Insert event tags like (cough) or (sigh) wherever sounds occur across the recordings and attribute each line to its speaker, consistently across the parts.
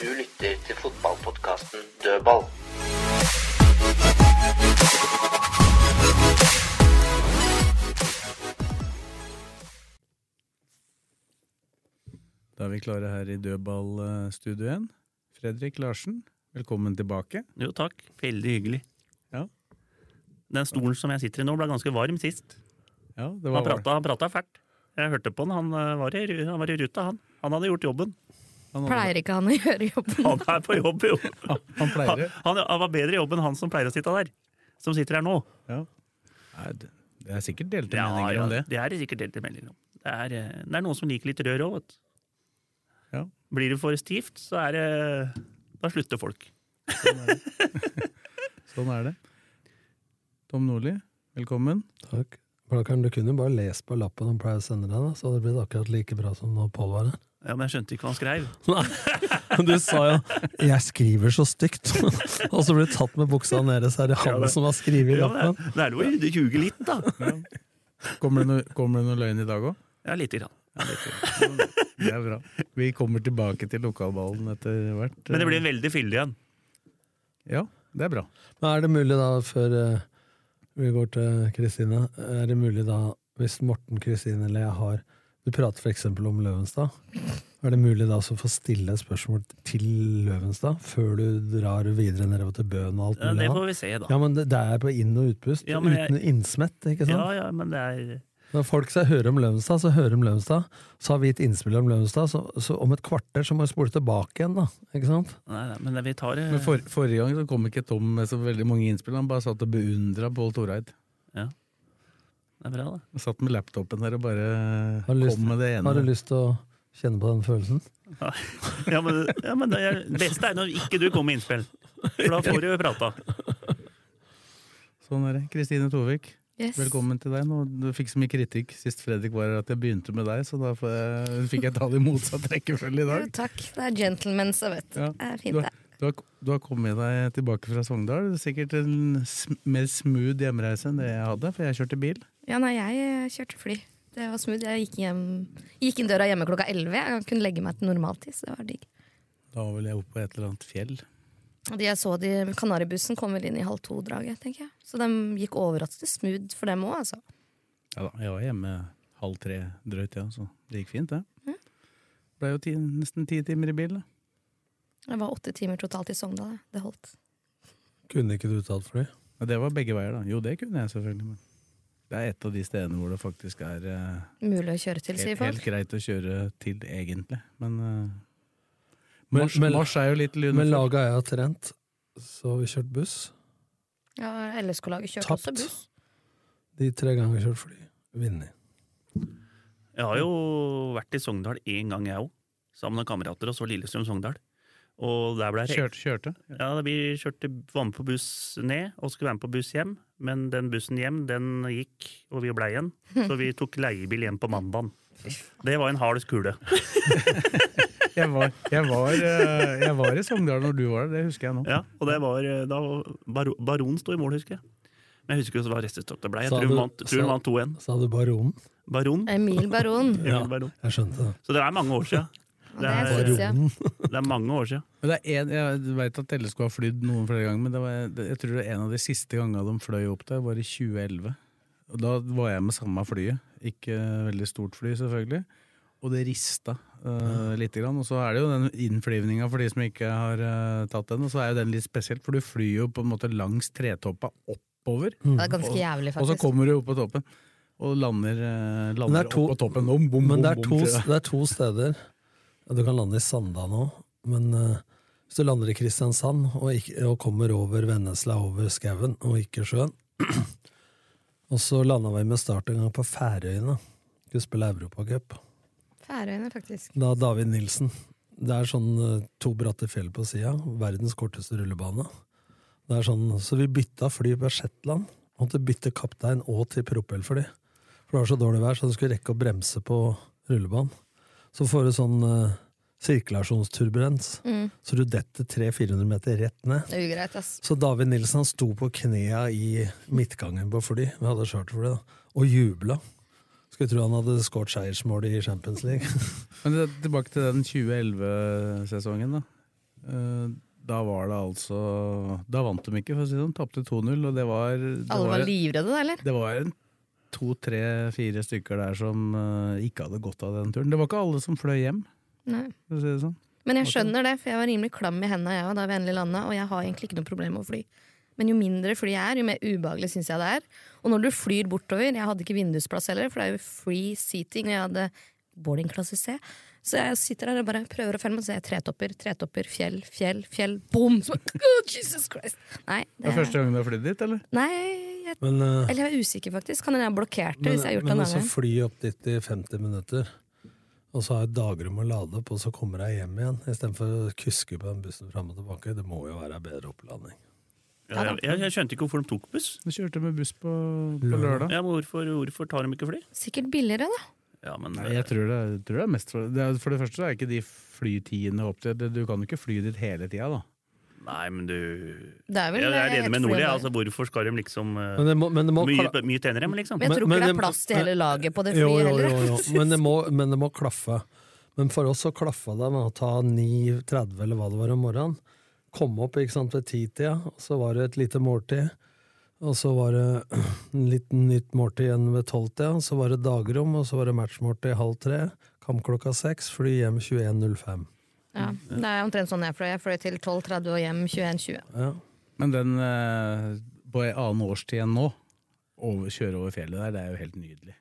Speaker 1: Du lytter til fotballpodkasten Dødball.
Speaker 2: Da er vi klare her i dødballstudio igjen. Fredrik Larsen, velkommen tilbake.
Speaker 3: Jo, takk. Veldig hyggelig.
Speaker 2: Ja.
Speaker 3: Den stolen som jeg sitter i nå, ble ganske varm sist.
Speaker 2: Ja, det
Speaker 3: Han
Speaker 2: var
Speaker 3: prata, han prata fælt. Jeg hørte på han. Han eh, var i, ru- han var i ruta, han. Han hadde gjort jobben. (laughs)
Speaker 2: Han,
Speaker 4: Pleier ikke han å gjøre jobben?
Speaker 3: Han er på jobb,
Speaker 2: (laughs)
Speaker 3: jo!
Speaker 2: han, han pleier
Speaker 3: Han, (laughs)
Speaker 2: det.
Speaker 3: han, han var bedre i jobb enn han som pleier å sitte der. Som sitter her nå.
Speaker 2: Ja. Nei, det- Det er sikkert delte meninger om det.
Speaker 3: det er det sikkert delte meldinger om. Det er, eh, det er noen som liker litt rør òg, vet du.
Speaker 2: Ja.
Speaker 3: Blir det for stivt, så er det Da slutter folk.
Speaker 2: Sånn er det. Tom Nordli, velkommen.
Speaker 5: Takk. Blakkaren, du kunne jo bare lest på lappen han pleier å sende deg, da, så hadde det blitt akkurat like bra som når Pål
Speaker 3: (laughs)
Speaker 5: var her.
Speaker 3: Ja, Men jeg skjønte ikke hva han skrev.
Speaker 5: Du sa jo 'jeg skriver så stygt', (laughs) og så ble du tatt med buksa nede, så er det
Speaker 3: Ja,
Speaker 5: han
Speaker 3: det-
Speaker 5: som har skrevet
Speaker 3: Ja,
Speaker 5: lappen.
Speaker 3: men det, er- det er lov å ljuge litt, da.
Speaker 2: Kommer det noe, kommer det noe løgn i dag òg?
Speaker 3: Ja, lite grann.
Speaker 2: Det er bra. Vi kommer tilbake til lokalballen etter hvert.
Speaker 3: Men det blir en veldig fyldig en.
Speaker 2: Ja, det er bra.
Speaker 5: Men er det mulig da, før eh, vi går til Kristine, er det mulig da, hvis Morten, Kristine eller jeg har Du prater for eksempel om Løvenstad. Er det mulig da også å få stille et spørsmål til Løvenstad før du drar videre nedover til Bøen og alt
Speaker 3: Ja, det
Speaker 5: da?
Speaker 3: får vi se, da.
Speaker 5: Ja, men det, det er på inn- og utpust,
Speaker 3: Ja, men jeg-
Speaker 5: uten innsmett, ikke sant?
Speaker 3: Ja, ja, men det er
Speaker 5: Når folk skal høre om Løvenstad, så hører om Løvenstad. Så har vi et innspill om Løvenstad, så, så om et kvarter så må vi spole tilbake igjen, da. Ikke sant?
Speaker 3: Nei, nei, men vi tar det
Speaker 2: Men for, forrige gang så kom ikke Tom med så veldig mange innspill. Han bare satt og beundra Pål Toreid.
Speaker 3: Det er bra, da.
Speaker 2: Han Satt med laptopen der og bare
Speaker 5: Har du lyst-
Speaker 2: kom med det
Speaker 5: Har du
Speaker 2: ene.
Speaker 5: lyst til å kjenne på den følelsen?
Speaker 3: Ja, men, ja, men det er- beste er når ikke du kommer med innspill. For da får du prata.
Speaker 2: Sånn er det. Kristine Tovik.
Speaker 4: Yes.
Speaker 2: Velkommen til deg. nå. Du fikk så mye kritikk sist Fredrik var her at jeg begynte med deg, så da får jeg, fikk jeg ta det i motsatt rekkefølge i
Speaker 4: Jo,
Speaker 2: dag.
Speaker 4: takk. Det er gentlemen, så vet du.
Speaker 2: Ja.
Speaker 4: Det er
Speaker 2: Du
Speaker 4: fint,
Speaker 2: har,
Speaker 4: det.
Speaker 2: du, har, du har kommet deg tilbake fra Sogndal. Det er Sikkert en sm mer smooth hjemreise enn det jeg hadde, for jeg kjørte bil.
Speaker 4: Ja, nei, jeg eh, kjørte fly. Det var smooth. Jeg gikk, hjem, gikk inn døra hjemme klokka 11. Jeg kunne legge meg til normaltid, så det var digg.
Speaker 2: Da var vel jeg oppe på et eller annet fjell.
Speaker 4: Og de jeg så de Kanaribussen kom vel inn i halv to-draget, tenker jeg. Så de gikk overraskende smooth for dem òg, altså.
Speaker 2: Ja da, jeg var hjemme halv tre drøyt, ja, så det gikk fint, det. Blei jo ti, nesten ti timer i bil, da.
Speaker 4: Det var åtte timer totalt i Sogndal. jeg. Det holdt.
Speaker 5: Kunne ikke du tatt fly?
Speaker 2: Og det var begge veier, da. Jo, det kunne jeg selvfølgelig, men det er et av de stedene hvor det faktisk er eh,
Speaker 4: Mulig å kjøre til, sier
Speaker 2: helt,
Speaker 4: folk.
Speaker 2: helt greit å kjøre til, egentlig. Men eh,
Speaker 5: Men-
Speaker 2: mars,
Speaker 5: men-
Speaker 2: mars er jo litt
Speaker 5: Men
Speaker 2: lunefull.
Speaker 5: laget jeg har trent, så har vi kjørt buss.
Speaker 4: Ja, LSK-laget kjørte også
Speaker 5: Tapt.
Speaker 4: buss.
Speaker 5: De tre ganger vi har kjørt fly. Vinner.
Speaker 3: Jeg har jo vært i Sogndal én gang, jeg òg. Sammen med kamerater og så Lillestrøm Sogndal. Og der ble det
Speaker 2: Kjørte, kjørte.
Speaker 3: Ja, Vi kjørte, var med på buss ned og skulle være med på buss hjem. Men den bussen hjem den gikk, og vi blei igjen. Så vi tok leiebil hjem på mandagen. Det var en hard skule.
Speaker 2: Jeg var, jeg, var, eh, jeg var i Sogndal når du var der, det husker jeg nå.
Speaker 3: Ja, og det var eh, da Bar- Baron sto i mål, husker jeg. Men jeg husker ikke hva restestopp det ble. Jeg
Speaker 5: Sa
Speaker 3: tror
Speaker 5: du-
Speaker 3: hun vant- tror hun
Speaker 5: sa-
Speaker 3: vant 2-1.
Speaker 5: Så hadde baronen.
Speaker 3: Baron.
Speaker 4: Emil Baron.
Speaker 3: Emil Baron.
Speaker 5: Jeg skjønte det.
Speaker 3: Så det er mange år siden.
Speaker 4: Det er
Speaker 3: Det er-
Speaker 4: syns jeg.
Speaker 3: Det er mange år siden.
Speaker 2: Men det er en, jeg veit at Telle skulle ha flydd noen flere ganger, men det var, det- jeg tror det er en av de siste gangene de fløy opp der, var i 2011. Og da var jeg med samme flyet. Ikke veldig stort fly, selvfølgelig. Og det rista uh, lite grann. Og så er det jo den innflyvninga for de som ikke har eh, tatt den, og så er jo den litt spesiell, for du flyr jo på en måte langs tretoppa oppover.
Speaker 4: Det er ganske jævlig,
Speaker 2: Og så
Speaker 4: Mm. faktisk.
Speaker 2: kommer du opp på toppen, og lander, eh,
Speaker 5: Men
Speaker 2: lander
Speaker 5: det er to-
Speaker 2: opp på toppen. Om, bom, bom,
Speaker 5: Men det er
Speaker 2: bom,
Speaker 5: to,
Speaker 2: til deg.
Speaker 5: det er to steder. Ja, Du kan lande i Sanda nå, men eh, hvis du lander i Kristiansand og, ikke, og kommer over Vennesla, over skauen og ikke sjøen (clears throat) Og så landa vi med start en gang på Færøyene. Skulle spille Europacup.
Speaker 4: Færøyene, faktisk.
Speaker 5: Da David Nilsen. Det er sånn eh, to bratte fjell på sida. Verdens korteste rullebane. Det er sånn, så vi bytta fly på Shetland. Måtte bytte kaptein og til propellfly. For det var så dårlig vær, så du skulle rekke å bremse på rullebanen. Så får du sånn eh, sirkulasjonsturbulens,
Speaker 4: Mm.
Speaker 5: så du detter 300-400 meter rett ned.
Speaker 4: Det er ugreit, ass.
Speaker 5: Så David Nilsen han sto på knea i midtgangen på fly, vi hadde charterfly, da, og jubla. Skulle tro han hadde skåret seiersmål i Champions League. (laughs)
Speaker 2: Men det- tilbake til den 2011-sesongen, da. Eh, Da var det altså Da vant de ikke, for å si det sånn. Tapte 2-0, og det var det
Speaker 4: Alle var
Speaker 2: var-
Speaker 4: livredde da, eller?
Speaker 2: Det var en to, tre, fire stykker der som eh, ikke hadde godt av den turen. Det var ikke alle som fløy hjem,
Speaker 4: Nei.
Speaker 2: for å si det sånn.
Speaker 4: Men jeg skjønner det, for jeg var rimelig klam i hendene jeg var da vi endelig landa, og jeg har egentlig ikke noe problem med å fly. Men jo mindre fly jeg er, jo mer ubehagelig syns jeg det er. Og når du flyr bortover Jeg hadde ikke vindusplass heller, for det er jo free seating, og jeg hadde boarding klasse C. Så jeg sitter der og bare prøver å følge med, så ser jeg tretopper, tretopper, fjell, fjell, fjell, bom! Så, bare, (laughs) «Åh, Jesus Christ! Nei,
Speaker 2: Det
Speaker 4: det
Speaker 2: var første gang du har flydd dit, eller?
Speaker 4: Nei, jeg,
Speaker 5: Men, eh,
Speaker 4: eller jeg er usikker, faktisk. Kan hende jeg har blokkert det,
Speaker 5: men,
Speaker 4: hvis jeg har gjort det
Speaker 5: men
Speaker 4: en
Speaker 5: også
Speaker 4: annen gang.
Speaker 5: fly opp dit i 50 minutter, og så har jeg dager om å lade opp, og så kommer jeg hjem igjen, istedenfor å kuske på den bussen fram og tilbake. Det må jo være en bedre oppladning.
Speaker 3: Ja, jeg, jeg, jeg skjønte ikke hvorfor de tok buss.
Speaker 2: Du kjørte med buss på, på lørdag.
Speaker 3: Ja, men hvorfor, hvorfor tar de ikke fly?
Speaker 4: Sikkert billigere, da.
Speaker 3: Ja, men
Speaker 2: Nei, jeg tror det, jeg tror det er mest for det. er- For det første så er ikke de flytidene opp til Du kan jo ikke fly dit hele tida, da.
Speaker 3: Nei, men du
Speaker 4: Det er vel
Speaker 3: Jeg er
Speaker 4: et
Speaker 3: enig med
Speaker 4: fly om
Speaker 3: Nordli.
Speaker 4: dagen.
Speaker 3: Altså, hvorfor skal de liksom eh,
Speaker 5: Men det må, men det må
Speaker 3: Mye, mye tjenere, men liksom.
Speaker 4: Men jeg tror
Speaker 5: Men-
Speaker 4: ikke det
Speaker 5: men-
Speaker 4: er plass til hele laget på det
Speaker 5: Jo,
Speaker 4: flyet
Speaker 5: jo,
Speaker 4: heller.
Speaker 5: jo,
Speaker 4: (laughs)
Speaker 5: jo. Men, det må, men det må klaffe. Men for oss så klaffa det med å ta 9.30 eller hva det var om morgenen. Komme opp ikke sant, ved 10-tida, og så var det et lite måltid. Og så var det (clears throat) en liten nytt måltid igjen ved 12-tida. og Så var det dagrom, og så var det matchmåltid halv tre. Kamp klokka seks, fly hjem 21.05.
Speaker 4: Ja, det er omtrent sånn jeg fløy. Jeg fløy til 12.30 og hjem 21.20.
Speaker 5: Ja.
Speaker 2: Men den eh, på en annen årstid enn nå, over, kjøre over fjellet der, det er jo helt nydelig.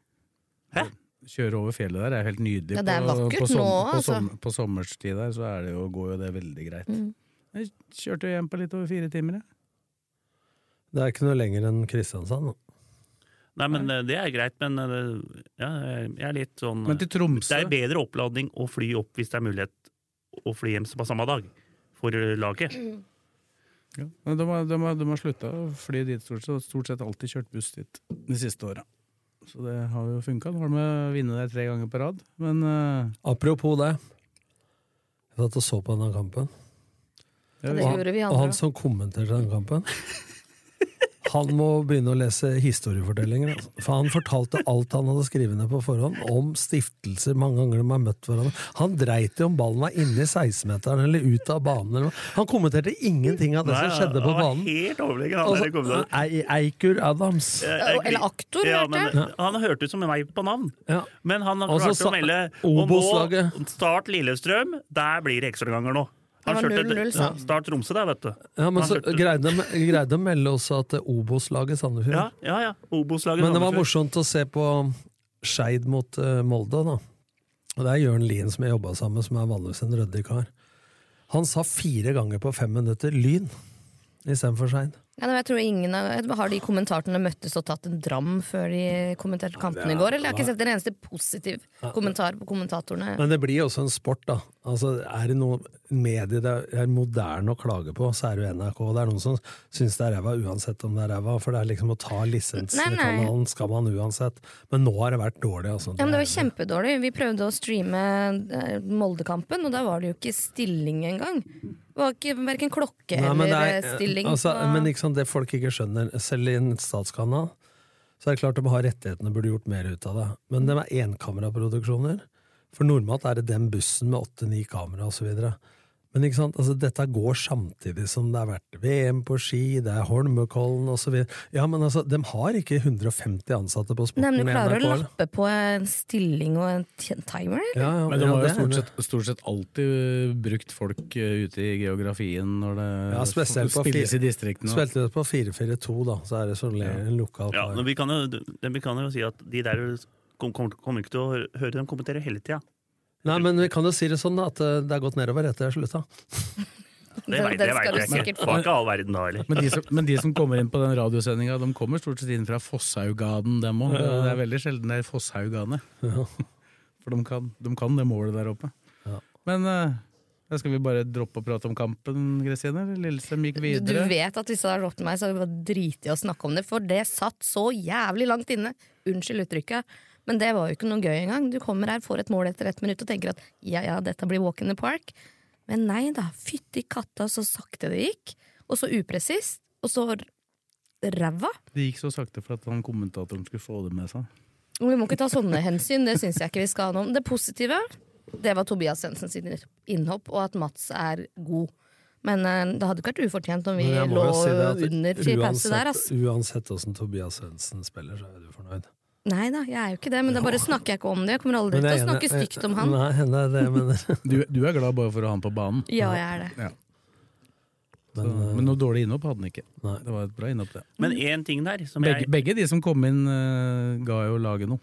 Speaker 3: Hæ?
Speaker 2: Kjøre over fjellet der er helt nydelig.
Speaker 4: Ja, det er
Speaker 2: På-
Speaker 4: vakkert
Speaker 2: på, som-
Speaker 4: nå,
Speaker 2: på,
Speaker 4: altså.
Speaker 2: som- på sommerstid der så er det jo, går jo det veldig greit.
Speaker 4: Mm.
Speaker 2: Jeg kjørte jo hjem på litt over fire timer, jeg.
Speaker 5: Det er ikke noe lenger enn Kristiansand. da.
Speaker 3: Nei, men eh, Det er greit, men eh, ja, jeg er litt sånn
Speaker 2: Men til
Speaker 3: Det
Speaker 2: Tromsø
Speaker 3: er bedre oppladning å fly opp hvis det er mulighet å fly hjem på samme dag for eh, laget.
Speaker 2: ja. Men de, har, de, har, de har slutta å fly dit stort sett, og stort sett alltid kjørt buss dit de siste åra. Så det har jo funka. Nå har de vunnet der tre ganger på rad, men eh,
Speaker 5: Apropos det. Jeg satt og så på denne kampen.
Speaker 4: Ja, det
Speaker 5: Og han,
Speaker 4: gjorde vi
Speaker 5: og
Speaker 4: andre
Speaker 5: han som kommenterte den kampen Han må begynne å lese historiefortellinger. altså. For han fortalte alt han hadde skrevet ned på forhånd, om stiftelser mange ganger de har møtt hverandre. Han dreit i om ballen var inne i 16-meteren eller ut av banen. Eller noe. Han kommenterte ingenting av det som skjedde på
Speaker 3: han var
Speaker 5: banen.
Speaker 3: helt overlegen, han der
Speaker 5: Altså, eh,
Speaker 3: kommentatoren.
Speaker 5: Ei- Eikur Adams.
Speaker 3: Jeg- jeg-
Speaker 4: Eller aktor,
Speaker 3: ja,
Speaker 4: hørte jeg.
Speaker 3: men, eh, han hørte ut som meg på navn,
Speaker 5: Ja.
Speaker 3: men han har
Speaker 5: Og så
Speaker 3: klart
Speaker 5: Altså, sa-
Speaker 3: å melde Og nå,
Speaker 5: Obos-laget.
Speaker 3: Start Lillestrøm, der blir det ekstraganger nå. Han
Speaker 4: Det var
Speaker 3: kjørte-
Speaker 4: 0-0, sa han.
Speaker 3: Start Tromsø, der, vet du.
Speaker 5: Ja, men
Speaker 3: Han
Speaker 5: så
Speaker 3: kjørte-
Speaker 5: greide de, greide de å melde også at eh, Obos-laget Sandefjord
Speaker 3: Ja, ja. ja. Obos-laget.
Speaker 5: Men det var
Speaker 3: Sandefjord.
Speaker 5: morsomt å se på Skeid mot eh, Molde, da. Og det er Jørn Lien som jeg jobba sammen med, som er vanligvis en ryddig kar. Han sa fire ganger på fem minutter 'Lyn' istedenfor Skeid.
Speaker 4: Ja, men jeg tror ingen av, jeg- har de kommentatorene møttes og tatt en dram før de kommenterte kampen i går? Eller jeg har ikke sett en eneste positiv kommentar på kommentatorene.
Speaker 5: Men det blir jo også en sport, da. Altså, er det noe medie det er moderne å klage på, så er det jo NRK. Det er noen som syns det er ræva uansett om det er ræva, for det er liksom å ta
Speaker 4: Nei, nei.
Speaker 5: lisenskanalen skal man uansett. Men nå har det vært dårlig, altså.
Speaker 4: Ja, men Det var kjempedårlig. Vi prøvde å streame eh, Moldekampen, og da var det jo ikke stilling engang. Det var ikke verken klokke
Speaker 5: Nei, men
Speaker 4: eller
Speaker 5: det er-
Speaker 4: eh, stilling.
Speaker 5: Altså,
Speaker 4: på-
Speaker 5: men ikke sant, det folk ikke skjønner, selv i en statskanal, så er det klart de har rettighetene burde gjort mer ut av det. Men de er enkameraproduksjoner. For normalt er det den bussen med åtte-ni kamera osv. Men ikke sant, altså, dette går samtidig som det har vært VM på ski, det er Holmenkollen osv. Ja, men altså, de har ikke 150 ansatte på
Speaker 4: Nei,
Speaker 5: sporten
Speaker 4: men du klarer å
Speaker 5: eller?
Speaker 4: lappe på en stilling og en t- timer? eller?
Speaker 5: Ja, ja,
Speaker 2: Men de
Speaker 5: ja,
Speaker 2: har jo
Speaker 5: det er
Speaker 2: stort
Speaker 5: det.
Speaker 2: sett, stort sett alltid brukt folk eh, ute i geografien når det
Speaker 5: Ja, spesielt på
Speaker 2: spilles
Speaker 5: fire-
Speaker 2: i distriktene.
Speaker 5: Spilte det på 4-4-2, da, så er det så le- lokal
Speaker 3: Ja,
Speaker 5: kar.
Speaker 3: men vi kan jo, det- vi kan jo si at de der kom- kom- kommer ikke til å høre- høre dem kommentere hele
Speaker 4: (laughs)
Speaker 3: tida.
Speaker 5: Nei, men vi kan jo si det sånn, da, at eh, det er gått nedover etter jeg slutta.
Speaker 3: Det
Speaker 4: Den-
Speaker 3: vet
Speaker 4: den
Speaker 3: jeg
Speaker 4: skal
Speaker 3: vet
Speaker 4: du
Speaker 3: jeg ikke.
Speaker 4: sikkert
Speaker 3: Det
Speaker 4: få.
Speaker 3: var ikke all verden da heller.
Speaker 2: Men de, som, men de som kommer inn på den radiosendinga, de kommer stort sett inn fra Fosshaugaden, dem òg. Det er veldig sjelden det er Fosshauganet. For de kan, de kan det målet der oppe.
Speaker 5: Ja.
Speaker 2: Men eh, da skal vi bare droppe å prate om kampen, Kristine? eller Lillestrøm gikk
Speaker 4: Du
Speaker 2: videre.
Speaker 4: vet at hvis det hadde rått meg, så hadde vi bare driti i å snakke om det, for det satt så jævlig langt inne. Unnskyld uttrykket. Men det var jo ikke noe gøy engang. Du kommer her, får et mål etter ett minutt og tenker at ja ja, dette blir walk in the park. Men nei da, fytti katta så sakte det gikk. Og så upresist. Og så ræva.
Speaker 2: Det gikk så sakte for at han kommentatoren skulle få det med seg.
Speaker 4: Og Vi må ikke ta sånne hensyn, det syns jeg ikke vi skal ha noe om. Det positive det var Tobias Svendsen sin innhopp, og at Mats er god. Men eh, det hadde ikke vært ufortjent om vi
Speaker 5: Men jeg må
Speaker 4: lå
Speaker 5: jo si det at
Speaker 4: under fire pause der.
Speaker 5: uansett-
Speaker 4: Ass.
Speaker 5: Uansett åssen Tobias Svendsen spiller, så er du fornøyd.
Speaker 4: Nei da, jeg er jo ikke det, men da bare snakker jeg ikke om det. Jeg kommer aldri
Speaker 5: Men
Speaker 4: til
Speaker 5: jeg
Speaker 4: å
Speaker 5: er
Speaker 4: snakke
Speaker 5: enig-
Speaker 4: stygt om han.
Speaker 5: Nei, nei, det er det jeg
Speaker 4: (laughs)
Speaker 5: mener.
Speaker 2: Du, du er glad bare for å ha han på banen?
Speaker 4: Ja, jeg er det.
Speaker 2: Ja. Så,
Speaker 5: Men, eh,
Speaker 2: men noe dårlig innhopp hadde han ikke.
Speaker 5: Nei.
Speaker 2: Det var et bra innhopp, det.
Speaker 3: Men én ting der som
Speaker 2: Begge,
Speaker 3: jeg
Speaker 2: begge de som kom inn, eh, ga jo laget noe.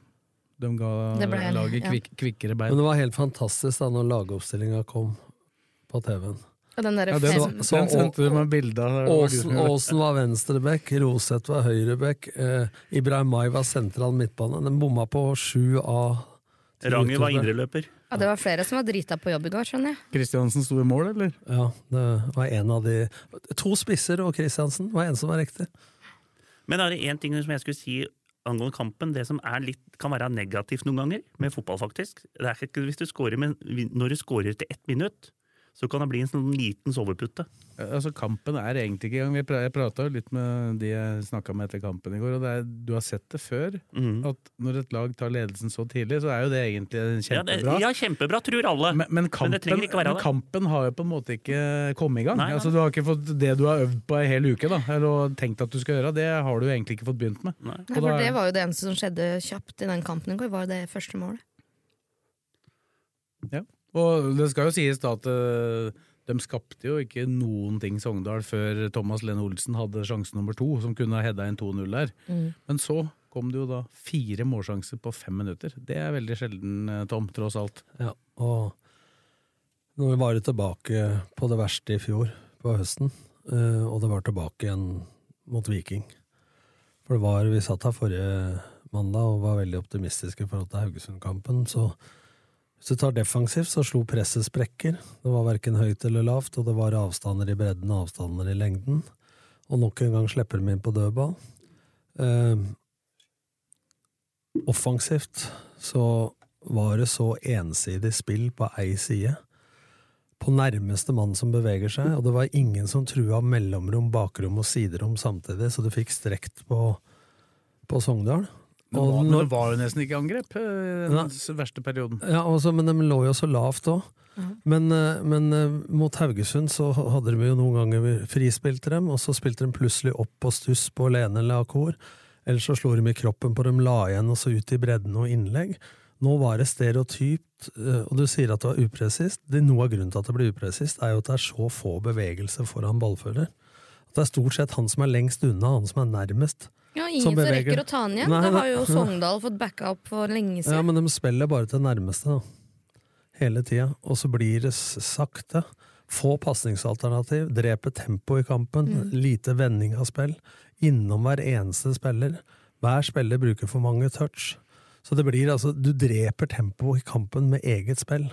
Speaker 2: De ga
Speaker 4: Det ble-
Speaker 2: laget
Speaker 4: ja.
Speaker 2: kvik, kvikkere bein.
Speaker 5: men det var helt fantastisk da når lagoppstillinga kom på TV-en.
Speaker 4: Og den derre
Speaker 2: Ja, den,
Speaker 4: fem-
Speaker 5: så- så-
Speaker 2: den sendte du meg bilde av. det var du som
Speaker 5: Åsen,
Speaker 2: gjorde det.
Speaker 5: Åsen var venstreback, Roseth var høyreback, eh, Ibrahimai var sentral midtbane. Den bomma på sju av ti
Speaker 3: Ranger var
Speaker 5: utøvere.
Speaker 3: indreløper.
Speaker 4: ja, det var flere som var drita på jobb i går, skjønner jeg.
Speaker 2: Kristiansen sto i mål, eller?
Speaker 5: Ja, det var en av de To spisser og Kristiansen var en som var riktig.
Speaker 3: Men er det én ting som jeg skulle si angående kampen, det som er litt, kan være negativt noen ganger med fotball, faktisk Det er ikke hvis du scorer, men når du scorer til ett minutt, så kan det bli en sånn liten sovepute.
Speaker 2: Altså, kampen er egentlig ikke i gang. Vi pra- Jeg prata jo litt med de jeg snakka med etter kampen i går, og det er, du har sett det før.
Speaker 3: Mm.
Speaker 2: At når et lag tar ledelsen så tidlig, så er jo det egentlig
Speaker 3: Ja, det,
Speaker 2: kjempebra.
Speaker 3: ja, kjempebra, tror alle.
Speaker 2: Men, men, kampen,
Speaker 3: det trenger ikke være
Speaker 2: men
Speaker 3: det.
Speaker 2: kampen har jo på en måte ikke kommet i gang.
Speaker 3: Nei, nei.
Speaker 2: Altså, du har ikke fått Det du har øvd på ei hel uke da, eller og tenkt at du skal gjøre, det har du jo egentlig ikke fått begynt med.
Speaker 3: Nei.
Speaker 2: Og
Speaker 4: Nei,
Speaker 2: da
Speaker 4: for
Speaker 2: er-
Speaker 4: det var jo det eneste som skjedde kjapt i den kampen i går, var det første målet.
Speaker 2: Og det skal jo sies da at eh, de skapte jo ikke noen ting Sogndal før Thomas Lene Olsen hadde sjanse nummer to, som kunne ha heada inn 2-0 der.
Speaker 5: Mm.
Speaker 2: Men så kom det jo da fire målsjanser på fem minutter. Det er veldig sjelden, eh, Tom, tross alt.
Speaker 5: Ja, og når vi var jo tilbake på det verste i fjor, på høsten, eh, og det var tilbake igjen mot Viking. For det var, vi satt her forrige mandag og var veldig optimistiske i forhold til Haugesund-kampen, så hvis du tar defensivt, så slo presset sprekker. Det var verken høyt eller lavt, og det var avstander i bredden og avstander i lengden. Og nok en gang slipper de inn på dødball. Eh, offensivt så var det så ensidig spill på ei side. På nærmeste mann som beveger seg, og det var ingen som trua mellomrom, bakrom og siderom samtidig, så du fikk strekt på, på Sogndal.
Speaker 2: Det
Speaker 5: Og
Speaker 2: var, men
Speaker 5: når-
Speaker 2: det var jo nesten ikke angrep eh,
Speaker 5: Nei.
Speaker 2: den s- verste perioden.
Speaker 5: ja, altså, men de lå jo så lavt òg. Men, eh, men eh, mot Haugesund så hadde de jo noen ganger frispilte dem, og så spilte de plutselig opp på stuss på Lene eller Akor. Eller så slo de i kroppen på dem, la igjen og så ut i bredden og innlegg. Nå var det stereotypt, eh, og du sier at det var upresist. Det- Noe av grunnen til at det blir upresist, er jo at det er så få bevegelser foran ballfører. At det er stort sett han som er lengst unna, han som er nærmest.
Speaker 4: Ja, ingen
Speaker 5: Som
Speaker 4: som,
Speaker 5: beveger-
Speaker 4: rekker å ta den igjen.
Speaker 5: Nei,
Speaker 4: da har
Speaker 5: nei.
Speaker 4: jo Sogndal fått backa opp for lenge
Speaker 5: Ja,
Speaker 4: siden.
Speaker 5: men de spiller bare til nærmeste, da. Hele tida. Og så blir det s- sakte. Få pasningsalternativ, dreper tempo i kampen,
Speaker 4: Mm.
Speaker 5: lite vending av spill. Innom hver eneste spiller. Hver spiller bruker for mange touch. Så det blir altså Du dreper tempo i kampen med eget spill.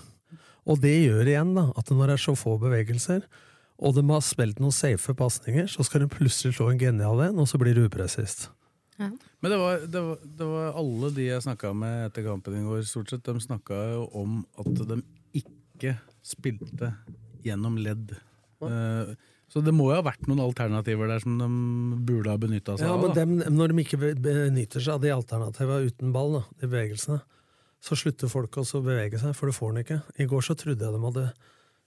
Speaker 5: Og det gjør igjen da, at når det er så få bevegelser, og de har spilt noen safe pasninger, så skal de plutselig slå en genial en, og så blir det upresist.
Speaker 2: Men det var, det var, det var alle de jeg snakka med etter kampen i går, stort sett, de snakka jo om at de ikke spilte gjennom ledd. Eh, Så det må jo ha vært noen alternativer der som de burde ha benytta seg
Speaker 5: Ja,
Speaker 2: av.
Speaker 5: men
Speaker 2: da.
Speaker 5: dem, når de ikke be- benytter seg av de alternativene uten ball, da, de bevegelsene, så slutter folk også å bevege seg, for du får den ikke. I går så trodde jeg de hadde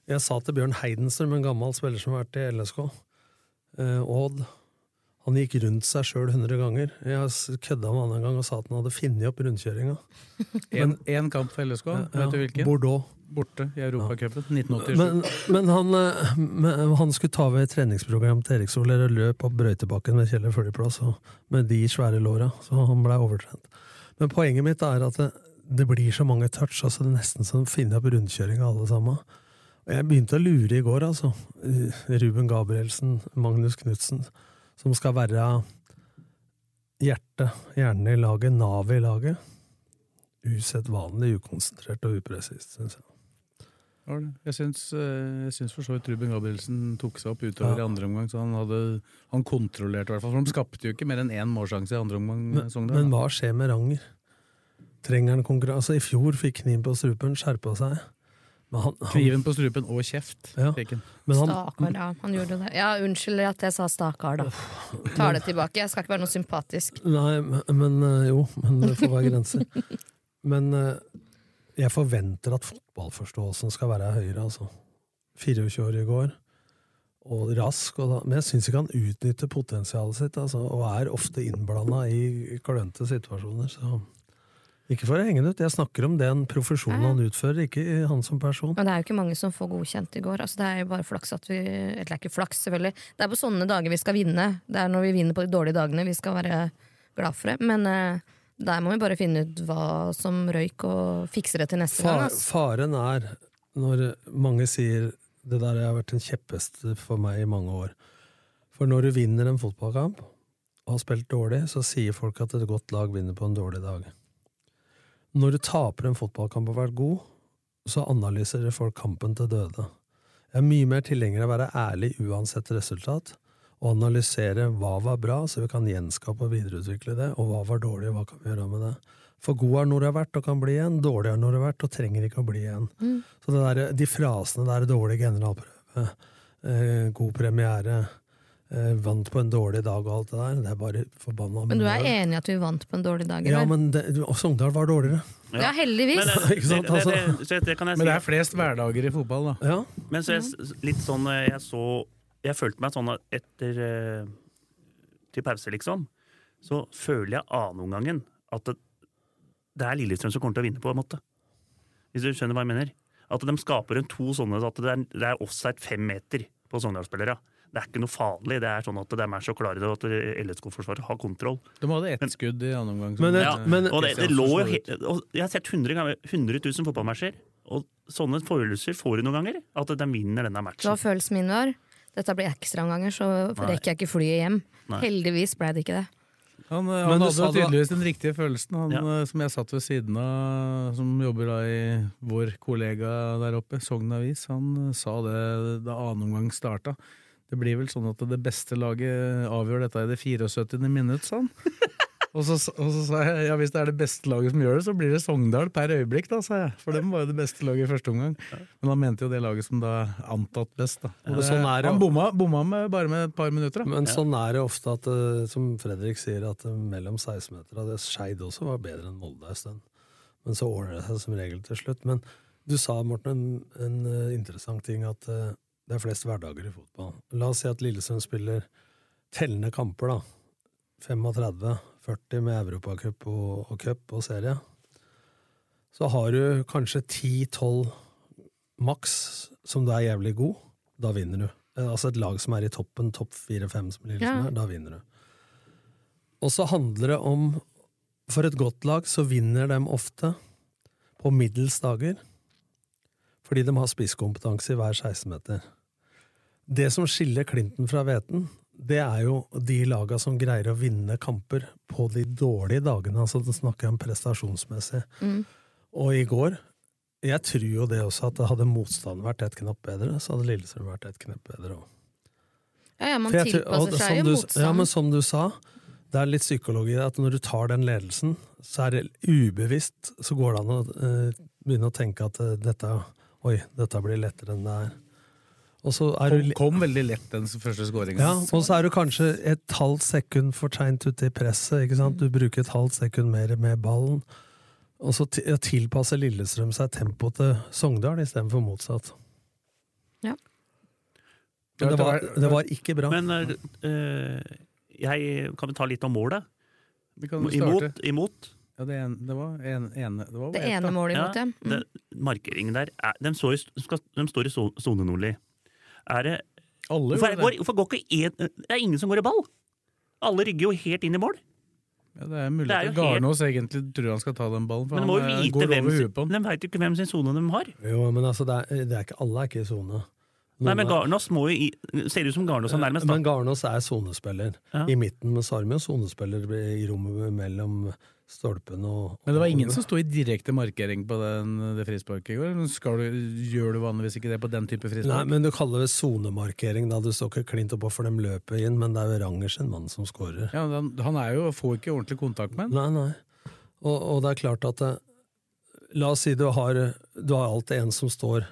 Speaker 5: Jeg sa til Bjørn Heidenstrøm, en gammel spiller som har vært i LSK, eh, Odd Han gikk rundt seg sjøl hundre ganger. Jeg s- kødda med han en gang og sa at han hadde funnet opp rundkjøringa.
Speaker 2: En, en kamp for LSK, vet du hvilken?
Speaker 5: Bordeaux.
Speaker 2: Borte i Europacupen 1987.
Speaker 5: Men, men, han, eh, men han skulle ta ved et treningsprogram til Erik Soler og løp opp brøytebakken ved Kjeller Følgeplass og- med de svære låra, så han blei overtrent. Men poenget mitt er at det, det blir så mange touch, altså det er nesten som å finne opp rundkjøring av alle sammen. Og jeg begynte å lure i går, altså. Eh, Ruben Gabrielsen, Magnus Knutsen, som skal være hjertet, hjernen i laget, navet i laget. usedvanlig ukonsentrert og upresist, syns jeg.
Speaker 2: Var det? Jeg syns, eh, jeg syns for så vidt Ruben Gabrielsen tok seg opp utover i
Speaker 5: Ja.
Speaker 2: andre omgang. Så han, hadde, han kontrollerte i hvert fall. For de skapte jo ikke mer enn én målsjanse i andre omgang. eh,
Speaker 5: Men,
Speaker 2: Sogndal.
Speaker 5: men hva skjer med Ranger? Trenger han konkurranse? Altså, I fjor fikk kniven på strupen, skjerpa seg. Men han, han,
Speaker 2: Kniven på strupen og kjeft.
Speaker 5: Ja.
Speaker 2: fikk han.
Speaker 5: men han,
Speaker 4: Stakkar, ja. Han gjorde det. Ja, unnskyld at jeg sa stakkar, da. Tar det tilbake. Jeg skal ikke være noe sympatisk.
Speaker 5: Nei, men- men øh, jo, men det får være grenser. Men øh, jeg forventer at fotballforståelsen skal være høyere, altså. 24 år i går, og rask, og da, men jeg syns ikke han utnytter potensialet sitt, altså, og er ofte innblanda i klønete situasjoner, så Ikke for å henge det ut, jeg snakker om den profesjonen han utfører, ikke han som person.
Speaker 4: Men det er jo ikke mange som får godkjent i går. Altså, det er jo bare flaks at vi Eller det er ikke flaks, selvfølgelig. Det er på sånne dager vi skal vinne. Det er når vi vinner på de dårlige dagene vi skal være glad for det. Men eh, der må vi bare finne ut hva som røyk, og fikse det til neste gang.
Speaker 5: Fa
Speaker 4: Altså.
Speaker 5: faren er når mange sier det der har vært en kjepphest for meg i mange år. For når du vinner en fotballkamp og har spilt dårlig, så sier folk at et godt lag vinner på en dårlig dag. Når du taper en fotballkamp og har vært god, så analyserer folk kampen til døde. Jeg er mye mer tilhenger av å være ærlig uansett resultat, og analysere hva var bra, så vi kan gjenskape og videreutvikle det, og hva var dårlig, og hva kan vi gjøre med det. For god er når du har vært og kan bli igjen, dårlig er når du har vært og trenger ikke å bli igjen.
Speaker 4: Mm.
Speaker 5: Så det der, de frasene der, dårlig generalprøve, eh, god premiere, eh, vant på en dårlig dag og alt det der, det er bare forbanna
Speaker 4: Men du er
Speaker 5: mye.
Speaker 4: enig i at vi vant på en dårlig dag?
Speaker 5: Ja,
Speaker 4: eller?
Speaker 5: men det, og Sogndal var dårligere.
Speaker 4: ja, heldigvis!
Speaker 3: Men det,
Speaker 2: (laughs)
Speaker 5: Ikke sant,
Speaker 3: det, det,
Speaker 5: altså.
Speaker 3: det, så det kan jeg
Speaker 2: Men det er
Speaker 3: si.
Speaker 2: flest hverdager i fotball, da.
Speaker 5: Ja,
Speaker 3: Men så jeg, litt sånn eh, Jeg så Jeg følte meg sånn at etter eh, Til pause, liksom. Så føler jeg annenomgangen at det, det er Lillestrøm som kommer til å vinne, på en måte. Hvis du skjønner hva jeg mener. At de skaper en to sånne så at det er, det er offside fem meter på Sogndal-spillere. Det er ikke noe farlig. Det er sånn at de er så klare til at LSK-forsvaret har kontroll.
Speaker 2: De hadde ett skudd i annen omgang. som-
Speaker 5: Men det-
Speaker 3: Ja,
Speaker 5: men-
Speaker 3: og det, det
Speaker 2: Kristiansen
Speaker 3: lå jo
Speaker 2: slår ut.
Speaker 3: he- og Jeg har sett 100, ganger, 100 000 fotballmatcher, og sånne foreløser får du noen ganger. At de vinner denne
Speaker 4: Hva
Speaker 3: matchen.
Speaker 4: følelsen min var? Dette blir ekstraomganger, så
Speaker 3: Nei.
Speaker 4: rekker jeg ikke flyet hjem.
Speaker 3: Nei.
Speaker 4: Heldigvis ble det ikke det.
Speaker 2: Han, eh,
Speaker 5: Men
Speaker 2: han
Speaker 5: du
Speaker 2: hadde
Speaker 5: sa
Speaker 2: jo
Speaker 5: det var-
Speaker 2: tydeligvis den riktige følelsen, han
Speaker 3: Ja.
Speaker 2: eh, som jeg satt ved siden av, som jobber da i vår kollega der oppe, Sogn Avis, han eh, sa det da annen omgang starta. Det blir vel sånn at det beste laget avgjør dette i det 74. minutt, sa
Speaker 5: (laughs)
Speaker 2: han. Og så, og så sa jeg ja, hvis det er det beste laget som gjør det, så blir det Sogndal per øyeblikk, da, sa jeg. For dem var jo det beste laget i første omgang. Men han mente jo det laget som da er antatt best, da. Og
Speaker 5: Ja,
Speaker 2: det,
Speaker 5: sånn er det
Speaker 2: han
Speaker 5: jo.
Speaker 2: bomma, bomma med, bare med et par minutter, da.
Speaker 5: Men sånn er det ofte at, eh, som Fredrik sier, at eh, mellom 16-meter at Skeid også var bedre enn Molde en stund. Men så ordner det seg som regel til slutt. Men du sa, Morten, en, en eh, interessant ting, at eh, det er flest hverdager i fotball. La oss si at Lillesund spiller tellende kamper, da. 35, 40 med Europacup og, og cup og serie. Så har du kanskje 10-12 maks som du er jævlig god. Da vinner du. Eh, Altså et lag som er i toppen, topp 4-5 som Lillesund
Speaker 4: Ja.
Speaker 5: er, da vinner du. Og så handler det om For et godt lag så vinner de ofte på middels dager. Fordi de har spisskompetanse i hver 16-meter. Det som skiller Clinton fra Veten, det er jo de laga som greier å vinne kamper på de dårlige dagene. altså Da snakker jeg om prestasjonsmessig. Og i går Jeg tror jo det også, at hadde motstanden vært et knapp bedre, så hadde Lillestrøm vært et knepp bedre òg.
Speaker 4: Ja, ja, man
Speaker 5: For jeg tror- og
Speaker 4: tilpasser seg
Speaker 5: som
Speaker 4: jo
Speaker 5: du-
Speaker 4: motstand.
Speaker 5: Ja, men som du sa, det er litt psykologi at når du tar den ledelsen, så er det ubevisst så går det an å eh, begynne å tenke at eh, dette, oi, dette blir lettere enn det er. Og så er du
Speaker 2: Kom, kom veldig lett den første skåringa.
Speaker 5: ja, og så er du kanskje et halvt sekund for seint ute i presset. ikke sant? Du bruker et halvt sekund mer med ballen. Og så ti- ja, tilpasser Lillestrøm seg tempoet til Sogndal istedenfor motsatt.
Speaker 4: Ja.
Speaker 5: Men det var, det var ikke bra.
Speaker 3: Men eh, eh, jeg kan vi ta litt om målet.
Speaker 2: Vi kan jo starte.
Speaker 3: Imot. imot.
Speaker 2: Ja, det, en, det var en, ene Det, var
Speaker 4: Det
Speaker 2: bare ett,
Speaker 4: ene
Speaker 2: da.
Speaker 4: målet
Speaker 3: Ja,
Speaker 4: imot, ja. Mm.
Speaker 3: det, markeringen der er, de, står i, skal, de står i so- sone nordlig. Er det,
Speaker 2: Alle
Speaker 3: hvorfor, er-
Speaker 2: gjorde
Speaker 3: går,
Speaker 2: det.
Speaker 3: hvorfor går ikke en, Det er ingen som går i ball! Alle rygger jo helt inn i mål.
Speaker 2: Ja, det er mulig
Speaker 3: Det er
Speaker 2: at
Speaker 3: jo helt-
Speaker 2: Garnås egentlig tror han skal ta den ballen, for
Speaker 3: Men de må jo
Speaker 2: han eh,
Speaker 3: vite
Speaker 2: går
Speaker 3: hvem
Speaker 2: over
Speaker 3: sin,
Speaker 2: huet på han.
Speaker 3: De vet jo ikke hvem sin sone de har.
Speaker 5: Jo, men altså, det er, det er ikke, alle er ikke i sone.
Speaker 3: Nei, men Garnås må jo i Ser ut som Garnås er nærmest, da.
Speaker 5: Men Garnås er sonespiller
Speaker 3: Ja.
Speaker 5: i midten, men så har de jo sonespiller i rommet mellom stolpen og
Speaker 2: Men det var ingen som sto i direkte markering på den, det frisparket i går? Men Skal du, gjør du vanligvis ikke det på den type
Speaker 5: Nei,
Speaker 2: frispark?
Speaker 5: men du kaller det sonemarkering, da. Du står ikke klint oppå for dem løpet inn, men det er jo Rangers en mann som skårer.
Speaker 2: Ja, han, han er jo, får ikke ordentlig kontakt med den.
Speaker 5: Nei, nei. Og, og det er klart at det, La oss si du har, du har alltid en som står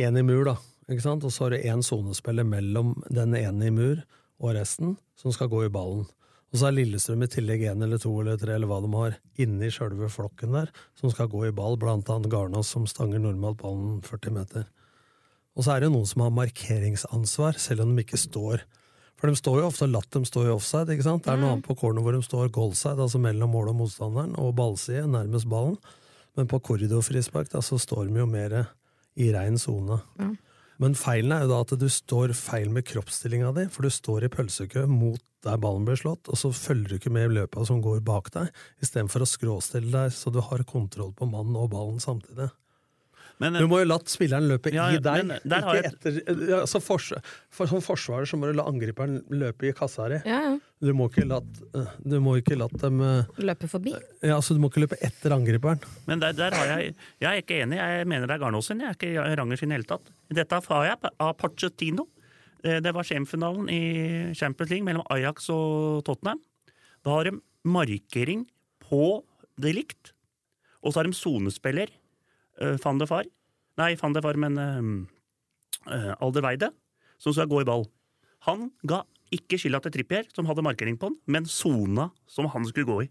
Speaker 5: én i mur, da. Ikke sant? Og så har du én sonespiller mellom den ene i mur og resten, som skal gå i ballen. Og så er Lillestrøm i tillegg én eller to eller tre eller hva de har, inni sjølve flokken der, som skal gå i ball, blant annet Garnås, som stanger normalt ballen 40 meter. Og så er det noen som har markeringsansvar, selv om de ikke står. For de står jo ofte og latt dem stå i offside. ikke sant? Det er noe annet på corner hvor de står goalside, altså mellom mål og motstanderen, og ballside, nærmest ballen. Men på korridorfrispark da, så står de jo mer i rein sone. Men feilen er jo da at du står feil med kroppsstillinga di, for du står i pølsekø mot der ballen blir slått, og så følger du ikke med i løpa som går bak deg, istedenfor å skråstille deg så du har kontroll på mannen og ballen samtidig.
Speaker 3: Men, eh,
Speaker 5: Du må jo latt spilleren løpe
Speaker 3: Ja,
Speaker 5: i
Speaker 3: ja,
Speaker 5: deg.
Speaker 3: men der har
Speaker 5: ikke etter, ja, altså fors, for, som forsvarer så må du la angriperen løpe i kassa di.
Speaker 4: Mm. Ja, ja.
Speaker 5: Du må ikke latt, eh, du må ikke latt dem eh,
Speaker 4: Løpe forbi.
Speaker 5: ja, altså, Du må ikke løpe etter angriperen.
Speaker 3: Men der, der har jeg, jeg er ikke enig. Jeg mener det er Garnås sin. Jeg er ikke Rangers sin i det hele tatt. Dette har jeg av Pochettino. Eh, Det var semifinalen i Champions League mellom Ajax og Tottenham. Da har de markering på det likt. Og så har de sonespiller. eh, Van de Far. Nei, Van de Far, men eh, eh, Alderweide. Som skal gå i ball. Han ga ikke skylda til Trippier, som hadde markering på han, men sona som han skulle gå i.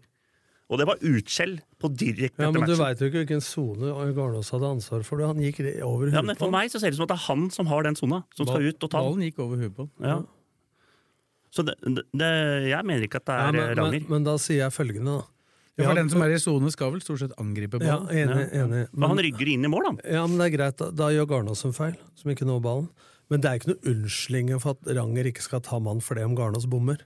Speaker 3: Og det var utskjell på direkte
Speaker 5: Ja,
Speaker 3: etter
Speaker 5: Men du
Speaker 3: matchen.
Speaker 5: veit jo ikke hvilken sone Garnås hadde ansvar for. du. Han gikk re- over
Speaker 3: Ja,
Speaker 5: huet
Speaker 3: men
Speaker 5: på
Speaker 3: For meg så ser det ut som at det er han som har den sona, som skal ut og ta den.
Speaker 2: Ballen gikk over huet på den.
Speaker 3: Ja. Så det, det, det, jeg mener ikke at det
Speaker 5: Ja,
Speaker 3: er eh,
Speaker 5: men, men,
Speaker 3: Ranger.
Speaker 5: men da sier jeg følgende, da.
Speaker 2: Ja, for den som er i sone, skal vel stort sett angripe
Speaker 5: ja,
Speaker 2: ballen.
Speaker 5: enig, enig.
Speaker 3: Men han rygger inn i mål, han.
Speaker 5: Ja, men det er greit. Da, da gjør Garnås en feil, som ikke når ballen. Men det er ikke noe unnskyldning for at Ranger ikke skal ta mann for det om Garnås bommer.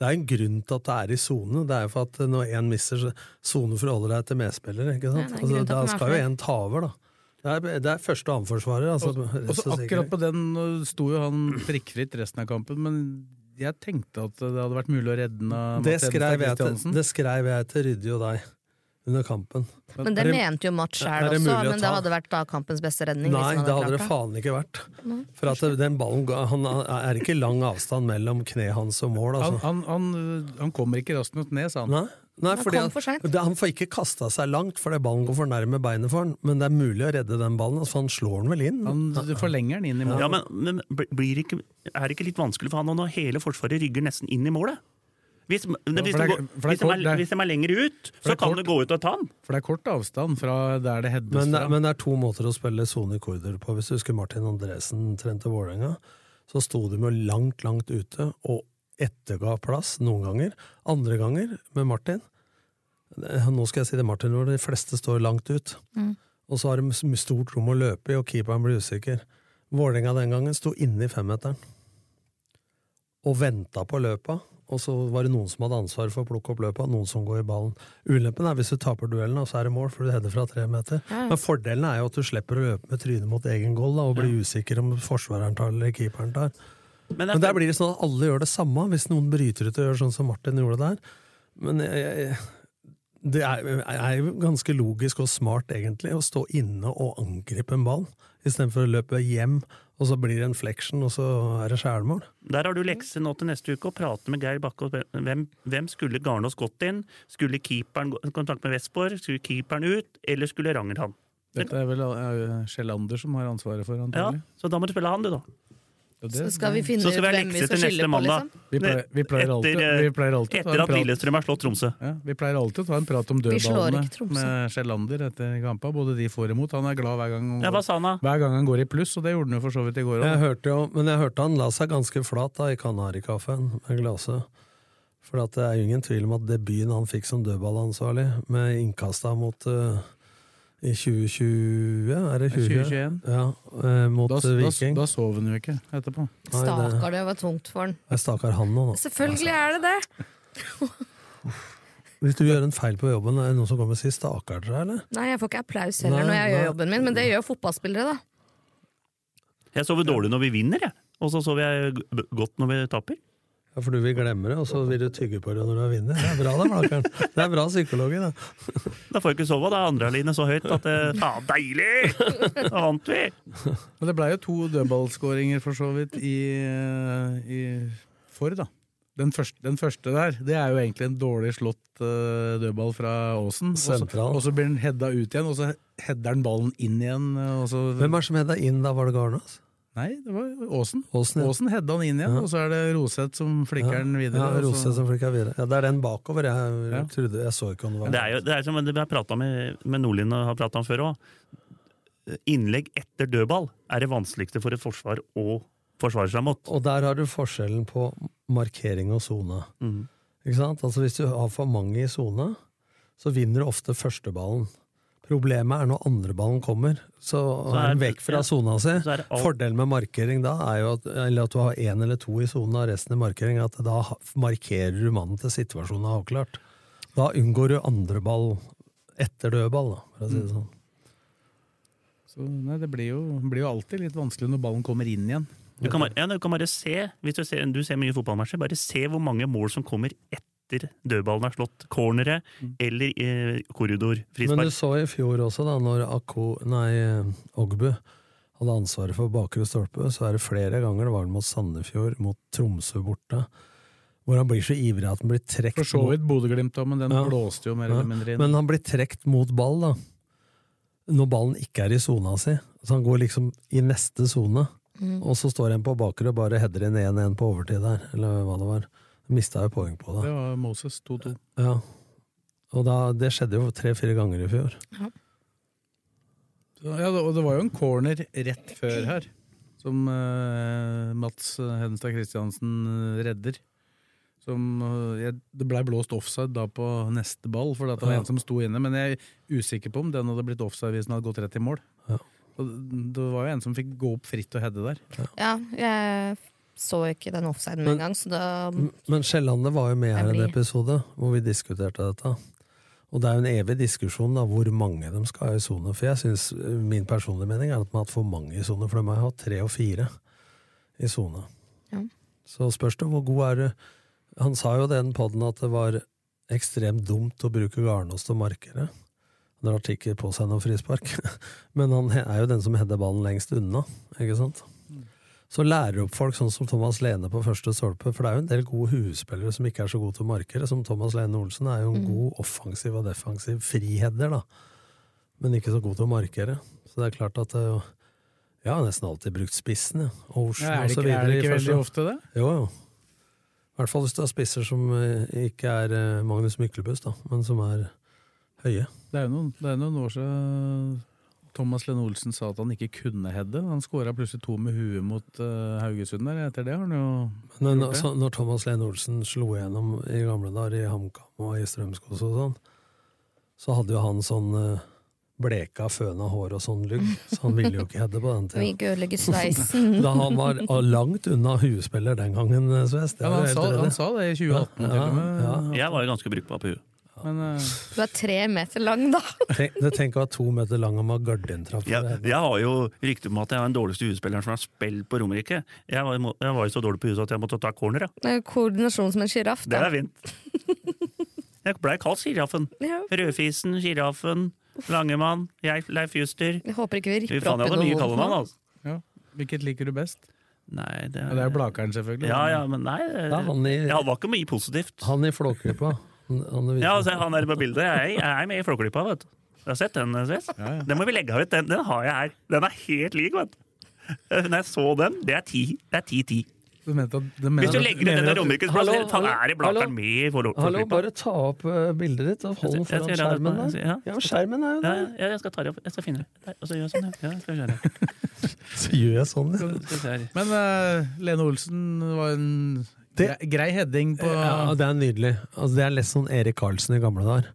Speaker 5: Det er en grunn til at det er i sone. Det er jo for at når én mister sone, forholder deg til medspillere.
Speaker 4: Ja,
Speaker 5: ikke
Speaker 4: det
Speaker 5: sant?
Speaker 4: er en
Speaker 5: altså,
Speaker 4: grunn til at
Speaker 5: da
Speaker 4: den er
Speaker 5: skal
Speaker 4: for
Speaker 5: jo
Speaker 4: det.
Speaker 5: én ta over, da. Det er, det er første og annenforsvarer. Altså,
Speaker 2: Og så akkurat på den øh, sto jo han prikkfritt resten av kampen, men jeg tenkte at det hadde vært mulig å redde den av
Speaker 5: det
Speaker 2: Mats Hedenstad
Speaker 5: skrev, jeg til,
Speaker 2: Christiansen.
Speaker 5: det skrev jeg til Ryddi og deg under kampen.
Speaker 4: Men det
Speaker 5: Er det-
Speaker 4: mente jo Mats
Speaker 5: Er
Speaker 4: sjæl
Speaker 5: det
Speaker 4: også,
Speaker 5: mulig å
Speaker 4: men det
Speaker 5: ta?
Speaker 4: hadde vært da kampens beste redning. hvis
Speaker 5: Nei,
Speaker 4: han
Speaker 5: det hadde det
Speaker 4: klart
Speaker 5: faen ikke vært. For at den ballen ga- Han er ikke lang avstand mellom kneet hans og mål, altså.
Speaker 2: Han, han, han, øh, han kommer ikke raskt nok ned, sa han.
Speaker 5: Nei, Nei fordi
Speaker 4: kom
Speaker 5: at-
Speaker 4: for sent.
Speaker 5: det, han får ikke kasta seg langt fordi ballen går for nærme beinet for han, men det er mulig å redde den ballen. Altså, han slår den vel inn?
Speaker 2: Han d- forlenger den inn i mål.
Speaker 3: Ja, men, men bl- blir ikke, er det ikke litt vanskelig for han nå når hele Forsvaret rygger nesten inn i målet? Hvis, det, hvis,
Speaker 2: for det er-
Speaker 3: de går-
Speaker 2: for det er
Speaker 3: hvis, de
Speaker 2: kort, det er-
Speaker 3: er, hvis de er lenger ut,
Speaker 2: det
Speaker 3: så
Speaker 2: er
Speaker 3: kan
Speaker 2: kort.
Speaker 3: du gå ut og ta han.
Speaker 2: For det er kort avstand fra der det heades
Speaker 5: men, det,
Speaker 2: fra.
Speaker 5: men det er to måter å spille sone i korridor på. Hvis du husker Martin Andresen trente Vålerenga, så sto de jo langt, langt ute og etterga plass noen ganger. Andre ganger med Martin eh, Nå skal jeg si det Martin gjorde, de fleste står langt ut.
Speaker 4: Mm.
Speaker 5: Og så har de s- stort rom å løpe i, og keeperen blir usikker. Vålerenga den gangen sto inne i femmeteren og venta på løpa. Og så var det noen som hadde ansvar for å plukke opp løpa, noen som går i ballen. Ulempen er hvis du taper duellen, og så er det mål, for du header fra tre meter. Men fordelen er jo at du slipper å løpe med trynet mot egen goal da, og bli usikker om forsvareren tar eller keeperen tar.
Speaker 3: Men det
Speaker 5: Men
Speaker 3: er,
Speaker 5: der blir det sånn at alle gjør det samme, hvis noen bryter ut og gjør sånn som Martin gjorde der. Men jeg, jeg, det er, er jo ganske logisk og smart, egentlig, å stå inne og angripe en ball, istedenfor å løpe hjem, og så blir det en flection, og så er det skjærmål.
Speaker 3: der har du lekse nå til neste uke å prate med Geir Bakke. og Hvem, hvem skulle Garnås gått inn? Skulle keeperen gå- kontakt med Vestborg? Skulle keeperen ut? Eller skulle Ranger han?
Speaker 2: Dette er vel øh, Sjelander som har ansvaret for,
Speaker 3: Ja,
Speaker 2: antagelig.
Speaker 3: så da må du spille han, du, da.
Speaker 2: Ja,
Speaker 4: Så
Speaker 2: det,
Speaker 4: skal vi finne
Speaker 3: Så
Speaker 4: ut
Speaker 3: skal vi ha
Speaker 4: hvem vi
Speaker 3: lekse til
Speaker 4: skal skylde
Speaker 3: neste
Speaker 4: på, liksom.
Speaker 3: mandag.
Speaker 2: vi pleier, vi pleier alltid,
Speaker 3: Etter, eh,
Speaker 2: vi pleier alltid å ta
Speaker 3: Etter
Speaker 2: en
Speaker 3: at
Speaker 2: prat
Speaker 3: Lillestrøm har slått Tromsø.
Speaker 2: Ja, vi pleier alltid å ta en prat om
Speaker 4: Vi slår
Speaker 2: dødballene
Speaker 4: ikke Tromsø.
Speaker 2: med Sjællander etter kampa. Både de får imot. Han er glad hver gang,
Speaker 3: Ja, hva sa han da?
Speaker 2: hver gang han går i pluss, og det gjorde han jo for så vidt i går òg.
Speaker 5: Jeg hørte jo, men jeg hørte han la seg ganske flat da i Kanarikaffen med glaset. For at det er jo ingen tvil om at debuten han fikk som dødballansvarlig, med innkasta mot eh, i 2020, er det
Speaker 2: 2021.
Speaker 5: 2020? Ja, eh, mot
Speaker 2: Da,
Speaker 5: eh,
Speaker 2: da,
Speaker 5: Viking.
Speaker 2: da sov han jo ikke etterpå.
Speaker 5: Nei, det-
Speaker 4: Stakkar, det var tungt for han.
Speaker 5: Jeg stakkar han nå, da.
Speaker 4: Selvfølgelig
Speaker 3: Altså-
Speaker 4: er det det!
Speaker 5: Hvis du gjør en feil på jobben, er det noen som kommer og sier 'stakkar dere', eller?
Speaker 4: Nei, jeg får ikke applaus heller
Speaker 5: Nei,
Speaker 4: når jeg gjør
Speaker 5: nei.
Speaker 4: jobben min, men det gjør fotballspillere, da.
Speaker 3: Jeg sover dårlig når vi vinner, jeg. Og så sover jeg g- b- godt når vi taper.
Speaker 5: Ja, For du vil glemme det, og så vil du tygge på det når du vinner. Det er bra, det, Blakkaren. Det er bra psykologi, det.
Speaker 3: Da får jeg ikke sove, da er andrealinet så høyt at eh, Faen, deilig! Da vant vi!
Speaker 2: Men det ble jo to dødballskåringer for så vidt i, eh, i for, da. Den første, den første der, det er jo egentlig en dårlig slått eh, dødball fra Aasen. Og så-
Speaker 5: Sentral.
Speaker 2: Og så blir den hedda ut igjen, og så header den ballen inn igjen. eh, Og så,
Speaker 5: Hvem er det som hedda inn da? Var det Garnås?
Speaker 2: nei, det var Aasen.
Speaker 5: Åsen?
Speaker 2: Aasen hedda den inn igjen, og så er det Roseth som flikker den videre.
Speaker 5: Ja,
Speaker 2: og så-
Speaker 5: Rose som flikka videre. Ja, det er den bakover. Jeg
Speaker 2: Ja.
Speaker 5: trodde Jeg så ikke om det var
Speaker 3: Det er jo det er som det vi har pratet med, med Nordlien og har pratet om før òg. Innlegg etter dødball er det vanskeligste for et forsvar å forsvare seg mot.
Speaker 5: Og der har du forskjellen på markering og sone.
Speaker 3: Mhm.
Speaker 5: Ikke sant? Altså Hvis du har for mange i sone, så vinner du ofte førsteballen. Problemet er når andreballen kommer, så,
Speaker 3: er-
Speaker 5: er den vekk fra
Speaker 3: ja.
Speaker 5: sona si.
Speaker 3: Så er det alt-
Speaker 5: Fordelen med markering da er jo at, eller at du har én eller to i sona og resten i markering, at da ha- markerer du mannen til situasjonen er avklart. Da unngår du andreball etter dødball, da, for
Speaker 3: Mm.
Speaker 5: å si det sånn.
Speaker 2: Så, nei, det blir jo, blir jo alltid litt vanskelig når ballen kommer inn igjen.
Speaker 3: Du kan bare, ja, du kan bare se, hvis du ser, du ser mye fotballmatcher, bare se hvor mange mål som kommer etter dødballen er slått. Cornere eller eh, korridor.
Speaker 5: Men du
Speaker 3: Frispark.
Speaker 5: så i fjor også, da, når Akko, nei, eh, Ogbu hadde ansvaret for bakre stolpe, så er det flere ganger, det var mot Sandefjord, mot Tromsø borte, hvor han blir så ivrig at han blir trekt
Speaker 2: For så
Speaker 5: mot-
Speaker 2: vidt Bodø-Glimt, da, men den
Speaker 5: Ja.
Speaker 2: blåste jo mer
Speaker 5: Ja,
Speaker 2: eller mindre inn.
Speaker 5: Men han blir trekt mot ball, da. Når ballen ikke er i sona si. Så han går liksom i neste sone, og så står en på bakre og bare header inn 1-1 på overtid der, eller hva det var. Mista jo poeng på det.
Speaker 2: det var Moses 2-2.
Speaker 5: Ja. Og da, det skjedde jo tre-fire ganger i fjor.
Speaker 2: Så, Ja, det- og det var jo en corner rett før her, som eh, Mats Hedenstad Christiansen eh, redder. Som, eh, jeg, det blei blåst offside da på neste ball, for det var
Speaker 5: Ja.
Speaker 2: en som sto inne. Men jeg er usikker på om den hadde blitt offside hvis den hadde gått rett i mål.
Speaker 5: Ja.
Speaker 2: Og det det var jo en som fikk gå opp fritt og heade der.
Speaker 4: Ja, jeg så ikke den offsiden med en gang, så da
Speaker 5: Men Skjellande var jo med her i en
Speaker 4: blir-
Speaker 5: episode hvor vi diskuterte dette. Og det er jo en evig diskusjon da, hvor mange de skal ha i sone. For jeg synes, eh, min personlige mening er at de har hatt for mange i sone, for de har hatt tre og fire i sone.
Speaker 4: Ja.
Speaker 5: Så spørs det hvor god er du Han sa jo i den podden at det var ekstremt dumt å bruke Garnås til markere. Han drar ikke på seg noe frispark. (laughs) Men han he- er jo den som header ballen lengst unna, ikke sant?
Speaker 2: Mm.
Speaker 5: Så lærer du opp folk sånn som Thomas Lene på første stolpe, for det er jo en del gode huespillere som ikke er så gode til å markere, som Thomas Lene Olsen er jo en god offensiv og defensiv friheader, da, men ikke så god til å markere. Så det er klart at det, er jo- jeg har nesten alltid brukt spissen, jeg. Ocean
Speaker 2: Ja, er det ikke, er
Speaker 5: og så videre.
Speaker 2: det
Speaker 5: i
Speaker 2: ikke
Speaker 5: første-
Speaker 2: veldig ofte det?
Speaker 5: jo, jo. I hvert fall hvis du har spisser som eh, ikke er eh, Magnus Myklebust, da, men som er høye.
Speaker 2: Det er jo noen, det er noen år siden Thomas Lene Olsen sa at han ikke kunne heade. Han skåra plutselig to med huet mot eh, Haugesund der. Etter det har han jo
Speaker 5: Men
Speaker 2: Gjort
Speaker 5: når,
Speaker 2: det.
Speaker 5: så, når Thomas Lene Olsen slo igjennom i gamle dager i HamKam og i Strømskog og sånn, så hadde jo han sånn eh, bleka, føna hår og sånn lugg, så han ville jo ikke heade på den
Speaker 4: Vi (laughs)
Speaker 5: tida.
Speaker 4: ikke ødelegge
Speaker 5: (laughs)
Speaker 4: sveisen.
Speaker 5: Da han var eh, langt unna huespiller den gangen, eh, Sves. Det
Speaker 2: ja,
Speaker 5: er
Speaker 2: han,
Speaker 5: jo helt
Speaker 2: sa,
Speaker 5: redd.
Speaker 2: han sa det i 2018 til og med.
Speaker 5: Ja,
Speaker 3: Jeg var jo ganske brukbar på huet.
Speaker 2: Men eh,
Speaker 4: Du er tre meter lang, da!
Speaker 5: Tenk, du tenker å ha to meter lang og med gardintrapp. for
Speaker 3: Jeg,
Speaker 5: det.
Speaker 3: jeg har jo rykte om at jeg er den dårligste huespilleren som har spilt på Romerike. Jeg var, jo- jeg var jo så dårlig på huset at jeg måtte ta corner, ja.
Speaker 4: Det er jo Koordinasjon som en sjiraff,
Speaker 3: Det
Speaker 4: da.
Speaker 3: er fint. Jeg blei kalt sjiraffen.
Speaker 4: Ja.
Speaker 3: Rødfisen, sjiraffen, Langemann, jeg, Leif Juster.
Speaker 4: Jeg håper ikke vi
Speaker 3: Fy
Speaker 4: ripper
Speaker 3: faen,
Speaker 4: opp
Speaker 3: jeg
Speaker 4: i
Speaker 3: hadde mye
Speaker 4: noe.
Speaker 3: kallenavn, altså.
Speaker 2: ja. hvilket liker du best?
Speaker 3: Nei, det
Speaker 2: Ja, det er jo Blakeren, selvfølgelig.
Speaker 3: Ja, ja, men nei det-
Speaker 5: Det er han i,
Speaker 3: Jeg var ikke mye positivt.
Speaker 5: han i Flåklypa. Han, han,
Speaker 3: Ja, altså, han er på bildet. Jeg, jeg er med i Flåklypa, vet du. Du har sett den, eh, Sves? Den må vi legge ut. Den, den har jeg her. Den er helt lik, vet du. Eh, Når jeg så den, det er ti. Det er ti-ti.
Speaker 2: Du mente at, du mener
Speaker 3: Hvis du
Speaker 2: at-
Speaker 3: legger ut
Speaker 2: mener
Speaker 3: denne
Speaker 2: at-
Speaker 3: Romerikes plass,
Speaker 5: Hallo,
Speaker 3: faen
Speaker 5: hallo,
Speaker 3: er det Blakeren
Speaker 5: hallo.
Speaker 3: med i Flå-
Speaker 5: Hallo,
Speaker 3: Flåklypa?
Speaker 5: bare ta opp eh, bildet ditt og hold den
Speaker 3: Jeg- jeg
Speaker 5: foran
Speaker 3: skal gjøre det
Speaker 5: skjermen
Speaker 3: på-
Speaker 5: der.
Speaker 3: ja.
Speaker 5: Ja, skjermen er jo
Speaker 3: Ja,
Speaker 5: der.
Speaker 3: ja, jeg skal ta det opp. Jeg skal finne det. Der, Og så gjør jeg sånn, ja. ja skal vi gjøre det.
Speaker 5: Så gjør jeg sånn, ja.
Speaker 3: Skal vi se her.
Speaker 2: Men eh, Lene Olsen var en
Speaker 5: Det-
Speaker 2: grei, grei heading på
Speaker 5: Ja, det er nydelig. Altså, det er litt sånn Erik Karlsen i gamle dager.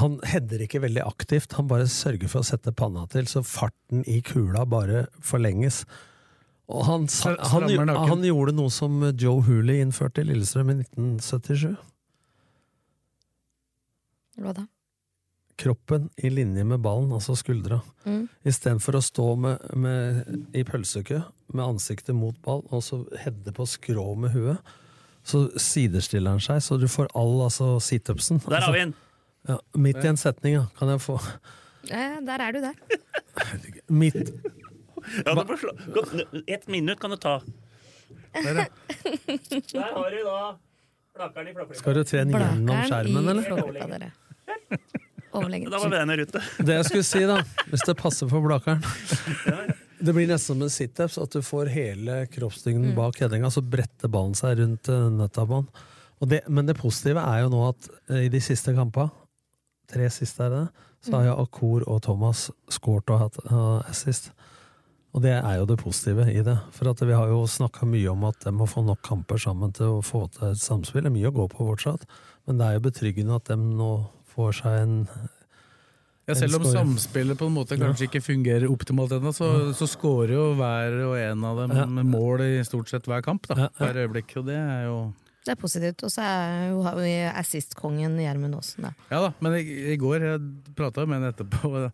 Speaker 5: Han header ikke veldig aktivt, han bare sørger for å sette panna til, så farten i kula bare forlenges. Og han, sa-
Speaker 2: Strammer
Speaker 5: han, gjo-
Speaker 2: nakken.
Speaker 5: han gjorde noe som Joe Hooley innførte i Lillestrøm i 1977.
Speaker 4: Hva da?
Speaker 5: kroppen i linje med ballen, altså skuldra.
Speaker 4: Mm.
Speaker 5: Istedenfor å stå med, med, i pølsekø med ansiktet mot ball og så hedde på skrå med huet, så sidestiller han seg, så du får all altså situpsen.
Speaker 3: Der har vi den!
Speaker 5: Ja, midt i en setning, ja. Kan jeg få
Speaker 4: Eh, der er du der.
Speaker 5: Midt
Speaker 3: Ja, du får slå- Kom, Ett minutt kan du ta.
Speaker 2: Der, ja.
Speaker 3: Der har du da flakkeren i flakkflippa.
Speaker 5: Skal du trene gjennom skjermen,
Speaker 4: Blakeren i
Speaker 5: eller?
Speaker 4: flåklypa, dere.
Speaker 3: Da var
Speaker 4: Overlegent.
Speaker 3: den i rute.
Speaker 5: Det jeg skulle si, da, hvis det passer for Blakeren Det blir nesten som en situps, at du får hele kroppsdygden bak headinga, så bretter ballen seg rundt eh, nøtta på den. Og det, men det positive er jo nå at eh, i de siste kampene, tre siste er det, så har jo Akur og Thomas skåret og hatt eh, assist. Og det er jo det positive i det. For at vi har jo snakka mye om at de må få nok kamper sammen til å få til et samspill. Det er mye å gå på fortsatt, men det er jo betryggende at de nå får seg en
Speaker 2: Ja, selv om
Speaker 5: Den scorer.
Speaker 2: samspillet på en måte kanskje ikke fungerer optimalt ennå, så, så scorer jo hver og en av dem
Speaker 5: Ja.
Speaker 2: med mål i stort sett hver kamp.
Speaker 5: Ja, ja.
Speaker 2: da, Hver øyeblikk. Og det er jo
Speaker 4: Det er positivt. Og så er jo- har vi assist-kongen Gjermund Aasen, da.
Speaker 2: Ja da, men i, i går jeg prata med en etterpå. og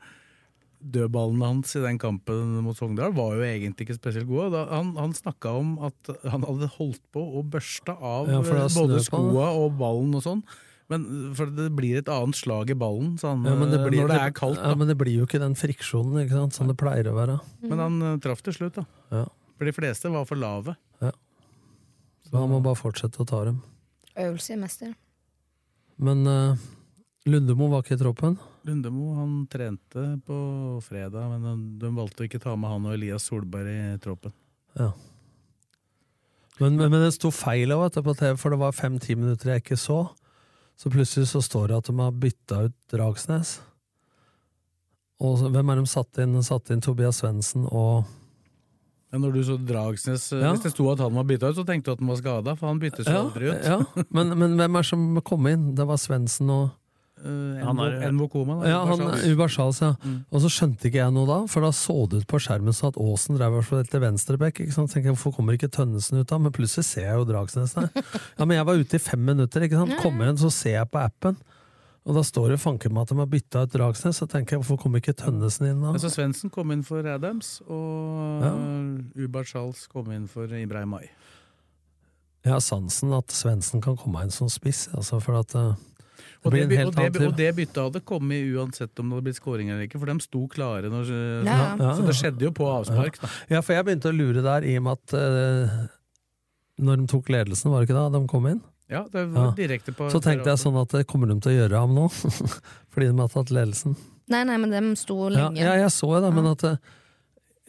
Speaker 2: Dødballene hans i den kampen mot Sogndal var jo egentlig ikke spesielt gode. og Da, han han snakka om at han hadde holdt på å børste av eh,
Speaker 5: Ja, for det er
Speaker 2: både
Speaker 5: snø på den.
Speaker 2: skoa og ballen og sånn. Men For det blir et annet slag i ballen sa han, eh,
Speaker 5: Ja, men det blir,
Speaker 2: når det er kaldt.
Speaker 5: Ja,
Speaker 2: Da.
Speaker 5: men det blir jo ikke den friksjonen ikke sant, som det pleier å være.
Speaker 2: Men han eh, traff til slutt, da.
Speaker 5: Ja.
Speaker 2: For de fleste var for lave.
Speaker 5: Så han må bare fortsette å ta dem.
Speaker 4: Øvelse i mester.
Speaker 5: Men eh, Lundemo var ikke i troppen.
Speaker 2: Lundemo han trente på fredag, men han- de valgte å ikke ta med han og Elias Solberg i troppen.
Speaker 5: Men, men, men det sto feil av at det på TV, for det var fem-ti minutter jeg ikke så. Så plutselig så står det at de har bytta ut Dragsnes. Og så, hvem er de satt inn? De Satt inn Tobias Svendsen og
Speaker 2: Ja, når du så Dragsnes, eh,
Speaker 5: Ja.
Speaker 2: Hvis det sto at han var bytta ut, så tenkte du at han var skada, for han byttes jo
Speaker 5: Ja,
Speaker 2: aldri ut.
Speaker 5: ja. Men, men hvem er det som kom inn? Det var Svendsen og
Speaker 2: Eh,
Speaker 3: Han
Speaker 2: NV
Speaker 3: er-
Speaker 2: NVKoma, da.
Speaker 5: Ja, han
Speaker 2: Barsal.
Speaker 5: Ubersals, ja.
Speaker 2: Mm.
Speaker 5: Og så skjønte ikke jeg noe da, for da så det ut på skjermen sånn at Aasen drev og spilte venstreback. ikke sant? Tenker jeg, Hvorfor kommer ikke Tønnesen ut da? Men plutselig ser jeg jo Dragsnes
Speaker 2: (laughs)
Speaker 5: der. Ja, men jeg var ute i fem minutter, ikke sant. Kommer inn, så ser jeg på appen. Og da står det fanken meg at de har bytta ut Dragsnes, så tenker jeg hvorfor kommer ikke Tønnesen inn da?
Speaker 2: Altså Svendsen kom inn for Adams, og ja. Ubertsals kom inn for Ibrahim Ay.
Speaker 5: Jeg har sansen at Svendsen kan komme inn som spiss, altså for at eh,
Speaker 2: Og
Speaker 5: det blir
Speaker 2: det, by-
Speaker 5: en
Speaker 2: og,
Speaker 5: helt
Speaker 2: det,
Speaker 5: annen
Speaker 2: by- og
Speaker 5: tur.
Speaker 2: det byttet hadde kommet uansett om det hadde blitt scoring eller ikke, for de sto klare. Når, eh,
Speaker 4: Ja, ja.
Speaker 2: Så det skjedde jo på avspark. Da.
Speaker 5: Ja, for jeg begynte å lure der i og med at eh, når de tok ledelsen, var det ikke da de kom inn?
Speaker 2: Ja, det var
Speaker 5: Ja.
Speaker 2: direkte på
Speaker 5: Så tenkte jeg sånn at det kommer de til å gjøre ham nå, (laughs) fordi de har tatt ledelsen.
Speaker 4: Nei, nei, men dem sto
Speaker 5: Ja,
Speaker 4: lenge.
Speaker 5: ja jeg så det, men at eh,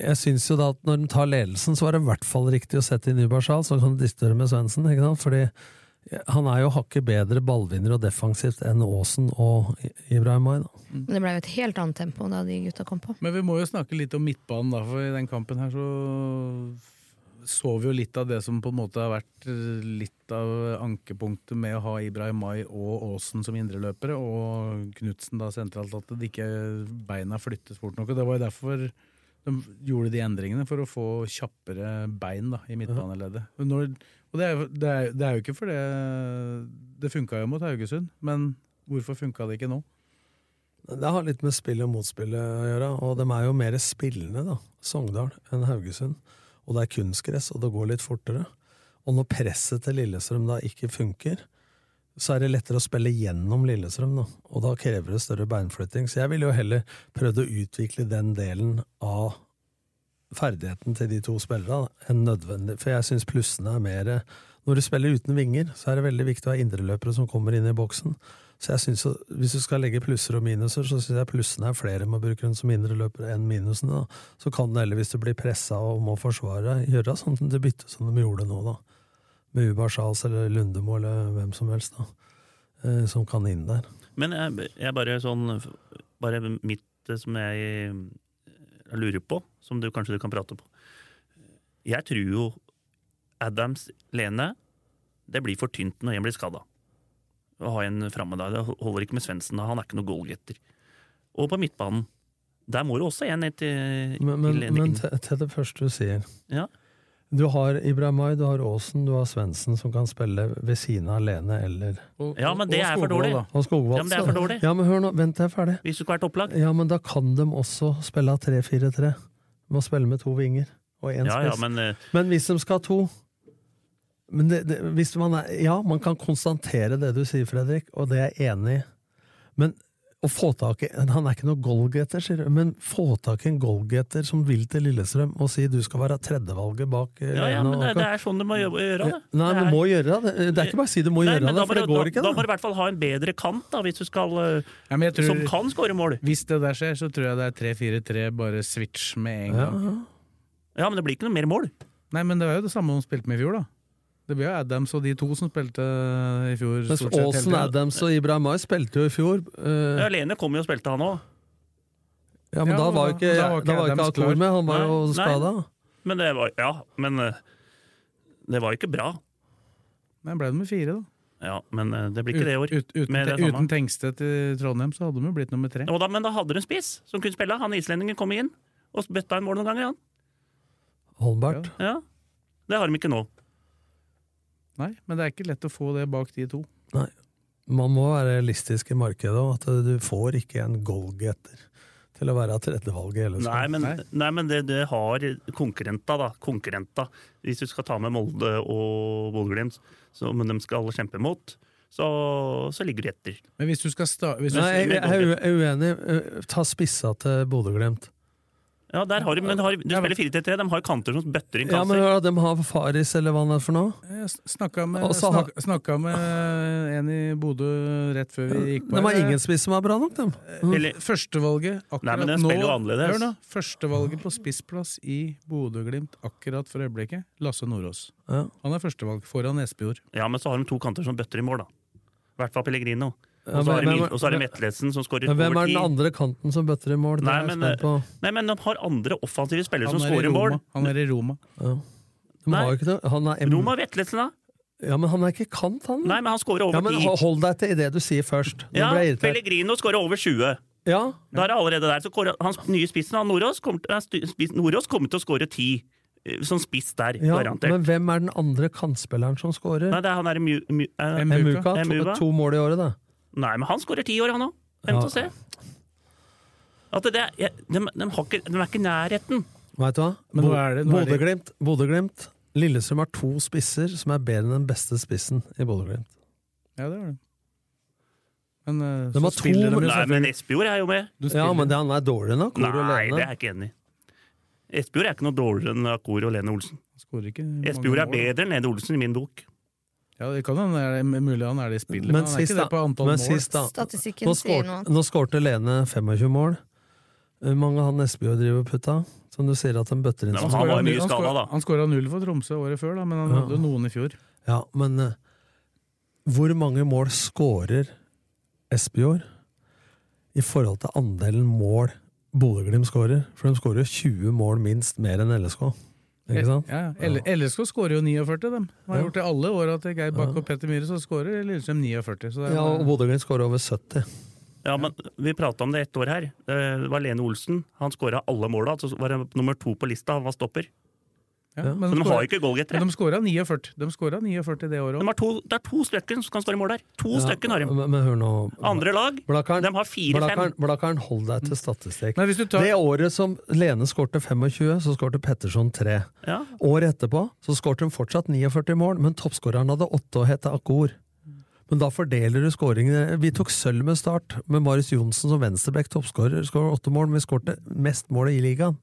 Speaker 5: jeg syns jo da at når de tar ledelsen, så var det i hvert fall riktig å sette inn Nybergsal, så kan de diskutere med Svendsen, ikke sant? Fordi eh, han er jo hakket bedre ballvinner og defensivt enn Aasen og I- Ibrahim Ay. da.
Speaker 4: Men det ble jo et helt annet tempo da de gutta kom på.
Speaker 2: Men vi må jo snakke litt om midtbanen, da, for i den kampen her så så vi jo litt av det som på en måte har vært eh, litt av ankepunktet med å ha Ibrahim Mai og Aasen som indreløpere, og Knutsen da sentralt, at det ikke beina flyttes fort nok. og Det var jo derfor de gjorde de endringene, for å få kjappere bein da, i midtbaneleddet. Og Når, og det er, jo- det, er, det er jo ikke fordi Det funka jo mot Haugesund, men hvorfor funka det ikke nå?
Speaker 5: Det har litt med spill og motspill å gjøre, og de er jo mer spillende, da, Sogndal, enn Haugesund. Og det er kunstgress, og det går litt fortere. Og når presset til Lillestrøm da ikke funker, så er det lettere å spille gjennom Lillestrøm, da. Og da krever det større beinflytting. Så jeg ville jo heller prøvd å utvikle den delen av ferdigheten til de to spillerne da, enn nødvendig. For jeg syns plussene er mer Når du spiller uten vinger, så er det veldig viktig å ha indreløpere som kommer inn i boksen. Så jeg synes, jo- Hvis du skal legge plusser og minuser, så syns jeg plussene er flere med å bruke dem som indreløpere enn minusene. Da. Så kan du heller, hvis du blir pressa og må forsvare, gjøre sånn som det byttet som de gjorde nå, da. Med Ubar Charles eller Lundemo eller hvem som helst, da. Eh, som kan inn der.
Speaker 3: Men jeg, jeg bare sånn Bare mitt eh, som jeg eh, lurer på, som du kanskje du kan prate på. Jeg tror jo Adams Lene Det blir for tynt når en blir skada. Å ha en framme der. Det holder ikke med Svendsen. da. Han er ikke noen goalgetter. Og på midtbanen. Der må du også en ned til
Speaker 5: Men,
Speaker 3: til-
Speaker 5: men, men til, til det første du sier.
Speaker 3: Ja.
Speaker 5: Du har Ibrahimay, du har Aasen, du har Svendsen som kan spille ved siden av alene eller
Speaker 2: Og-
Speaker 3: Ja, men det
Speaker 2: og
Speaker 3: er for
Speaker 2: Skogvold,
Speaker 3: dårlig.
Speaker 2: da.
Speaker 5: Og Skogvold.
Speaker 3: Ja, men det er for dårlig.
Speaker 5: Ja, men hør nå, vent til jeg er ferdig.
Speaker 3: Hvis du skulle vært opplag.
Speaker 5: Ja, men da kan de også spille av 3-4-3. De må spille med to vinger og én
Speaker 3: Ja, ja,
Speaker 5: spiss.
Speaker 3: men eh,
Speaker 5: Men hvis de skal ha to men det, det, hvis man er, Ja, man kan konstatere det du sier, Fredrik, og det er jeg enig i. Men å få tak i Han er ikke noe goalgetter, sier du, men få tak i en goalgetter som vil til Lillestrøm og si du skal være tredjevalget bak eh,
Speaker 3: ja, ja,
Speaker 5: Lena
Speaker 3: men det,
Speaker 5: Aka».
Speaker 3: det er sånn du må gjøre gjøre det.
Speaker 5: Nei,
Speaker 3: Det
Speaker 5: men
Speaker 3: er-
Speaker 5: må gjøre det. Det er ikke bare å si du må
Speaker 3: Nei,
Speaker 5: gjøre
Speaker 3: men da
Speaker 5: det,
Speaker 3: må
Speaker 5: for det
Speaker 3: du-
Speaker 5: går ikke,
Speaker 3: Da, da må du
Speaker 5: det.
Speaker 3: i hvert fall ha en bedre kant, da, hvis du skal eh,
Speaker 2: Ja, men jeg tror,
Speaker 3: Som kan skåre mål.
Speaker 2: Hvis det der skjer, så tror jeg det er 3-4-3, bare switch med en
Speaker 5: Ja,
Speaker 2: gang.
Speaker 5: ja.
Speaker 3: Ja, men det blir ikke noe mer mål.
Speaker 2: Nei, men det var jo det samme hun spilte med i fjor, da. Det ble jo Adams og de to som spilte i fjor.
Speaker 5: Mens
Speaker 2: stort sett hele
Speaker 5: Aasen,
Speaker 2: tiden.
Speaker 5: Adams og Ibrahimay spilte jo i fjor. eh,
Speaker 3: Alene kom jo og spilte, han òg.
Speaker 5: ja, men
Speaker 2: Ja,
Speaker 5: da var jo
Speaker 2: da-
Speaker 5: ikke,
Speaker 2: da var ikke
Speaker 5: da var ikke
Speaker 2: Adams klar.
Speaker 5: Akor med, han var
Speaker 3: Nei,
Speaker 5: jo
Speaker 3: nei.
Speaker 5: skada.
Speaker 3: Men det var Ja, men eh, det var jo ikke bra.
Speaker 2: Nei, ble det med fire, da.
Speaker 3: Ja, men eh, det blir ikke det i år.
Speaker 2: Ut, ut, uten,
Speaker 3: Med det
Speaker 2: te-
Speaker 3: samme.
Speaker 2: uten Tengstedt i Trondheim, så hadde de jo blitt nummer tre.
Speaker 3: Jo da, men da hadde du en spiss som kunne spille. Han islendingen kom inn og bøtta inn mål noen ganger, han.
Speaker 5: Holmbert.
Speaker 3: Ja. Det har de ikke nå.
Speaker 2: Nei, men det er ikke lett å få det bak de to.
Speaker 5: Man må være realistisk i markedet, og at du får ikke en goalgetter til å være tredjevalget i hele
Speaker 3: Nei, men,
Speaker 2: Nei.
Speaker 3: nei, men det, det har konkurrenta, da. Konkurrenta. Hvis du skal ta med Molde og Bodø-Glimt, som de skal kjempe mot, så, så ligger de etter.
Speaker 2: Men hvis du skal sta... Hvis du,
Speaker 5: Nei, jeg, jeg er u- jeg er uenig. Eh, Ta spissa til Bodø-Glimt.
Speaker 3: Ja, der har de, men har, du spiller 4-3-3, de har kanter som bøtter inn
Speaker 5: Ja, men
Speaker 3: kasser.
Speaker 5: hør da, de har Faris, eller hva han er for noe.
Speaker 2: Jeg snakka med,
Speaker 5: Og så har-
Speaker 2: snak, snakka med en i Bodø rett før vi gikk på.
Speaker 5: De har
Speaker 2: her.
Speaker 5: ingen spiss som er bra nok, dem.
Speaker 3: Eller,
Speaker 2: Førstevalget
Speaker 3: Nei,
Speaker 2: akkurat
Speaker 3: men den
Speaker 2: nå
Speaker 3: spiller jo annerledes.
Speaker 2: Hør nå, Førstevalget på spissplass i Bodø-Glimt akkurat for øyeblikket, Lasse Nordås.
Speaker 5: Ja.
Speaker 2: Han er førstevalg foran Espejord.
Speaker 3: ja, men så har de to kanter som bøtter i mål, da. I hvert fall Pellegrino.
Speaker 5: Ja,
Speaker 3: Og så har de-
Speaker 5: hvem-
Speaker 3: og så har de Vetteletsen, som skårer
Speaker 5: Men hvem
Speaker 3: over
Speaker 5: er den
Speaker 3: ti.
Speaker 5: andre kanten som bøtter i mål? Det
Speaker 3: Nei,
Speaker 5: er jeg
Speaker 3: men,
Speaker 5: spent på.
Speaker 3: Nei, men de har andre offensive spillere
Speaker 2: Han
Speaker 3: som
Speaker 2: er i
Speaker 3: skårer mål.
Speaker 2: Roma. Han er i Roma.
Speaker 5: De har
Speaker 3: Nei.
Speaker 5: jo ikke det. Han er, em-
Speaker 3: Roma Vetteletsen, da?
Speaker 5: ja, men han er ikke kant, han.
Speaker 3: Nei, men han skårer
Speaker 5: Ja,
Speaker 3: over
Speaker 5: men
Speaker 3: 10.
Speaker 5: ho- Hold deg til det du sier først. Nå
Speaker 3: Ja,
Speaker 5: ble jeg irritert.
Speaker 3: Pellegrino skårer over 20.
Speaker 5: Ja,
Speaker 3: Da er det allerede der. Så kårer- hans nye spissen, han Nordås, kommer til- eh, stu- spiss- Nordås kommer til å skåre 10 eh, som spiss der,
Speaker 5: ja,
Speaker 3: garantert.
Speaker 5: men hvem er den andre kantspilleren som scorer?
Speaker 3: Nei, det er han der Mu... Mu eh,
Speaker 2: Muka.
Speaker 5: Muka.
Speaker 3: Muka.
Speaker 5: To, to mål i året, da.
Speaker 3: nei, men han skårer 10 i år, han òg. Hvem til å se? At det, er- jeg- de, de, har ikke, de er ikke i nærheten.
Speaker 5: Vet du hva?
Speaker 2: Men nå
Speaker 5: Bo-
Speaker 2: er det- nå er det-
Speaker 5: Bodø-Glimt. Bodø-Glimt. Lillestrøm har to spisser som er bedre enn den beste spissen i Bodø-Glimt.
Speaker 2: Ja, det var det. Men eh,
Speaker 5: De
Speaker 2: så
Speaker 5: har to-
Speaker 2: spiller de jo
Speaker 3: Nei,
Speaker 2: selvfølgelig-
Speaker 3: men Espejord er jo med.
Speaker 2: du spiller-
Speaker 5: Ja, men det, han er dårlig nok. Kor og
Speaker 3: Nei, det er
Speaker 5: Lene.
Speaker 3: jeg ikke enig i. Espejord er ikke noe dårligere enn Akor og Lene Olsen.
Speaker 2: han skårer ikke mange
Speaker 3: Espejord er
Speaker 2: mål.
Speaker 3: bedre enn Lene Olsen i min bok.
Speaker 2: Ja, det kan hende det er mulig han er det i spillet, men,
Speaker 5: Men
Speaker 2: han er
Speaker 5: sist
Speaker 2: ikke det på
Speaker 5: da-
Speaker 2: antall
Speaker 5: men
Speaker 2: mål.
Speaker 5: sist da-
Speaker 4: Statistikken
Speaker 5: Nå,
Speaker 4: sier
Speaker 5: skårte-
Speaker 4: noe annet.
Speaker 5: nå skårte Lene 25 mål. Hvor mange han Espejord driver og putta? Som du sier at de bøtter inn.
Speaker 3: Nei,
Speaker 5: som-
Speaker 3: Han var jo
Speaker 2: skårer-
Speaker 3: mye skadet,
Speaker 2: skårer-
Speaker 3: da.
Speaker 2: Han skåra null for Tromsø året før, da, men han
Speaker 5: Ja.
Speaker 2: hadde jo noen i fjor.
Speaker 5: Ja, men eh, hvor mange mål skårer Espejord i forhold til andelen mål Bodø-Glimt skårer? For de skårer jo 20 mål minst mer enn LSK. Ikke sant?
Speaker 2: Ja, ja. L- LSK skårer jo 49, dem. De har
Speaker 5: Ja.
Speaker 2: gjort det alle åra til Geir Bakke og Petter Myhre, så skårer Lillestrøm 49. Så det er,
Speaker 5: Ja, og Bodø-Glimt skårer over 70.
Speaker 3: Ja, men Vi prata om det ett år her. Eh, Det var Lene Olsen. Han skåra alle måla. Så var han nummer to på lista. Han var stopper.
Speaker 2: ja, men
Speaker 3: Så de har
Speaker 2: skårer-
Speaker 3: jo ikke goalgettere.
Speaker 2: men de skåra 49. De skåra 49 det året
Speaker 3: De
Speaker 2: òg.
Speaker 3: har to, det er to stykker som kan skåre mål der. To stykker har de.
Speaker 5: Men, men hør nå
Speaker 3: Andre lag
Speaker 5: Blakkaren,
Speaker 3: de har fire-fem.
Speaker 5: Blakkaren- Blakkaren, hold deg til statistikk.
Speaker 2: Men hvis du tar-
Speaker 5: Det året som Lene skårte 25, så skårte Petterson 3.
Speaker 3: Ja.
Speaker 5: Året etterpå så skårte hun fortsatt 49 mål, men toppskåreren hadde 8 og het Akor. Men da fordeler du skåringene. Vi tok sølv med start, med Marius Johnsen som venstrebekk toppskårer. Skårer 8 mål, men vi skårte mest mål i ligaen.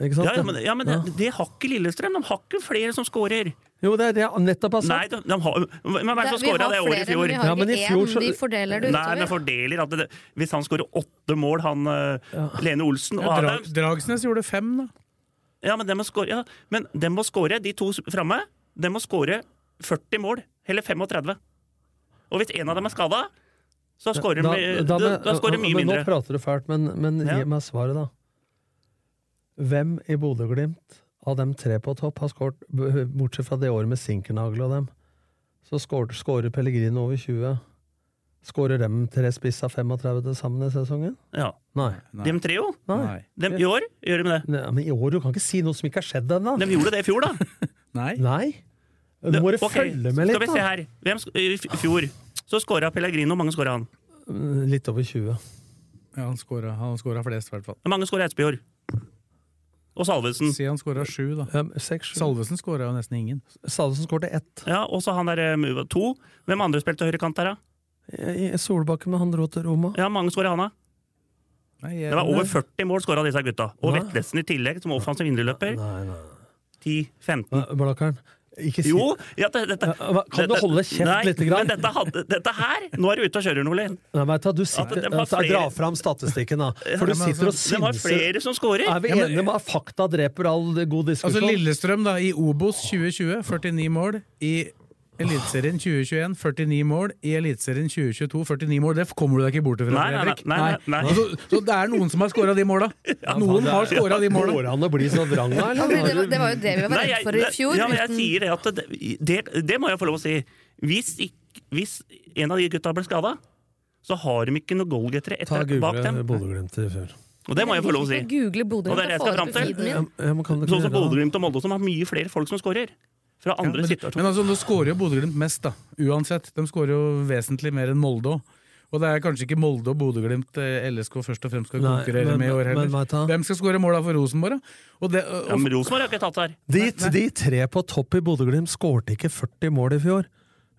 Speaker 5: Ikke sant?
Speaker 3: Ja, ja, men, ja, men det, det har ikke Lillestrøm. De har ikke flere som skårer.
Speaker 5: Jo, det er det jeg nettopp altså- har
Speaker 3: Nei,
Speaker 5: sagt.
Speaker 3: de, de har, hvem er det som
Speaker 4: vi
Speaker 3: skåra
Speaker 4: har
Speaker 3: det året i
Speaker 4: flere,
Speaker 3: fjor?
Speaker 4: Men vi
Speaker 5: Ja,
Speaker 4: har
Speaker 5: men i
Speaker 4: ikke
Speaker 5: fjor
Speaker 4: én,
Speaker 5: så-
Speaker 4: vi fordeler det
Speaker 3: Nei, men
Speaker 4: utover.
Speaker 3: fordeler at det, Hvis han skårer åtte mål, han eh, Lene Olsen og
Speaker 2: Ja, Dra
Speaker 3: Adam,
Speaker 2: Dragsnes gjorde fem, da.
Speaker 3: Ja, men de må score, ja. men dem må score de to framme. De må score 40 mål, eller 35. Og hvis en av dem er skada, så scorer de da, da, scorer de mye
Speaker 5: men Nå
Speaker 3: mindre.
Speaker 5: prater du fælt, men, men
Speaker 3: Ja.
Speaker 5: gi meg svaret, da. Hvem i Bodø-Glimt av dem tre på topp har skåret, b- bortsett fra det året med Sinkernagel og dem, så skår- skårer Pellegrino over 20. Skårer dem tre spiss av 35 til sammen i sesongen?
Speaker 3: Ja.
Speaker 5: Nei.
Speaker 3: Dem tre, jo.
Speaker 2: Nei.
Speaker 3: Dem, I år gjør de det.
Speaker 5: Nei, men i år, du kan ikke si noe som ikke har skjedd ennå!
Speaker 3: De gjorde det i fjor, da.
Speaker 2: Nei.
Speaker 5: Nei! Du må bare
Speaker 3: Ok,
Speaker 5: følge med litt,
Speaker 3: Skal vi se her. Hvem, sk- I f- fjor så skåra Pellegrino. Hvor mange skåra han?
Speaker 5: da. Litt over 20.
Speaker 2: Ja, han skåra han skåra flest, i hvert fall.
Speaker 3: Hvor mange skåra Espejord? Og Salvesen.
Speaker 2: Si han skåra sju, da.
Speaker 5: Ja, seks, sju.
Speaker 2: Salvesen skåra jo nesten ingen.
Speaker 5: Salvesen skårte ett.
Speaker 3: Ja, og så han der eh, Muva. To. Hvem andre spilte høyrekant der, da?
Speaker 5: I- i Solbakken, men han dro til Roma.
Speaker 3: Ja, hvor mange skåra han, da?
Speaker 2: Nei, jeg-
Speaker 3: Det var over 40 mål skåra disse gutta. Og
Speaker 5: Nei.
Speaker 3: Vetlesen i tillegg, som offensiv indreløper.
Speaker 5: Nei, nei.
Speaker 3: 10-15.
Speaker 5: Nei, Blakkaren, ikke si
Speaker 3: Jo! Ja, det, dette,
Speaker 5: Hva- Kan du
Speaker 3: dette-
Speaker 5: holde kjeft
Speaker 3: Nei,
Speaker 5: lite grann?
Speaker 3: Men dette, hadde, dette her! Nå er du ute og kjører, Nordli.
Speaker 5: Nei, vet du, hva, du sitter,
Speaker 3: Ja, det var
Speaker 5: altså,
Speaker 3: flere-
Speaker 5: Dra fram
Speaker 3: (laughs)
Speaker 5: statistikken, da. For du
Speaker 2: men
Speaker 5: sitter og
Speaker 2: altså,
Speaker 3: De har
Speaker 5: synser.
Speaker 3: flere som scorer!
Speaker 5: Er vi enige om at fakta dreper all god
Speaker 2: Altså
Speaker 5: diskusjon?
Speaker 2: Lillestrøm, da, i Obos 2020, 49 mål. I Eliteserien 2021, 49 mål. I Eliteserien 2022, 49 mål. Det kommer du deg ikke bort ifra,
Speaker 3: Nei, nei, nei,
Speaker 2: Fredrik.
Speaker 3: nei, nei.
Speaker 2: Altså, så det er noen som har skåra
Speaker 3: (laughs)
Speaker 2: de måla! Noen har skåra de måla!
Speaker 5: Går det an å bli så vrang, da?
Speaker 4: Ja,
Speaker 5: eller?
Speaker 4: fordi det, var, det var jo det vi var
Speaker 3: Nei,
Speaker 4: redde
Speaker 3: jeg-
Speaker 4: for i
Speaker 3: det-
Speaker 4: fjor.
Speaker 3: Ja, men jeg
Speaker 4: uten-
Speaker 3: sier det at det, det, det må jeg få lov å si. Hvis, ikk- hvis en av de gutta ble skada, så har de ikke noen goalgettere
Speaker 5: Ta
Speaker 3: etter bak
Speaker 5: Google
Speaker 3: dem.
Speaker 5: Bodø-Glimt i fjor.
Speaker 3: Og det må jeg få lov å si.
Speaker 4: Google Bodø
Speaker 3: Og det er det jeg
Speaker 4: Glimt,
Speaker 3: skal
Speaker 4: da
Speaker 3: fram
Speaker 4: får du
Speaker 3: til.
Speaker 4: feeden min.
Speaker 5: Ja, men kan du ikke
Speaker 3: Sånn som
Speaker 5: gjøre det,
Speaker 3: Bodø-Glimt og Molde, som har mye flere folk som scorer. Fra
Speaker 2: Ja,
Speaker 3: andre
Speaker 2: men,
Speaker 3: situasjoner.
Speaker 2: men altså, nå skårer jo Bodø-Glimt mest, da. Uansett. De skårer jo vesentlig mer enn Molde òg. Og det er kanskje ikke Molde og Bodø-Glimt eh, LSK først og fremst skal
Speaker 5: Nei,
Speaker 2: konkurrere
Speaker 5: men-
Speaker 2: med i år
Speaker 5: men vet du
Speaker 2: heller.
Speaker 5: hva?
Speaker 2: Hvem skal skåre måla for Rosenborg, da? Og det,
Speaker 3: Ja,
Speaker 2: og,
Speaker 3: men Rosenborg har ikke tatt her.
Speaker 5: da? De, de tre på topp i Bodø-Glimt skårte ikke 40 mål i fjor.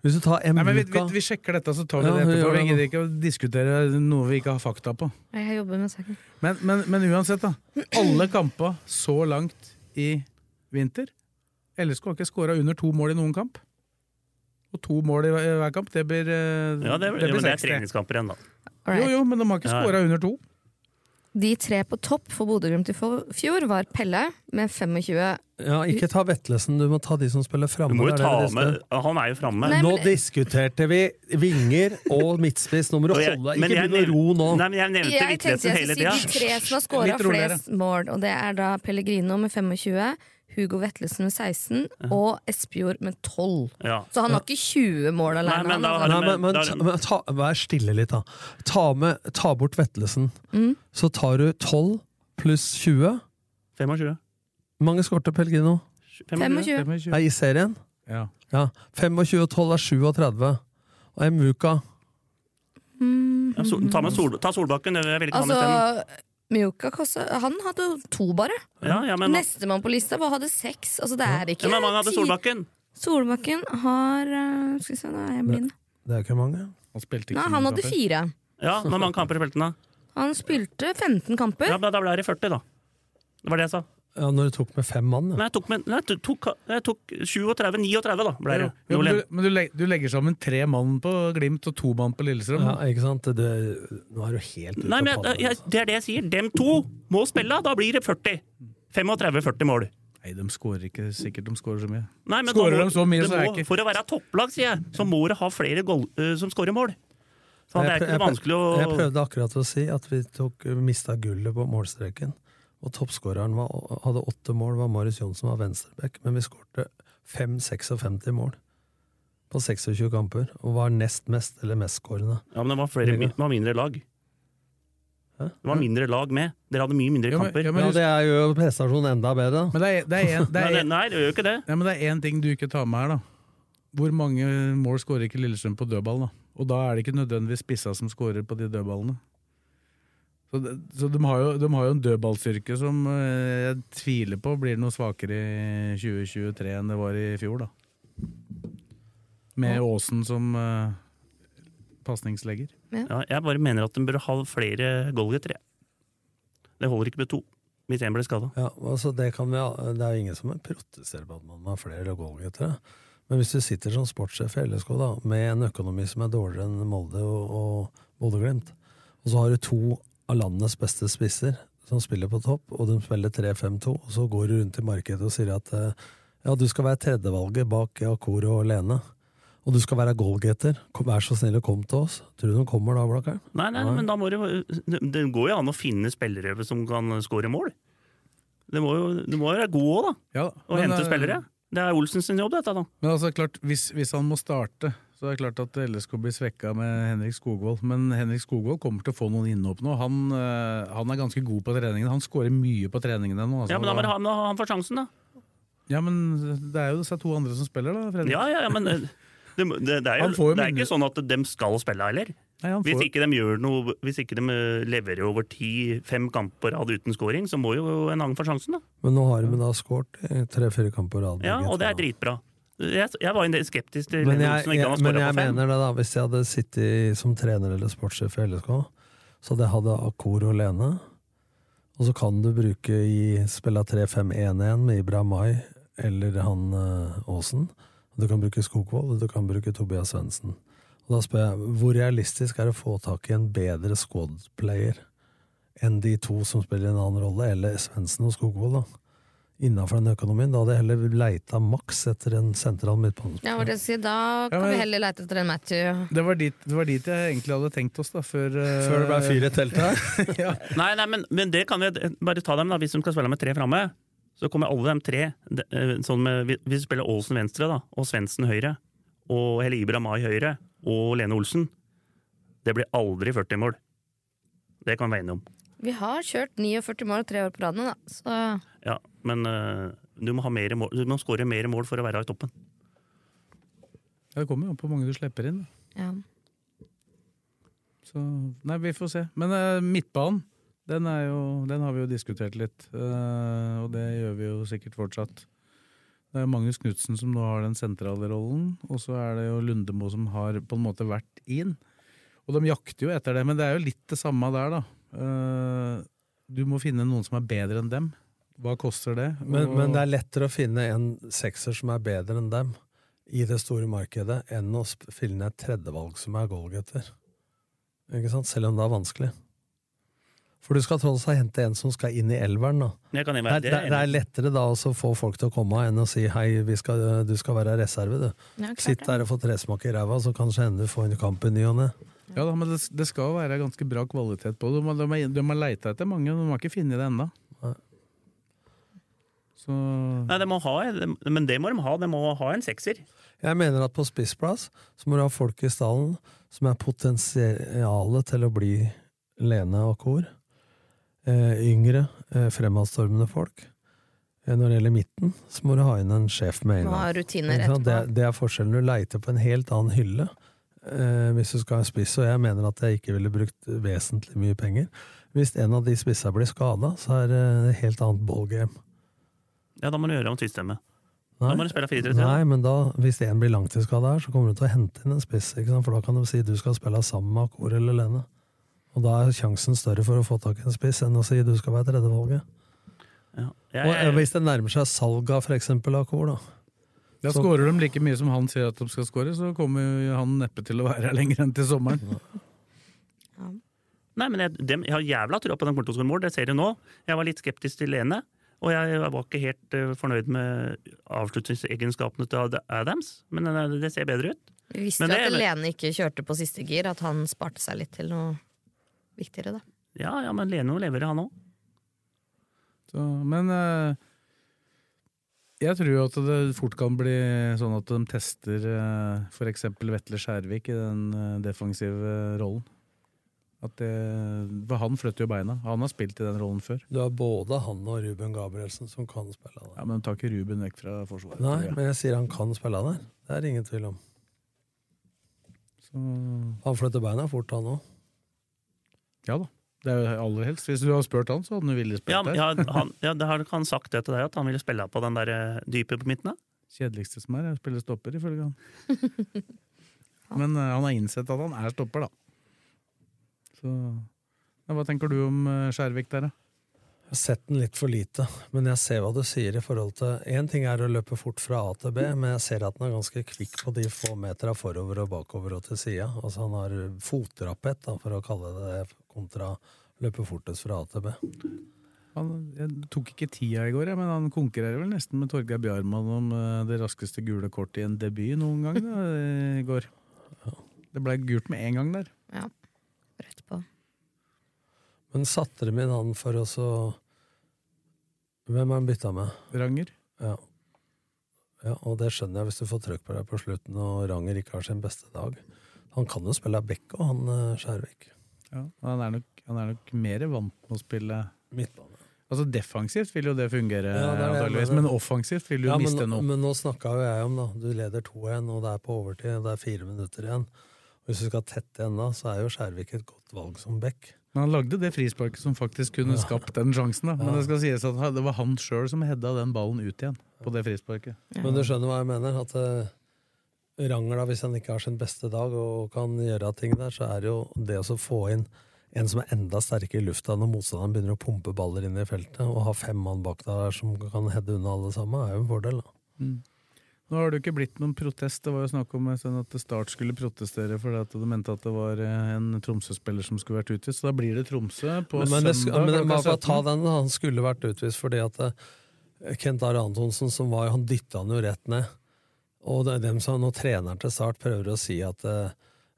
Speaker 5: Hvis du tar
Speaker 2: nei, men vi, vi,
Speaker 5: Mjuka
Speaker 2: vi sjekker dette, så tar vi
Speaker 5: Ja,
Speaker 2: det
Speaker 5: vi
Speaker 2: etterpå. Vi
Speaker 5: gjør det nå.
Speaker 2: gidder ikke å diskutere noe vi ikke har fakta på.
Speaker 4: Nei, Jeg jobber med saken.
Speaker 2: Men, men, men uansett, da. Alle kamper så langt i vinter LSK har ikke skåra under to mål i noen kamp. Og to mål i hver- i hver kamp, det blir, eh,
Speaker 3: Ja, det, ja, men det er
Speaker 2: 60.
Speaker 3: treningskamper igjen, da.
Speaker 4: Alright.
Speaker 2: Jo, jo, men de har ikke
Speaker 3: Ja.
Speaker 2: skåra under to.
Speaker 4: De tre på topp for Bodø-Glimt i for- fjor var Pelle med 25.
Speaker 5: Ja, ikke ta Vetlesen, du må ta de som spiller
Speaker 3: Du
Speaker 5: framme.
Speaker 3: må jo
Speaker 5: det er det
Speaker 3: ta
Speaker 5: vi diskuterer.
Speaker 3: med Han er jo framme.
Speaker 4: Nei,
Speaker 5: Nå
Speaker 4: men-
Speaker 5: diskuterte vi vinger og midtspiss. Nå må du
Speaker 3: Og jeg-
Speaker 5: holde deg.
Speaker 3: men
Speaker 5: Ikke
Speaker 3: jeg
Speaker 5: begynn å
Speaker 3: nev-
Speaker 5: ro nå.
Speaker 3: Nei, men jeg nevnte
Speaker 4: Jeg tenkte
Speaker 3: Hvitlesen
Speaker 4: jeg
Speaker 3: hele
Speaker 4: skulle si de
Speaker 3: tida.
Speaker 4: tre som har skåra
Speaker 2: Litt roligere.
Speaker 4: flest mål, og det er da Pellegrino med 25, Hugo Vetlesen med 16 og Espejord med 12.
Speaker 3: Ja.
Speaker 4: Så han har ikke 20 mål
Speaker 3: Nei,
Speaker 4: alene.
Speaker 3: men da
Speaker 4: han,
Speaker 3: har
Speaker 4: altså.
Speaker 5: Nei, men, men,
Speaker 3: da-
Speaker 5: ta, men ta, Vær stille litt, da. Ta, med, ta bort Vetlesen.
Speaker 3: Mm.
Speaker 5: Så tar du 12 pluss 20.
Speaker 3: 25.
Speaker 5: Hvor mange skårte Pellegrino?
Speaker 4: 25.
Speaker 5: Nei, I serien?
Speaker 2: Ja.
Speaker 5: Ja. 25 og 12 er 37. Og Emuka
Speaker 3: Ja, Sol- Ta, med Sol, ta Solbakken, jeg vil ikke ha med isteden.
Speaker 4: Altså, Mjuka kosta Han hadde jo to, bare.
Speaker 3: Ja, ja, men,
Speaker 4: Nestemann på lista bare hadde seks. Altså, det er
Speaker 3: ja,
Speaker 4: ikke
Speaker 3: men mange hadde
Speaker 4: ti-
Speaker 3: Solbakken.
Speaker 4: Solbakken har eh, Skal vi se, nå er jeg blind.
Speaker 5: Det er jo ikke mange.
Speaker 2: Han spilte ikke
Speaker 4: Nei,
Speaker 2: så
Speaker 4: han
Speaker 2: mange
Speaker 4: hadde
Speaker 2: kamper.
Speaker 4: fire.
Speaker 3: Ja, men mange kamper spilte han da.
Speaker 4: Han spilte 15 kamper.
Speaker 3: Ja, men da ble det 40, da. Det var det jeg sa.
Speaker 5: Ja, når du tok med fem mann, ja.
Speaker 3: Nei, jeg tok, med, nei, jeg tok, jeg tok 37, 39, da. Ble det.
Speaker 2: Jo, men
Speaker 3: Nordlien.
Speaker 2: du, men du, legger, du legger sammen tre mann på Glimt og to mann på Lillestrøm.
Speaker 5: ja ikke sant? Det, nå er du helt ute
Speaker 3: Nei, men
Speaker 5: av altså.
Speaker 3: jeg,
Speaker 5: padden.
Speaker 3: jeg, det er det jeg sier. Dem to må spille, da blir det 40. 35-40 mål.
Speaker 2: Nei, de skårer ikke sikkert de skårer så mye.
Speaker 3: Nei, men da
Speaker 2: Skårer
Speaker 3: må-
Speaker 2: de så mye,
Speaker 3: det
Speaker 2: så er
Speaker 3: må-
Speaker 2: ikke-
Speaker 3: For å være topplag, sier jeg, så må du ha flere goal, eh, som skårer mål. Så det er
Speaker 5: Jeg
Speaker 3: ikke
Speaker 5: prøv-
Speaker 3: så vanskelig å
Speaker 5: Jeg prøvde akkurat å si at vi tok, mista gullet på målstreken. Og toppskåreren var, hadde åtte mål, var Marius Johnsen var venstreback. Men vi skårte 5-56 mål på 26 kamper, og var nest mest, eller mestskårende.
Speaker 3: Ja, men det var, flere, det var mindre lag.
Speaker 5: Hæ?
Speaker 3: Det var mindre lag med. Dere hadde mye mindre
Speaker 2: Ja, men-
Speaker 3: kamper.
Speaker 2: ja,
Speaker 5: Ja,
Speaker 2: husk-
Speaker 5: det er jo prestasjonen enda bedre. da.
Speaker 2: Men det er- det er en-
Speaker 3: (laughs)
Speaker 2: det
Speaker 3: Nei,
Speaker 2: er
Speaker 3: det-
Speaker 2: en-
Speaker 3: nei, det gjør jo ikke det.
Speaker 2: Nei, men det er én ting du ikke tar med her, da. Hvor mange mål skårer ikke Lillestrøm på dødball, da? Og da er det ikke nødvendigvis spissa som skårer på de dødballene. Så, det, så de, har jo, de har jo en dødballstyrke som eh, jeg tviler på blir noe svakere i 2023 enn det var i fjor, da. Med Aasen som eh, pasningslegger.
Speaker 3: Ja, jeg bare mener at den bør ha flere goalgetter. jeg. Det holder ikke med to, hvis én ble skada.
Speaker 5: Ja, altså det, kan vi, det er jo ingen som protesterer på at man har flere goalguttere. Men hvis du sitter som sportssjef i LSK da, med en økonomi som er dårligere enn Molde og, og Bodø-Glimt, og så har du to av landets beste spisser som spiller på topp, og de spiller 3-5-2, og så går du rundt i markedet og sier at eh, ja, du skal være tredjevalget bak Akor og Lene, og du skal være goalgetter. Kom- Vær så snill og kom til oss. Tror du de kommer da, Blakkaren?
Speaker 3: Nei, nei,
Speaker 5: Nei.
Speaker 3: men da må det, det går jo an å finne spillere som kan skåre mål. Det må jo det må jo være god òg, da.
Speaker 2: Ja,
Speaker 3: Å
Speaker 2: men,
Speaker 3: hente
Speaker 2: eh,
Speaker 3: spillere. Det er Olsen sin jobb, dette. da.
Speaker 2: Men altså, klart, hvis, hvis han må starte, Så det er klart at LSK blir svekka med Henrik Skogvold. Men Henrik Skogvold kommer til å få noen innhopp nå. Han, eh, han er ganske god på treningene. Han skårer mye på treningene nå. altså.
Speaker 3: Ja, men da må han, han får sjansen, da.
Speaker 2: Ja, men det er jo disse to andre som spiller, da. Fredrik.
Speaker 3: Ja, ja, ja, men eh, det, må- det, det er
Speaker 2: Han
Speaker 3: jo,
Speaker 2: får jo
Speaker 3: det er
Speaker 2: minne-
Speaker 3: ikke sånn at de skal spille heller.
Speaker 2: Nei, han
Speaker 3: Hvis
Speaker 2: får-
Speaker 3: ikke de gjør noe, hvis ikke de eh, leverer over ti-fem kamper på rad uten scoring, så må jo en annen få sjansen, da.
Speaker 5: Men nå har vi da skåret tre-fire kamper på rad.
Speaker 3: Ja,
Speaker 5: begge
Speaker 3: og det er
Speaker 5: to.
Speaker 3: dritbra. Jeg, jeg var en del skeptisk til
Speaker 5: Men
Speaker 3: Lene
Speaker 5: jeg,
Speaker 3: Olsen, ikke han
Speaker 5: jeg,
Speaker 3: har
Speaker 5: men jeg
Speaker 3: scoret på fem.
Speaker 5: mener det, da. Hvis jeg hadde sittet som trener eller sportssjef i LSK, så hadde jeg hatt Akor og Lene. Og så kan du bruke i spille 3-5-1-1 med Ibra Mai eller han eh, Aasen. Og du kan bruke Skogvold, og du kan bruke Tobias Svendsen. Og da spør jeg, hvor realistisk er det å få tak i en bedre squad-player enn de to som spiller en annen rolle, eller Svendsen og Skogvold, da? Innenfor den økonomien. Da hadde jeg heller leita maks etter en sentral midtbanespiller.
Speaker 4: Ja, hva skal jeg si? Da kan
Speaker 2: men-
Speaker 4: vi heller lete etter en Matthew.
Speaker 2: Det var, dit, det var dit jeg egentlig hadde tenkt oss, da. Før, eh,
Speaker 5: Før det ble fyr i teltet her?
Speaker 3: Nei, nei, men, men det kan vi bare ta dem da, hvis de skal spille med tre framme. Så kommer alle de tre, de- eh, sånn med, hvis vi spiller Aalsen venstre da, og Svendsen høyre, og Helle Ibra Mai høyre, og Lene Olsen, det blir aldri 40 mål. Det kan vi være enige om.
Speaker 4: Vi har kjørt 49 mål tre år på rad nå, da. Så
Speaker 3: Ja, men eh, du må, ha mer mål, du må score mer mål for å være i toppen.
Speaker 2: Ja, det kommer jo an på hvor mange du slipper inn. da.
Speaker 4: ja.
Speaker 2: Så, nei, vi får se. Men eh, midtbanen, den, er jo, den har vi jo diskutert litt. eh, og det gjør vi jo sikkert fortsatt. Det er Magnus Knutsen som nå har den sentrale rollen, og så er det jo Lundemo som har på en måte vært inn. Og de jakter jo etter det, men det er jo litt det samme der, da. Eh, du må finne noen som er bedre enn dem. Hva koster det?
Speaker 5: Men,
Speaker 2: Og-
Speaker 5: men det er lettere å finne en sekser som er bedre enn dem i det store markedet, enn å sp- finne et tredjevalg som er goalgetter. Ikke sant? Selv om det er vanskelig. For du skal tross alt hente en som skal inn i elveren, da.
Speaker 3: Det kan jeg
Speaker 5: Det
Speaker 3: være
Speaker 5: er, det, er- det er lettere da også å få folk til å komme enn å si hei, vi skal, du skal være reserve, du.
Speaker 4: Ja, klart
Speaker 5: Sitt
Speaker 4: det.
Speaker 5: der og få tresmak i ræva, så kanskje hende du får en kamp i ny og ne.
Speaker 2: Ja da, men det, det skal jo være ganske bra kvalitet på det. De, har- de, har- de har leita etter mange, men de har ikke funnet det ennå.
Speaker 5: Nei.
Speaker 2: Så
Speaker 3: Nei, de må ha, de, men det må de ha. De må ha en sekser.
Speaker 5: Jeg mener at på spissplass så må du ha folk i stallen som er potensialet til å bli Lene og kor. Eh, yngre, eh, fremadstormende folk. Eh, når det gjelder midten, så må du ha inn en sjef med en
Speaker 4: Må
Speaker 5: gang.
Speaker 4: ha rutiner
Speaker 5: Ikke sant?
Speaker 4: etterpå.
Speaker 5: Det, det er forskjellen. Du leiter på en helt annen hylle eh, hvis du skal ha en spiss, og jeg mener at jeg ikke ville brukt vesentlig mye penger. Hvis en av de spissa blir skada, så er det et helt annet ballgame.
Speaker 3: Ja, da må du gjøre om systemet.
Speaker 5: Nei.
Speaker 3: Da må du spille 4-3-3. da.
Speaker 5: Nei, men da, hvis en blir langtidsskada her, så kommer du til å hente inn en spiss. Ikke sant? For da kan de si du skal spille sammen med Akor eller Lene. Og da er sjansen større for å få tak i en spiss enn å si du skal være tredjevalget.
Speaker 3: Ja. Jeg,
Speaker 5: Og eh, hvis det nærmer seg salg av f.eks. Akor, da.
Speaker 2: da
Speaker 5: så-
Speaker 2: skårer de like mye som han sier at de skal skåre, så kommer jo han neppe til å være (laughs) her lenger enn til sommeren.
Speaker 3: Nei, men jeg, dem, jeg har jævla trua på den kommer til å skåre mål, det ser du nå. Jeg var litt skeptisk til Lene, og jeg var ikke helt eh, fornøyd med avslutningsegenskapene til Ad- Adams, men eh, det ser bedre ut.
Speaker 4: Vi visste
Speaker 3: Men
Speaker 4: jo
Speaker 3: det-
Speaker 4: at Lene ikke kjørte på siste gir, at han sparte seg litt til noe viktigere, da.
Speaker 3: Ja, ja, men Lene leverer, han òg.
Speaker 2: Så, men eh, jeg tror jo at det fort kan bli sånn at de tester eh, for f.eks. Vetle Skjærvik i den eh, defensive rollen. At det, for han flytter jo beina. Han har spilt i den rollen før.
Speaker 5: Du har både han og Ruben Gabrielsen som kan spille der.
Speaker 2: Ja, Men de tar ikke Ruben vekk fra forsvaret.
Speaker 5: Nei,
Speaker 2: tror jeg.
Speaker 5: men jeg sier han kan spille der. Det er det ingen tvil om.
Speaker 2: Så,
Speaker 5: Han flytter beina fort, han òg.
Speaker 2: Ja da. Det er jo aller helst. Hvis du hadde spurt han, så hadde han jo villet
Speaker 3: Ja,
Speaker 2: spurt deg.
Speaker 3: ja, han- ja, det har han sagt det til deg, at han ville spille på den der eh, dype på midten? da?
Speaker 2: Kjedeligste som er, er å spille stopper, ifølge han. Men eh, han har innsett at han er stopper, da. Så ja, Hva tenker du om eh, Skjærvik der, da?
Speaker 5: Jeg har sett den litt for lite, men jeg ser hva du sier i forhold til Én ting er å løpe fort fra A til B, men jeg ser at han er ganske kvikk på de få metera forover og bakover og til sida. Altså han har fotrappett, da, for å kalle det det, kontra løpe fortest fra A til B.
Speaker 2: Han jeg tok ikke tida i går, jeg, men han konkurrerer vel nesten med Torgeir Bjarmann om eh, det raskeste gule kortet i en debut noen gang da, eh, i går. Det blei gult med en gang der.
Speaker 4: Ja. Rett på.
Speaker 5: Men satte dem inn han for å så Hvem er han bytta med?
Speaker 2: Ranger.
Speaker 5: Ja. Ja, og det skjønner jeg hvis du får trøkk på deg på slutten og Ranger ikke har sin beste dag. Han kan jo spille back og han eh, Skjærvik.
Speaker 2: Ja, og han er, nok, han er nok mer vant med å spille
Speaker 5: Midtbane.
Speaker 2: Altså Defensivt vil jo det fungere,
Speaker 5: Ja, det er det jeg
Speaker 2: antageligvis,
Speaker 5: mener.
Speaker 2: men offensivt vil du
Speaker 5: Ja, men,
Speaker 2: miste noe.
Speaker 5: men nå snakka jo jeg om, da. Du leder 2-1, og det er på overtid, og det er fire minutter igjen. Og hvis du skal tette igjen da, så er jo Skjærvik et godt valg som back.
Speaker 2: Men han lagde det frisparket som faktisk kunne skapt den sjansen. da. Men det skal sies at han- det var han sjøl som hedda den ballen ut igjen på det frisparket.
Speaker 5: Men du skjønner hva jeg mener? At eh, Ranger, da, hvis han ikke har sin beste dag og kan gjøre ting der, så er det jo det å så få inn en som er enda sterkere i lufta når motstanderen begynner å pumpe baller inn i feltet, og ha fem mann bak der som kan heade unna alle sammen, er jo en fordel. da.
Speaker 2: Nå har det jo ikke blitt noen protest. Det var jo snakk om en stund at Start skulle protestere fordi at de mente at det var eh, en Tromsø-spiller som skulle vært utvist. Så da blir det Tromsø på
Speaker 5: Men, men, det, sk-
Speaker 2: søndag.
Speaker 5: men det,
Speaker 2: klokka
Speaker 5: man kan ta
Speaker 2: 17.
Speaker 5: den, da. han skulle vært utvist fordi at eh, Kent Are Antonsen, som var, han dytta han jo rett ned. Og det er dem som nå treneren til Start prøver å si at eh,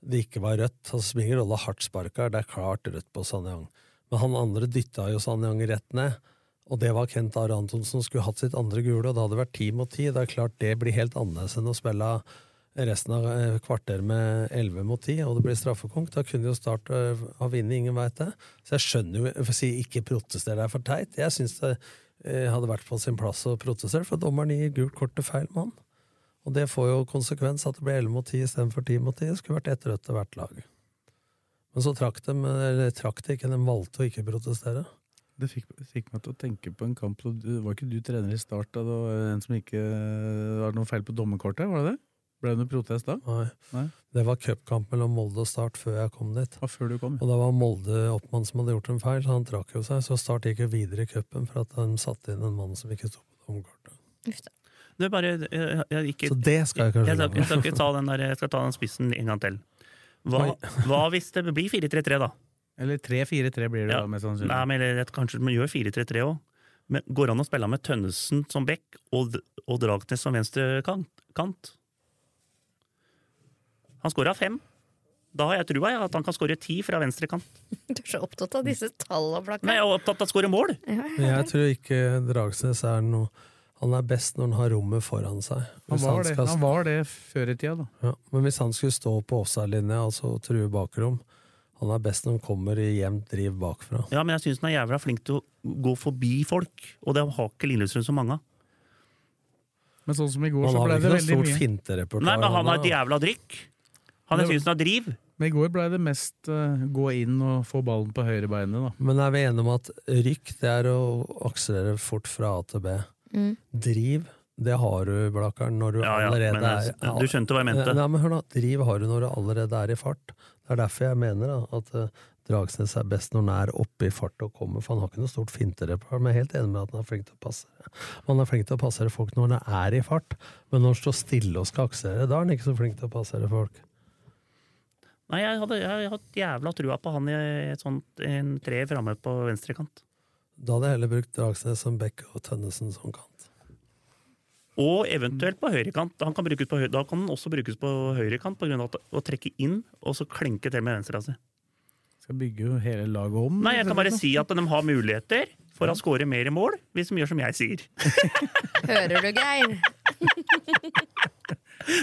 Speaker 5: det ikke var rødt. Altså, Springer Rolle hardt sparka, det er klart rødt på Sanyang. Men han andre dytta jo Sanyang rett ned, og det var Kent Are Antonsen som skulle hatt sitt andre gule, og det hadde vært ti mot ti. Det er klart det blir helt annerledes enn å spille resten av eh, kvarter med 11 mot 10, og det blir straffekonk. Da kunne jo Start eh, ha vunnet, ingen veit det. Så jeg skjønner jo jeg får si, Ikke protester, det er for teit. Jeg syns det eh, hadde vært på sin plass å protestere, for dommeren gir gult kort til feil mann. Og det får jo konsekvens at det blir 11 mot 10 istedenfor 10 mot 10. Det skulle vært ett rødt til hvert lag. Men så trakk de, eller trakk de ikke, de valgte å ikke protestere.
Speaker 2: Det fikk, fikk meg til å tenke på en kamp. og du- Var ikke du trener i Start da det var en som ikke var det noe feil på dommerkortet? Var det det? Ble det noe protest da?
Speaker 5: Nei.
Speaker 2: Nei.
Speaker 5: Det var cupkamp mellom Molde og Start før jeg kom dit.
Speaker 2: Ja, før du kom.
Speaker 5: Og da var Molde oppmann som hadde gjort en feil, så han trakk jo seg. Så Start gikk jo videre i cupen for at de satte inn en mann som ikke sto på dommerkortet.
Speaker 4: Uff da.
Speaker 3: Det er bare, eh, jeg, jeg, ikke,
Speaker 5: Så det skal jeg kanskje
Speaker 3: jeg, skal- jeg, skal ikke ta den der, jeg skal ta den spissen en gang til. Hva, hva hvis det blir 4-3-3, da?
Speaker 2: Eller 3-4-3 blir det
Speaker 3: Ja.
Speaker 2: da, mest sannsynlig.
Speaker 3: Nei, men eller, Kanskje man gjør 4-3-3 òg. Men går det an å spille med Tønnesen som back og, og Dragsnes som venstre kant, kant? Han scora fem. Da har jeg trua jeg, at han kan skåre ti fra venstre kant.
Speaker 4: Du er så opptatt av disse tallene,
Speaker 3: Men
Speaker 4: Blakkar.
Speaker 3: jeg er opptatt av å skåre mål!
Speaker 5: Men jeg tror ikke Dragsnes er noe Han er best når han har rommet foran seg.
Speaker 2: Han
Speaker 5: Hvis
Speaker 2: var, det.
Speaker 5: skal-
Speaker 2: han var det før i tida, da.
Speaker 5: Ja, men hvis han skulle stå på offside-linja, altså true bakrom Han er best når han kommer i jevnt driv bakfra.
Speaker 3: Ja, men jeg syns han er jævla flink til å gå forbi folk, og det har ikke Lillestrøm så mange av.
Speaker 2: Men sånn som i går,
Speaker 5: Han
Speaker 2: så
Speaker 5: har
Speaker 2: ble
Speaker 5: vel
Speaker 2: det
Speaker 5: ikke
Speaker 2: veldig
Speaker 5: noe stort
Speaker 2: mye.
Speaker 5: finterepertoar.
Speaker 3: Nei, men han har et
Speaker 5: da.
Speaker 3: jævla drykk! Han
Speaker 2: Det-
Speaker 3: jeg synes han har driv!
Speaker 2: Men i går ble det mest eh, gå inn og få ballen på høyrebeinet, da.
Speaker 5: Men er vi enige om at rykk, det er å akselerere fort fra A til B. Driv, det har du, Blakkaren, når du
Speaker 3: Ja, ja,
Speaker 5: allerede
Speaker 3: men jeg-
Speaker 5: er
Speaker 3: du skjønte hva jeg mente.
Speaker 5: Nei, men hør da, driv har du når du allerede er i fart. Det er derfor jeg mener da, at eh, Dragsnes er best når han er oppe i fart og kommer, for han har ikke noe stort finterepar, men jeg er helt enig med at han er flink til å passe. Han er flink til å passere folk når han er i fart, men når han står stille og skal akselere, da er han ikke så flink til å passere folk.
Speaker 3: Nei, jeg hadde, jeg hadde hatt jævla trua på han i et sånt en tre framme på venstre kant.
Speaker 5: Da hadde jeg heller brukt Dragsnes som bekk og Tønnesen som kant.
Speaker 3: Og eventuelt på høyrekant. Han kan brukes på høy da kan den også brukes på høyrekant på grunn av at å trekke inn og så klenke til med venstre. Altså.
Speaker 2: Skal bygge jo hele laget om.
Speaker 3: Nei, jeg kan bare
Speaker 2: rett og slett,
Speaker 3: si at de har muligheter for å skåre mer mål hvis de gjør som jeg sier. (laughs)
Speaker 4: Hører du, Geir?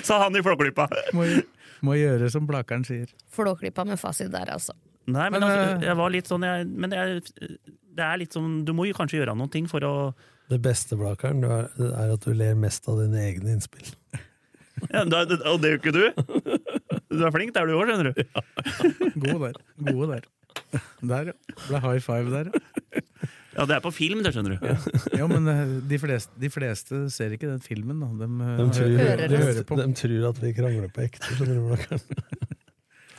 Speaker 3: Sa han i Flåklypa.
Speaker 2: da. Må, gjø- må gjøre som Blakeren sier.
Speaker 4: Flåklippa med fasit der, altså.
Speaker 3: Nei, men
Speaker 2: Men,
Speaker 3: altså,
Speaker 2: eh,
Speaker 3: jeg var litt sånn jeg, Men jeg, det er litt sånn Du må jo kanskje gjøre noen ting for å
Speaker 5: Det beste, Blakkaren, du er, er at du ler mest av dine egne innspill.
Speaker 3: ja, da, da- Og det gjør ikke du. Du er flink, det er du òg, skjønner du.
Speaker 2: God der. Gode der. Der, ja. Ble high five der, ja.
Speaker 3: Ja, det er på film, det, skjønner du.
Speaker 2: Ja, men eh, de fleste, de fleste ser ikke den filmen, da. De, eh,
Speaker 5: De tror,
Speaker 4: Hører
Speaker 5: de,
Speaker 4: oss.
Speaker 5: hører på. de tror at vi krangler på ekte. skjønner du, Blakkaren.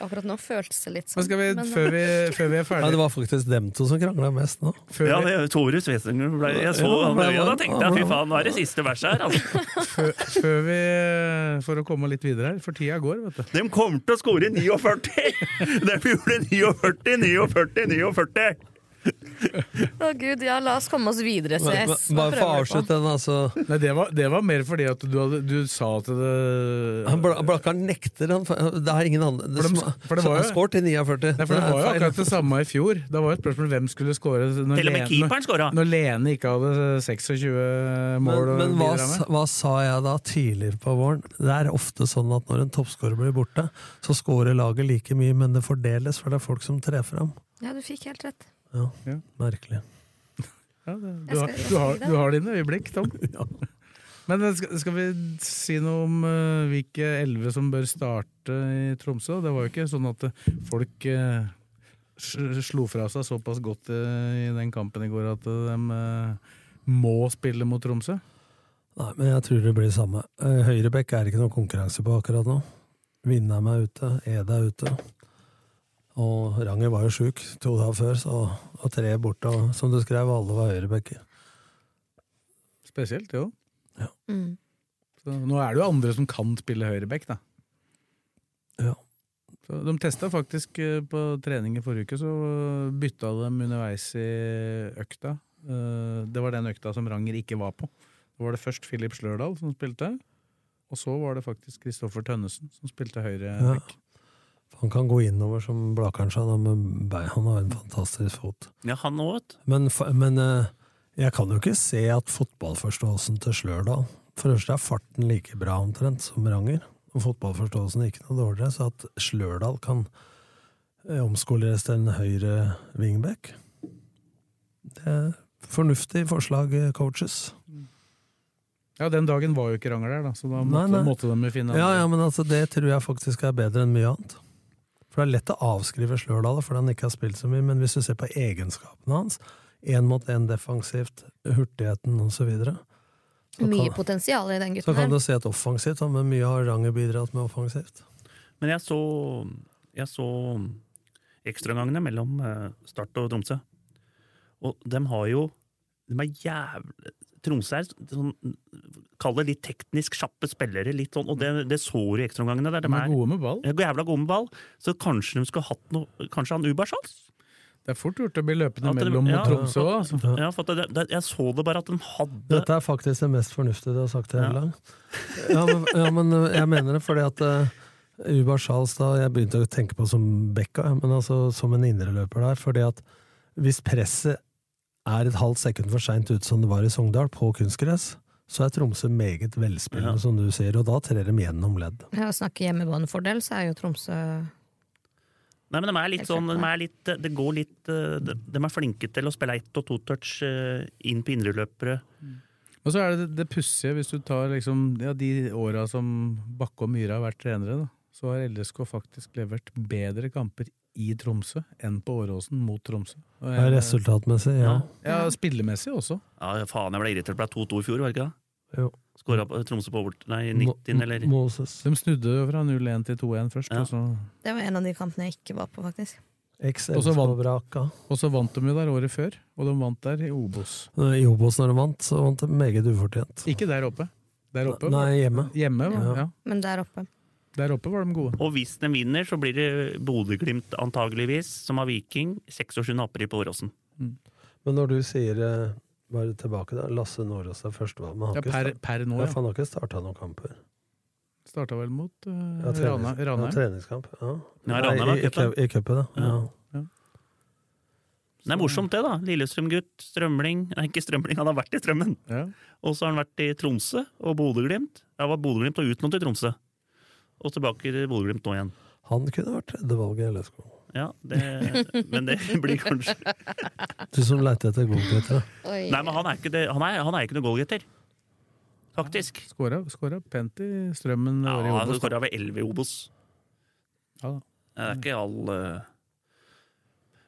Speaker 4: Akkurat nå føltes det litt sånn.
Speaker 2: Men skal vi,
Speaker 4: men,
Speaker 2: før vi, før vi er
Speaker 5: Nei, det
Speaker 2: ferdige
Speaker 5: var faktisk dem to som krangla mest nå.
Speaker 2: før,
Speaker 3: Ja,
Speaker 2: vi,
Speaker 3: det, Tore Svesinger ble Jeg så
Speaker 5: Ja,
Speaker 3: han
Speaker 5: ble-
Speaker 3: i øya, da tenkte jeg fy faen, nå er det siste verset her, altså.
Speaker 2: før, før vi eh, For å komme litt videre her, for tida går, vet du.
Speaker 3: De kommer til å skåre 49! De gjorde 49, 49, 49!
Speaker 4: (laughs) Å gud, ja, la oss komme oss videre,
Speaker 5: Men-
Speaker 4: CS. Hva
Speaker 5: men- Bare for å
Speaker 4: prøver du på?
Speaker 5: avslutte den, altså.
Speaker 2: Nei, det var, det var mer fordi at du, hadde, du sa at det
Speaker 5: Han Bla- Blakkaren nekter. Han, det er ingen andre. Det,
Speaker 2: For
Speaker 5: som,
Speaker 2: dem- for det var
Speaker 5: han
Speaker 2: jo-
Speaker 5: scoret i
Speaker 2: Nei,
Speaker 5: 49.
Speaker 2: for Det
Speaker 5: er
Speaker 2: var jo
Speaker 5: feil.
Speaker 2: akkurat det samme i fjor. Da var jo et spørsmål hvem skulle score når,
Speaker 3: Til og med
Speaker 2: Lene,
Speaker 3: keeperen skåra!
Speaker 2: når Lene ikke hadde 26 mål
Speaker 5: Men, men
Speaker 2: å
Speaker 5: hva,
Speaker 2: bidra
Speaker 5: sa-
Speaker 2: med.
Speaker 5: hva sa jeg da tidligere på våren? Det er ofte sånn at når en toppskårer blir borte, så scorer laget like mye, men det fordeles, for det er folk som trer fram.
Speaker 4: Ja, du fikk helt rett.
Speaker 5: Ja,
Speaker 2: Ja.
Speaker 5: Merkelig.
Speaker 2: Ja, det-
Speaker 4: Jeg
Speaker 2: du, har,
Speaker 4: skal- jeg
Speaker 2: du,
Speaker 4: skal
Speaker 2: har,
Speaker 4: gi deg.
Speaker 2: du har dine øyeblikk, Tom. Men eh, skal, skal vi si noe om eh, hvilke elleve som bør starte i Tromsø? Det var jo ikke sånn at eh, folk eh, s- slo fra seg såpass godt eh, i den kampen i går at eh, de eh, må spille mot Tromsø.
Speaker 5: Nei, men jeg tror det blir det samme. Eh, Høyrebekk er ikke noe konkurranse på akkurat nå. Vindheim er ute, Ede er ute. Og Ranger var jo sjuk to dager før, så, og tre borte. Og som du skrev, alle var høyrebekker.
Speaker 2: Spesielt, jo.
Speaker 4: Mm.
Speaker 2: Så, nå er det jo andre som kan spille høyreback, da.
Speaker 5: Ja.
Speaker 2: Så de testa faktisk eh, på trening i forrige uke, så bytta de underveis i økta. Eh, Det var den økta som Ranger ikke var på. Da var det først Filip Slørdal som spilte, og så var det faktisk Kristoffer Tønnesen som spilte høyre
Speaker 5: Ja.
Speaker 2: back.
Speaker 5: Han kan gå innover som Blakkaren sa, da, med bein. han har en fantastisk fot.
Speaker 3: Ja, han òg, vet du.
Speaker 5: Men, fa- men eh, jeg kan jo ikke se at fotballforståelsen til Slørdal For det første er farten like bra omtrent som Ranger, og fotballforståelsen er ikke noe dårligere, så at Slørdal kan eh, omskoleres til en høyre wingback Det er fornuftig forslag, eh, coaches.
Speaker 2: Ja, den dagen var jo ikke Ranger der, da, så da
Speaker 5: Nei,
Speaker 2: måtte,
Speaker 5: nei.
Speaker 2: måtte de jo finne
Speaker 5: Ja,
Speaker 2: andre.
Speaker 5: ja, men altså, det tror jeg faktisk er bedre enn mye annet. For det er lett å avskrive Slørdal fordi han ikke har spilt så mye, men hvis du ser på egenskapene hans, én mot én defensivt, hurtigheten osv., så,
Speaker 4: Mye
Speaker 5: kan-
Speaker 4: potensial i den
Speaker 5: så
Speaker 4: gutten
Speaker 5: kan
Speaker 4: her.
Speaker 5: du se et offensivt, da, men mye har Ranger bidratt med offensivt.
Speaker 3: Men jeg så, jeg så ekstraomgangene mellom eh, Start og Tromsø. Og de har jo De er jævlig Tromsø er sånn Kall det litt teknisk kjappe spillere, litt sånn, og det, det så du i ekstraomgangene. der. De
Speaker 2: De er
Speaker 3: er
Speaker 2: gode med ball.
Speaker 3: de er jævla gode med ball, så kanskje de skulle hatt noe Kanskje han Ubersals?
Speaker 2: Det er fort gjort å bli løpende
Speaker 3: At det-
Speaker 2: mellom
Speaker 3: ja.
Speaker 2: mot Tromsø òg. Altså.
Speaker 3: Ja, for at det, det, jeg så det bare at de hadde
Speaker 5: Dette er faktisk det mest fornuftige du har sagt hele
Speaker 3: Ja.
Speaker 5: dagen. Ja, men, ja, men eh, jeg mener det fordi at eh, Ubar Charles da, jeg begynte å tenke på som Bekka, ja, men altså som en indreløper der, fordi at hvis presset er et halvt sekund for seint ut som det var i Sogndal, på kunstgress, så er Tromsø meget velspillende,
Speaker 3: Ja.
Speaker 5: som du sier, og da trer de gjennom ledd.
Speaker 4: Ja, å snakke hjemmebåndfordel, så er jo Tromsø
Speaker 3: Nei, men de er litt
Speaker 4: Helt
Speaker 3: sånn,
Speaker 4: klart,
Speaker 3: de
Speaker 4: nei.
Speaker 3: er litt, det går litt eh, de, de er flinke til å spille ett og to touch eh, inn på indreløpere.
Speaker 2: Og så er det det pussige, hvis du tar liksom, ja, de åra som Bakke og Myhre har vært trenere, da, så har LSK faktisk levert bedre kamper i Tromsø enn på Åråsen mot Tromsø. Og
Speaker 5: Det
Speaker 2: jeg-
Speaker 5: er resultatmessig, ja.
Speaker 2: Eh, Ja, spillemessig også.
Speaker 3: Ja, faen, jeg ble irritert for det er 2-2 i fjor, var det ikke det?
Speaker 5: Jo.
Speaker 3: Skåra på- Tromsø på over, nei, 90,
Speaker 5: Mo-
Speaker 3: eller
Speaker 5: Moses.
Speaker 2: De snudde jo fra 0-1 til 2-1 først,
Speaker 3: Ja.
Speaker 2: og, så,
Speaker 4: Det var en av de kampene jeg ikke var på, faktisk.
Speaker 2: Og så vant-
Speaker 5: Eks-LSK-vraka.
Speaker 2: og så vant de jo der året før, og de vant der i Obos.
Speaker 5: Eh, I Obos når de vant, så vant de meget ufortjent.
Speaker 2: Ikke der oppe. Der oppe
Speaker 5: Nei, hjemme.
Speaker 2: Hjemme,
Speaker 5: Ja.
Speaker 2: var- ja.
Speaker 4: Men der oppe.
Speaker 2: Der oppe var de gode.
Speaker 3: Og hvis de vinner, så blir det Bodø-Glimt antageligvis, som har Viking, 26. april på Åråsen.
Speaker 5: Men når du sier eh, bare tilbake der, Lasse Nårås er førstevalg, men han
Speaker 2: Ja,
Speaker 5: har ikke
Speaker 2: per,
Speaker 5: sta-
Speaker 2: per nå,
Speaker 5: ja, for
Speaker 2: ja.
Speaker 5: han har ikke starta noen kamper.
Speaker 2: Starta vel mot eh,
Speaker 5: Ja,
Speaker 2: Rana-
Speaker 5: trenings- ja,
Speaker 2: Ranheim.
Speaker 5: treningskamp. Ja.
Speaker 3: Ja, Ranheim er
Speaker 5: Nei, i- i
Speaker 3: cupen.
Speaker 5: cup- I cupen, ja. ja.
Speaker 3: Ja. Det er morsomt, det, da. Lillestrøm-gutt, Strømling Nei, ikke Strømling, han har vært i Strømmen.
Speaker 2: Ja.
Speaker 3: Og så har han vært i Tromsø og Bodø-Glimt. Ja, var Bodø-Glimt og utlånt til Tromsø. Og tilbake til Bodø-Glimt nå igjen.
Speaker 5: Han kunne vært tredjevalget i LSK.
Speaker 3: Ja, det, men det (laughs) blir kanskje
Speaker 5: Du som leter etter godgutter.
Speaker 4: Oi.
Speaker 3: Nei, men han er ikke, det, han er, han er ikke noen goalgetter. Faktisk.
Speaker 2: Skåra, skåra pent i strømmen
Speaker 3: Ja,
Speaker 2: året i
Speaker 3: han
Speaker 2: Obos. da.
Speaker 3: skåra ved 11 i Obos.
Speaker 2: Ja, da.
Speaker 3: Det er ikke all eh.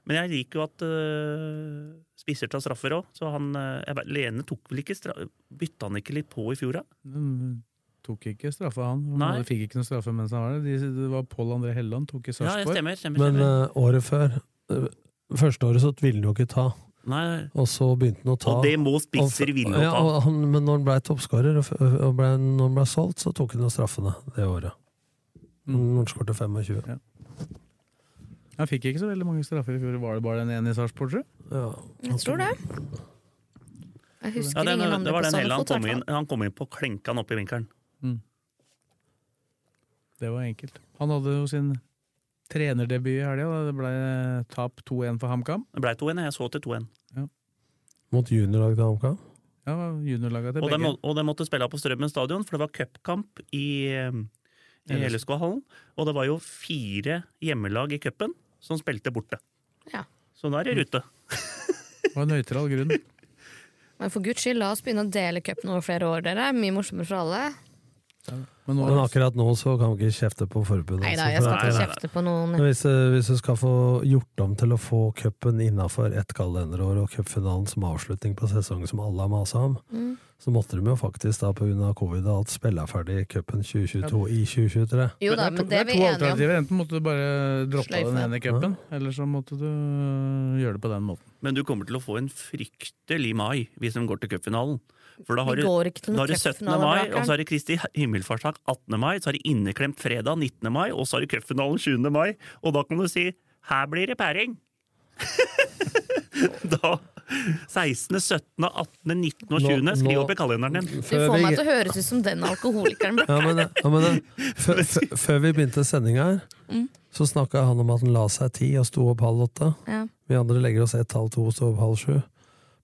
Speaker 3: Men jeg liker jo at eh, spisser tar straffer òg, så han eh, jeg vet- Lene tok vel ikke stra Bytta han ikke litt på i fjor, da?
Speaker 2: Den tok ikke straffa, han. Han
Speaker 3: Nei.
Speaker 2: hadde- fikk ikke noe straffe mens han var der. De, det var Pål André Helland tok i
Speaker 3: Ja, det
Speaker 2: Sarpsborg.
Speaker 3: stemmer. stemmer,
Speaker 5: Men
Speaker 3: stemmer.
Speaker 5: eh, året før eh, Første året så ville han jo ikke ta,
Speaker 3: Nei,
Speaker 5: og så begynte han å ta.
Speaker 3: og det må
Speaker 5: Og-
Speaker 3: spisser vinne
Speaker 5: ja,
Speaker 3: og ta.
Speaker 5: og han, men når han ble toppskårer, og, f- og ble, når han ble solgt, så tok han jo straffene det året. Når han skårte 25.
Speaker 2: Han fikk ikke så veldig mange straffer i fjor. Var det bare den ene i Sarpsborg, tror du?
Speaker 4: Jeg tror det. Jeg
Speaker 3: Ja,
Speaker 4: husker
Speaker 3: det,
Speaker 4: ingen andre
Speaker 3: det var
Speaker 4: på
Speaker 3: den hele
Speaker 4: sånn
Speaker 3: han
Speaker 4: fot.
Speaker 3: kom inn,
Speaker 4: hvertfall.
Speaker 3: han kom inn på klenka han oppe i vinkelen.
Speaker 2: Det var enkelt. Han hadde jo sin trenerdebut i helga. da. Det ble tap 2-1 for HamKam.
Speaker 3: Det blei 2-1, jeg så til 2-1.
Speaker 5: Mot juniorlag til HamKam.
Speaker 2: Ja, juniorlaget til
Speaker 3: Og de,
Speaker 2: begge.
Speaker 3: må- og de måtte spille på Strømmen stadion, for det var cupkamp i, eh, i Helleskåhallen. Og det var jo fire hjemmelag i cupen som spilte borte.
Speaker 4: Ja.
Speaker 3: Så nå er det rute.
Speaker 2: Det var en nøytral grunn.
Speaker 4: Men for guds skyld, la oss begynne å dele cupen over flere år, dere. Mye morsommere for alle.
Speaker 2: Men nå
Speaker 5: Men akkurat nå så kan vi ikke kjefte på forbundet.
Speaker 4: Nei da,
Speaker 5: altså,
Speaker 4: jeg
Speaker 5: for
Speaker 4: skal
Speaker 5: det er-
Speaker 4: ikke kjefte på noen.
Speaker 5: Men Hvis, eh, hvis du skal få gjort om til å få cupen innafor ett kalenderår og cupfinalen som avslutning på sesongen som alle har masa om,
Speaker 4: Mm.
Speaker 5: så måtte de jo faktisk da pga. covid og alt spille ferdig cupen 2022 i 2023.
Speaker 4: Jo da,
Speaker 2: er to-
Speaker 4: men det er vi
Speaker 2: to
Speaker 4: enige om.
Speaker 2: alternativer. Enten måtte du bare droppe
Speaker 4: Sløyfe.
Speaker 2: den ene cupen, eller så måtte du øh, gjøre det på den måten.
Speaker 3: Men du kommer til å få en fryktelig mai hvis de går til cupfinalen. For da har
Speaker 4: Vi
Speaker 3: du,
Speaker 4: går ikke til
Speaker 3: da har
Speaker 4: noen
Speaker 3: du 17.
Speaker 4: cupfinale,
Speaker 3: mai,
Speaker 4: Blakkaren.
Speaker 3: og så har du Kristi himmelfartsdag 18. mai, så har du inneklemt fredag 19. mai, og så har du cupfinalen 20. mai, og da kan du si 'her blir det pæring'. (laughs) da 16., 17., 18., 19. og
Speaker 5: Nå-
Speaker 3: 20. Skriv
Speaker 5: nå-
Speaker 3: opp i kalenderen din.
Speaker 4: Du får meg til å høres ut som den alkoholikeren.
Speaker 5: ja, men, det- ja, men, det-
Speaker 4: (laughs)
Speaker 5: før, før- før vi begynte sendinga her,
Speaker 4: Mm.
Speaker 5: så snakka han om at han la seg ti og sto opp halv åtte.
Speaker 4: Ja.
Speaker 5: Vi andre legger oss ett, halv to og står opp halv sju.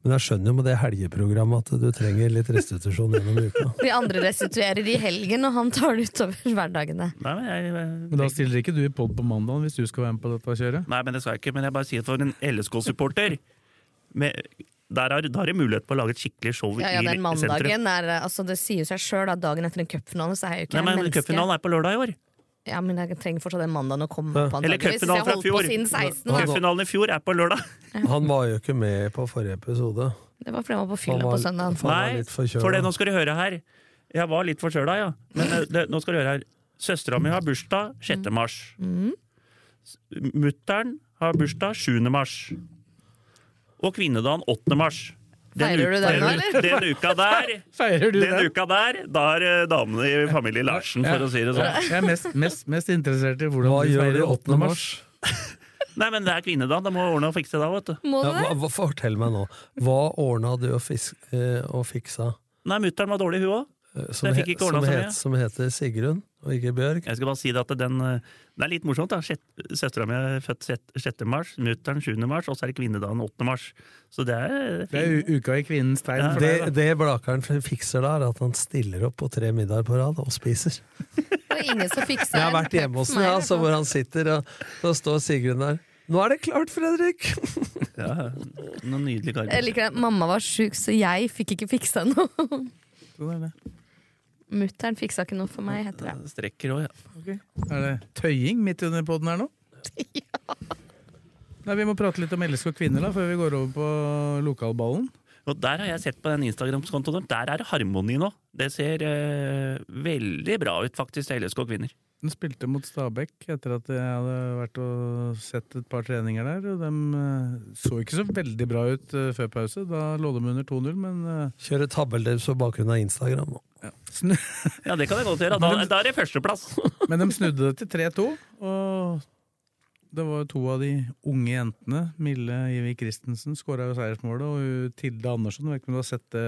Speaker 5: Men jeg skjønner jo med det helgeprogrammet at du trenger litt restitusjon gjennom
Speaker 4: (laughs)
Speaker 5: uka.
Speaker 4: De andre restituerer i helgen, og han tar det utover hverdagene.
Speaker 3: Nei, men jeg,
Speaker 2: Men da stiller ikke du i pod på mandag hvis du skal være med på dette kjøret.
Speaker 3: nei, men det skal jeg ikke. Men jeg bare sier for en LSK-supporter med- der har, da har du mulighet på å lage et skikkelig show
Speaker 4: Ja,
Speaker 3: i
Speaker 4: ja, den
Speaker 3: sentrum.
Speaker 4: mandagen er altså, Det sier seg sjøl at dagen etter en cupfinale så er jeg jo ikke
Speaker 3: Nei,
Speaker 4: et
Speaker 3: men
Speaker 4: menneske.
Speaker 3: Cupfinalen er på lørdag i år.
Speaker 4: Ja, men jeg trenger fortsatt den mandagen å komme på,
Speaker 3: Eller
Speaker 4: antakeligvis.
Speaker 3: cupfinalen
Speaker 4: Jeg
Speaker 3: fra
Speaker 4: holdt på
Speaker 3: fjor.
Speaker 4: siden 16. Da.
Speaker 3: Cupfinalen i fjor er på lørdag.
Speaker 5: Han var jo ikke med på forrige episode.
Speaker 4: Det var fordi jeg var på
Speaker 5: Han
Speaker 4: fylla
Speaker 5: var-
Speaker 4: på søndagen.
Speaker 5: Han var
Speaker 3: Nei,
Speaker 5: litt forkjøla.
Speaker 3: for det, nå skal du høre her. Jeg var litt forkjøla, ja. Men eh, det, nå skal du høre her. Søstera mi har bursdag 6. mars.
Speaker 4: Mm.
Speaker 3: S- Mutteren har bursdag 7. mars. Og kvinnedagen 8. mars.
Speaker 4: Feirer du den nå,
Speaker 3: eller? Den uka der,
Speaker 2: Feirer du
Speaker 3: den uka der, da er eh, damene i familie Larsen, for å si det sånn.
Speaker 2: Jeg er mest, mest, mest interessert i hvordan
Speaker 5: Hva
Speaker 2: du
Speaker 5: gjør
Speaker 2: feirer
Speaker 5: du
Speaker 2: 8. mars.
Speaker 3: Nei, men det er kvinnedagen. Da må vi ordne og fikse da, vet du.
Speaker 4: Må du
Speaker 5: Ja,
Speaker 4: det?
Speaker 5: hva, hva, fortell meg nå. Hva ordna du og, fisk, eh, og fiksa?
Speaker 3: Nei, mutter'n var dårlig, hun òg.
Speaker 5: eh, Som,
Speaker 3: Jeg fikk
Speaker 5: he-
Speaker 3: ikke ordnet
Speaker 5: som,
Speaker 3: så
Speaker 5: het,
Speaker 3: mye.
Speaker 5: som heter Sigrun, og ikke Bjørg.
Speaker 3: Jeg skal bare si det at den, eh, det er litt morsomt. da. Sjett- Søstera mi er født sjett- 6. mars, mutter'n 7. mars, og så er det kvinnedagen 8. mars. Så det er eh,
Speaker 2: Det er
Speaker 3: fint.
Speaker 2: u- uka i kvinnens tegn.
Speaker 3: Ja.
Speaker 2: for deg,
Speaker 5: Det, det Blakeren fikser da, er at han stiller opp på tre middager på rad og spiser.
Speaker 4: Det var ingen som fiksa
Speaker 5: Jeg har vært hjemme hos ham, ja, så hvor han sitter, og så står Sigrun der. Nå er det klart, Fredrik!
Speaker 3: Ja, noen nydelige
Speaker 4: Jeg
Speaker 3: karer.
Speaker 4: liker det. Mamma var sjuk, så jeg fikk ikke fiksa noe.
Speaker 2: da. Det Sånn er det.
Speaker 4: Mutter'n fiksa ikke noe for meg, heter det.
Speaker 3: Strekker òg, ja.
Speaker 2: Er det tøying midt under poden her nå? Nei, Vi må prate litt om LSK kvinner da, før vi går over på lokalballen.
Speaker 3: Og der har jeg sett på den Instagram-kontoen, der er det harmoni nå. Det ser eh, veldig bra ut, faktisk, til LSK kvinner.
Speaker 2: Den spilte mot Stabæk etter at jeg hadde vært og sett et par treninger der. og De eh, så ikke så veldig bra ut eh, før pause. Da lå de under 2-0, men eh,
Speaker 5: Kjører tabbeldels på bakgrunn av Instagram nå.
Speaker 2: snu,
Speaker 3: Ja, det kan jeg godt gjøre. Da, da er det førsteplass.
Speaker 2: Men de snudde det til 3-2, og det var to av de unge jentene. Mille Ivi Christensen skåra jo seiersmålet, og hun Tilde Andersen, jeg vet ikke om du har sett det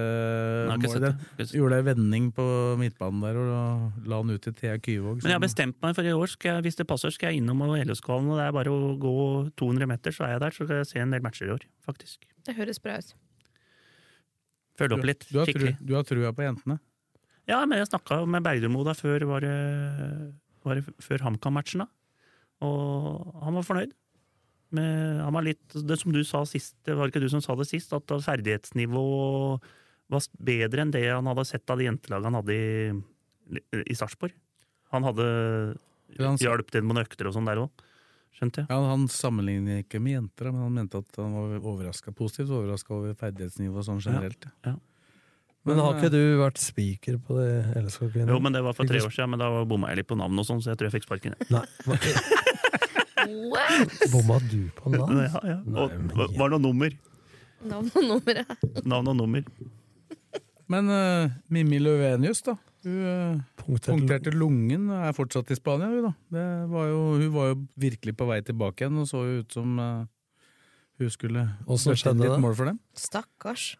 Speaker 3: Nei, ikke sett
Speaker 2: målet?
Speaker 3: det.
Speaker 2: der,
Speaker 3: Ikke sett det.
Speaker 2: Gjorde ei vending på midtbanen der og la den ut til Thea Kyvåg.
Speaker 3: Men jeg har
Speaker 2: som-
Speaker 3: bestemt meg for i år, skal jeg, hvis det passer, skal jeg innom LSK-hallen. Og det er bare å gå 200 meter, så er jeg der. Så skal jeg se en del matcher i år, faktisk.
Speaker 4: Det høres bra ut.
Speaker 3: Følge opp litt.
Speaker 2: du, har tru,
Speaker 3: skikkelig.
Speaker 2: du har trua på jentene?
Speaker 3: Ja, men jeg snakka med Bergdølmo da før, var det, var det før HamKam-matchen. da. Og han var fornøyd. Med, han var litt, det som du sa sist, det var ikke du som sa det sist, at ferdighetsnivået var bedre enn det han hadde sett av de jentelagene han hadde i, i Sarpsborg. Han hadde
Speaker 2: Han sa-
Speaker 3: hjalp til med noen økter og sånn der òg, skjønte jeg.
Speaker 2: Ja, Han sammenligner ikke med jenter, da, men han mente at han var overrasket, positivt overraska over ferdighetsnivået sånn generelt. ja.
Speaker 5: Men har
Speaker 2: eh,
Speaker 5: ikke du vært spiker på det LSK-kvinnet?
Speaker 3: Jo, men det var for tre år siden, men da bomma jeg litt på navnet og sånn, så jeg tror jeg fikk sparken. jeg.
Speaker 5: Nei, hva- bomma du på navn?
Speaker 3: Ja, ja.
Speaker 5: Nei, men-
Speaker 3: Og det var noe nummer.
Speaker 4: Navn og nummer. ja.
Speaker 3: Navn og nummer.
Speaker 2: Men eh, Mimmi Løvenius, da. Hun eh,
Speaker 5: Punktert-
Speaker 2: punkterte lungen og er fortsatt i Spania, hun da. Det var jo, hun var jo virkelig på vei tilbake igjen og så jo ut som eh, hun skulle bøtte
Speaker 5: Åssen
Speaker 2: inn
Speaker 5: skjedde
Speaker 2: litt
Speaker 5: det?
Speaker 2: mål for dem.
Speaker 4: Stakkars.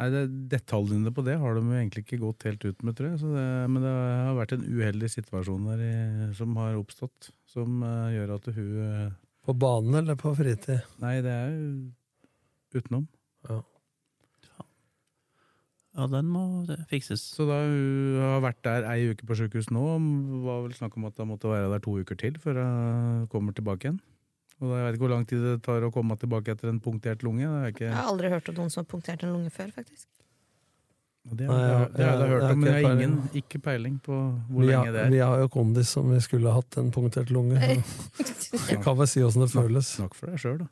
Speaker 2: Nei, det, Detaljene på det har de jo egentlig ikke gått helt ut med, tror jeg. Så det, men det har vært en uheldig situasjon der i, som har oppstått, som eh, gjør at hun eh,
Speaker 5: På banen eller på fritid?
Speaker 2: Nei, det er jo utenom.
Speaker 3: Ja, den må fikses.
Speaker 2: Så da hun har vært der ei uke på sjukehus nå, var vel snakk om at hun måtte være der to uker til før hun kommer tilbake igjen. Og da, Jeg vet ikke hvor lang tid det tar å komme tilbake etter en punktert lunge. Det er ikke,
Speaker 4: Jeg har aldri hørt om noen som har punktert en lunge før, faktisk.
Speaker 2: det,
Speaker 5: Nei,
Speaker 2: har-
Speaker 5: ja,
Speaker 2: det har jeg
Speaker 5: jeg-
Speaker 2: hørt
Speaker 5: jeg
Speaker 2: om, men
Speaker 5: har
Speaker 2: jeg har
Speaker 5: ikke
Speaker 2: ingen, ikke peiling på hvor
Speaker 5: Vi
Speaker 2: lenge det
Speaker 5: har,
Speaker 2: er.
Speaker 5: vi har jo kondis som vi skulle hatt en punktert lunge. Jeg kan vel si åssen det føles.
Speaker 2: Snakk for deg sjøl, da.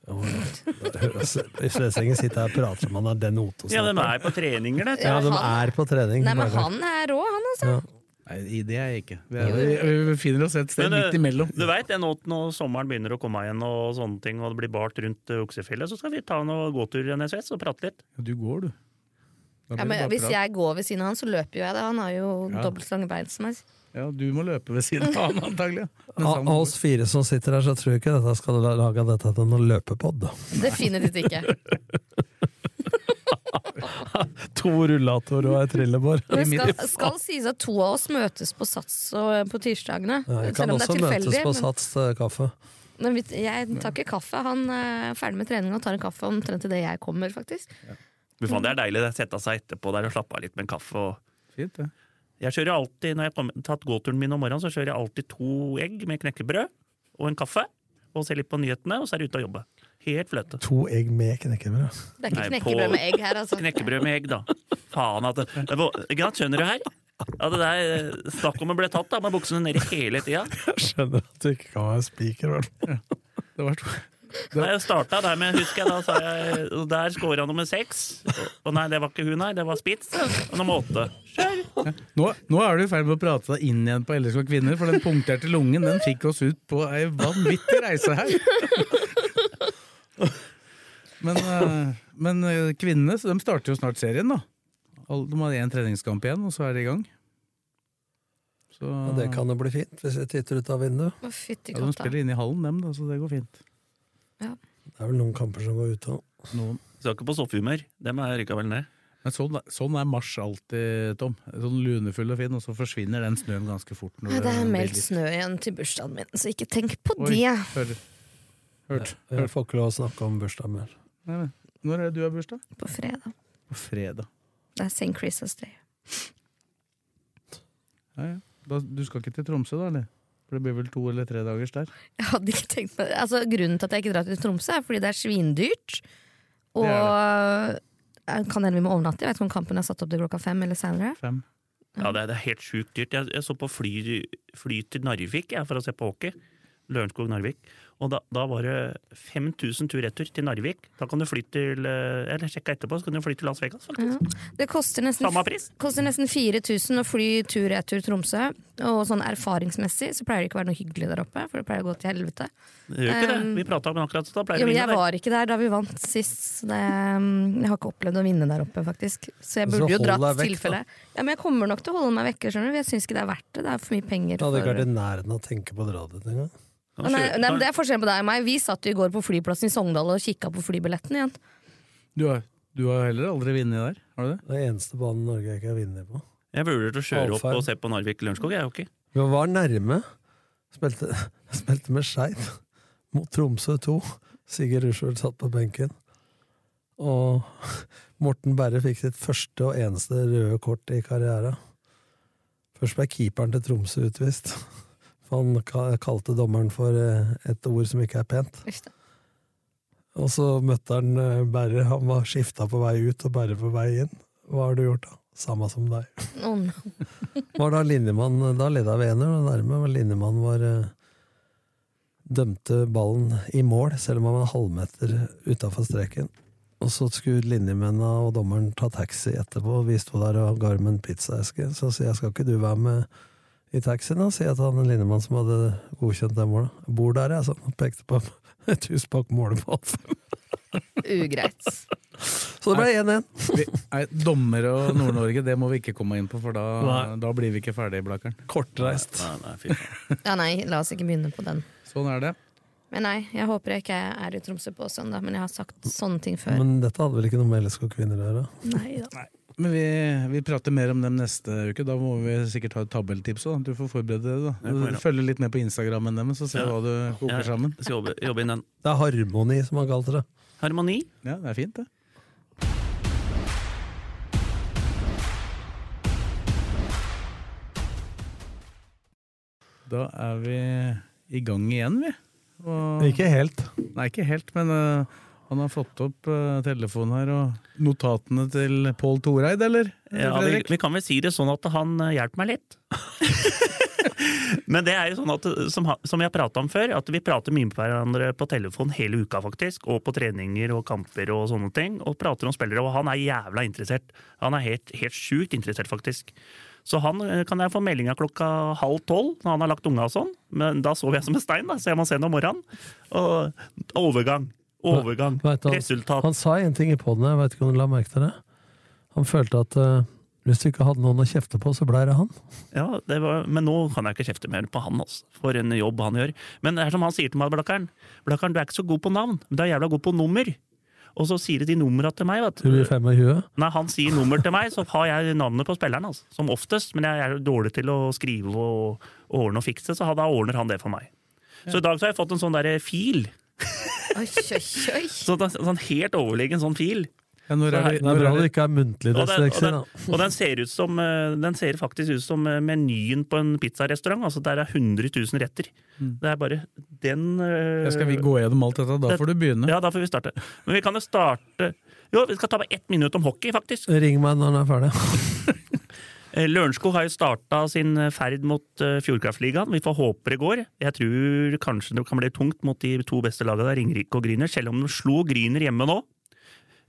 Speaker 5: I Slesengen sitter jeg og prater som om han er den Otosen.
Speaker 3: Ja, den er på treninger, det.
Speaker 5: Ja, de er på trening.
Speaker 4: (laughs) Nei, men han er rå, han altså.
Speaker 5: Ja.
Speaker 2: Nei, i- det er jeg ikke. Vi, er, vi, vi befinner oss et sted
Speaker 3: Men, eh,
Speaker 2: midt imellom.
Speaker 3: Du veit, når sommeren begynner å komme igjen, og sånne ting, og det blir bart rundt eh, oksefjellet, så skal vi ta noen gåtur i NSS og prate litt.
Speaker 2: Du går, du. Da blir
Speaker 4: Ja,
Speaker 2: det
Speaker 4: men
Speaker 2: bare
Speaker 4: hvis
Speaker 2: prat.
Speaker 4: jeg går ved siden av han, så løper jo jeg det. Han har jo
Speaker 2: Ja.
Speaker 4: dobbelt så lange bein som meg.
Speaker 2: ja, du må løpe ved siden av
Speaker 4: (laughs)
Speaker 2: han, antagelig. ja. Mens han
Speaker 5: Av oss fire som sitter her, så tror jeg ikke dette skal la- lage dette til noen løpepod.
Speaker 4: Definitivt ikke.
Speaker 5: (laughs) To rullator og ei
Speaker 4: (laughs)
Speaker 5: trillebår.
Speaker 4: Men Det skal, skal sies at to av oss møtes på Sats og eh, på tirsdagene.
Speaker 5: Jeg kan
Speaker 4: selv om det er
Speaker 5: også møtes
Speaker 4: tilfeldig.
Speaker 5: på
Speaker 4: men-
Speaker 5: Sats eh, kaffe.
Speaker 4: Men vi- jeg tar ikke kaffe. Han eh, er ferdig med treninga og tar en kaffe omtrent idet jeg kommer, faktisk.
Speaker 3: Men faen, det er deilig det. Sette seg etterpå der og slappe av litt med en kaffe. Og
Speaker 2: Fint, det.
Speaker 3: jeg kjører alltid, Når jeg har tatt gåturen min om morgenen, så kjører jeg alltid to egg med knekkebrød og en kaffe. Og ser litt på nyhetene, og så er jeg ute og jobbe. Helt fløte.
Speaker 5: To egg med knekkebrød.
Speaker 4: Det er ikke
Speaker 3: Nei,
Speaker 4: knekkebrød
Speaker 3: på-
Speaker 4: med egg her, altså.
Speaker 3: Knekkebrød med egg, da. Faen at det, det var- Ikke sant, skjønner du her? Ja, det der, eh, Snakk om å bli tatt da, med buksene nede hele tida.
Speaker 5: Jeg skjønner at du ikke kan være spiker. vel?
Speaker 2: Det var to.
Speaker 3: Nei, jeg starta der med, husker jeg da, sa jeg, og der scora nummer seks. Og- Og nei, det var ikke hun, nei, det var Spitz. Og nummer åtte.
Speaker 2: Nå, nå er du i ferd med å prate deg inn igjen på LSK Kvinner, for den punkterte lungen den fikk oss ut på ei vanvittig reise her. Men, eh, men eh, kvinnene så de starter jo snart serien, da. Alle- De har én treningskamp igjen, og så er de i gang. Så,
Speaker 5: Og Det kan jo bli fint, hvis vi titter ut av vinduet.
Speaker 4: Å, fytti
Speaker 2: ja, de
Speaker 4: katta.
Speaker 2: spiller inne i hallen, dem, da, så det går fint.
Speaker 5: Det er vel noen kamper som går ute òg.
Speaker 2: Noen.
Speaker 3: Skal ikke på soffhumør. Dem er likevel ned.
Speaker 2: Men sånn, sånn er mars alltid, Tom. Sånn lunefull og fin, og så forsvinner den snøen ganske fort. når
Speaker 4: Ja, Det er
Speaker 2: blir
Speaker 4: meldt
Speaker 2: litt-
Speaker 4: snø igjen til bursdagen min, så ikke tenk på
Speaker 2: Oi,
Speaker 4: det.
Speaker 2: hører- Hørt.
Speaker 5: Jeg får ikke lov å snakke om bursdagen mer.
Speaker 2: Nei, men, når er det du har bursdag?
Speaker 4: På fredag.
Speaker 2: På fredag.
Speaker 4: Det er St. Christmas Day.
Speaker 2: Ja, ja. Da, du skal ikke til Tromsø, da? eller? For det blir vel to eller tre dagers der?
Speaker 4: Jeg hadde ikke tenkt meg det. Altså, grunnen til at jeg ikke drar til Tromsø, er fordi det er svindyrt. Og
Speaker 2: Det
Speaker 4: Eh, kan hende vi må overnatte. Jeg vet ikke om kampen er satt opp til klokka fem eller senere.
Speaker 2: Fem.
Speaker 3: Ja, det er, det er helt sjukt dyrt. Jeg, jeg så på fly, fly til Narvik jeg, for å se på hockey. Lørenskog-Narvik. Og da, da var det 5000 tur-retur til Narvik. Da kan du fly til eh, Eller sjekka etterpå, så kan du fly til Las Vegas. faktisk.
Speaker 4: Det koster nesten,
Speaker 3: Samme pris.
Speaker 4: koster nesten 4000 å fly tur-retur Tromsø. Og sånn erfaringsmessig så pleier det ikke å være noe hyggelig der oppe, for det pleier å gå til helvete.
Speaker 3: Det gjør ikke det.
Speaker 4: Um,
Speaker 3: Vi prata om det akkurat, så da pleier
Speaker 4: Jo,
Speaker 3: vi
Speaker 4: men
Speaker 3: å
Speaker 4: jeg
Speaker 3: vinne der.
Speaker 4: var ikke der da vi vant sist. Så det, mm, jeg har ikke opplevd å vinne der oppe, faktisk. Så jeg
Speaker 5: Så
Speaker 4: burde jo
Speaker 5: hold
Speaker 4: dratt
Speaker 5: deg vekk,
Speaker 4: tilfelle. Ja, men jeg kommer nok til å holde meg vekke, skjønner du. Jeg syns ikke det er verdt det. Det er for mye penger.
Speaker 5: Jeg hadde ikke
Speaker 4: for-
Speaker 5: vært i nærheten av å tenke på å dra dit engang.
Speaker 3: Kan
Speaker 4: Nei, nei,
Speaker 3: kjøre-
Speaker 4: men det er forskjell på deg og meg. Vi satt jo i går på flyplassen i Sogndal og kikka på flybilletten igjen.
Speaker 2: Du har, du har heller aldri vunnet der? Har du det?
Speaker 5: Det er eneste banen Norge ikke har vunnet på.
Speaker 3: Jeg vurderer å kjøre opp
Speaker 5: Allfarm.
Speaker 3: og se på Narvik-Lørenskog, jeg, hockey.
Speaker 5: Vi var nærme. Spilte, spilte med Skeid mot Tromsø 2. Sigurd Rushvold satt på benken. Og Morten Berre fikk sitt første og eneste røde kort i karrieren. Først ble keeperen til Tromsø utvist. For han ka- kalte dommeren for eh, et ord som ikke er pent. Og så møtte han eh, Berre. Han var skifta på vei ut og Berre på vei inn. Hva har du gjort, da? Samme som deg.
Speaker 4: Å, no.
Speaker 5: Var da linjemann Da leda vi 1-0, og nærme var linjemann var eh, Dømte ballen i mål, selv om han var en halvmeter utafor streken. Og så skulle linjemennene og dommeren ta taxi etterpå, og vi sto der og ga dem en pizzaeske. Så sier jeg, skal ikke du være med i taxien, da? Sier jeg til han linjemannen som (laughs) hadde godkjent det målet. Bor der, jeg, sa han, og pekte på et hus bak målet på Alfheim.
Speaker 4: Ugreit.
Speaker 5: Så det ble 1-1.
Speaker 2: Vi, nei, dommer og Nord-Norge, det må vi ikke komme inn på, for da,
Speaker 5: Nei.
Speaker 2: da blir vi ikke ferdig, Blakeren.
Speaker 5: Kortreist.
Speaker 3: Nei, nei, fy faen.
Speaker 4: Ja, nei, la oss ikke begynne på den.
Speaker 2: Sånn er det.
Speaker 4: Men nei, jeg håper jeg ikke er i Tromsø på søndag, men jeg har sagt sånne ting før.
Speaker 5: Men dette hadde vel ikke noe med LSK kvinner å gjøre?
Speaker 4: Nei da.
Speaker 2: Men vi, vi prater mer om dem neste uke. Da må vi sikkert ha et tabelltips òg. Du får forberede deg.
Speaker 3: Jeg får
Speaker 2: da.
Speaker 3: gjøre.
Speaker 2: Følge litt med på Instagrammen dem, så ser vi
Speaker 3: Ja.
Speaker 2: hva du koker sammen.
Speaker 3: Jeg skal jobbe, jobbe inn den.
Speaker 5: Det er harmoni som har kalt det.
Speaker 3: Harmoni.
Speaker 2: Ja, det er fint, det. Da er vi i gang igjen, vi. Og,
Speaker 5: Ikke helt.
Speaker 2: Nei, ikke helt, men øh, han har fått opp øh, telefonen her og notatene til Pål Toreid, eller?
Speaker 3: Ja, vi,
Speaker 2: Eh, Fredrik?
Speaker 3: vi kan vel si det sånn at han eh, hjelper meg litt. Men det er jo sånn at, eh, som, ha- som jeg prata om før, at vi prater mye med hverandre på telefon hele uka, faktisk. Og på treninger og kamper og sånne ting. Og prater om spillere. Og han er jævla interessert. Han er helt, helt sjukt interessert, faktisk. Så han eh, kan jeg få melding av klokka halv tolv, når han har lagt unga og sånn. Men da sover jeg som en stein, da, så jeg må se den om morgenen. Og overgang. Overgang.
Speaker 5: Vet du, han-
Speaker 3: Resultat.
Speaker 5: Han sa en ting i poden, jeg vet ikke om du la merke til det. Han følte at eh, hvis du ikke hadde noen å kjefte på, så blei det han.
Speaker 3: Ja, det var, Men nå kan jeg ikke kjefte mer på han, altså. for en jobb han gjør. Men det er som han sier til meg, Blakkaren. Blakkaren, du er ikke så god på navn, men du er jævla god på nummer. Og så sier de numra til meg. Vet
Speaker 5: Du blir
Speaker 3: du.
Speaker 5: 25.
Speaker 3: Nei, han sier nummer til meg, så har jeg navnet på spilleren, altså. som oftest. Men jeg er dårlig til å skrive og ordne og fikse, så da ordner han det for meg. Så i dag så har jeg fått en sånn derre fil.
Speaker 4: Oi, oi, oi.
Speaker 3: Så, sånn helt overlegen sånn fil.
Speaker 2: Ja, når er
Speaker 3: Det
Speaker 2: det,
Speaker 5: Det er
Speaker 2: når
Speaker 5: bra
Speaker 2: er
Speaker 5: det
Speaker 2: det,
Speaker 5: ikke er muntlig
Speaker 3: Og den, og,
Speaker 5: dysleksi,
Speaker 3: den,
Speaker 5: da.
Speaker 3: og den ser ut som eh, Den ser faktisk ut som eh, menyen på en pizzarestaurant. Altså der er 100 000 retter. Det er bare den eh,
Speaker 2: Mm. Ja, skal vi gå gjennom alt dette? Da får du begynne.
Speaker 3: Ja, da får vi starte. Men vi kan jo starte Jo, vi skal ta bare ett minutt om hockey, faktisk.
Speaker 5: Ring meg når den er ferdig.
Speaker 3: (laughs) Eh, Lørenskog har jo starta sin ferd mot eh, Fjordkraftligaen. Vi får håpe det går. Jeg tror kanskje det kan bli tungt mot de to beste lagene, der, Ringerike og Grüner, selv om de slo Grüner hjemme nå.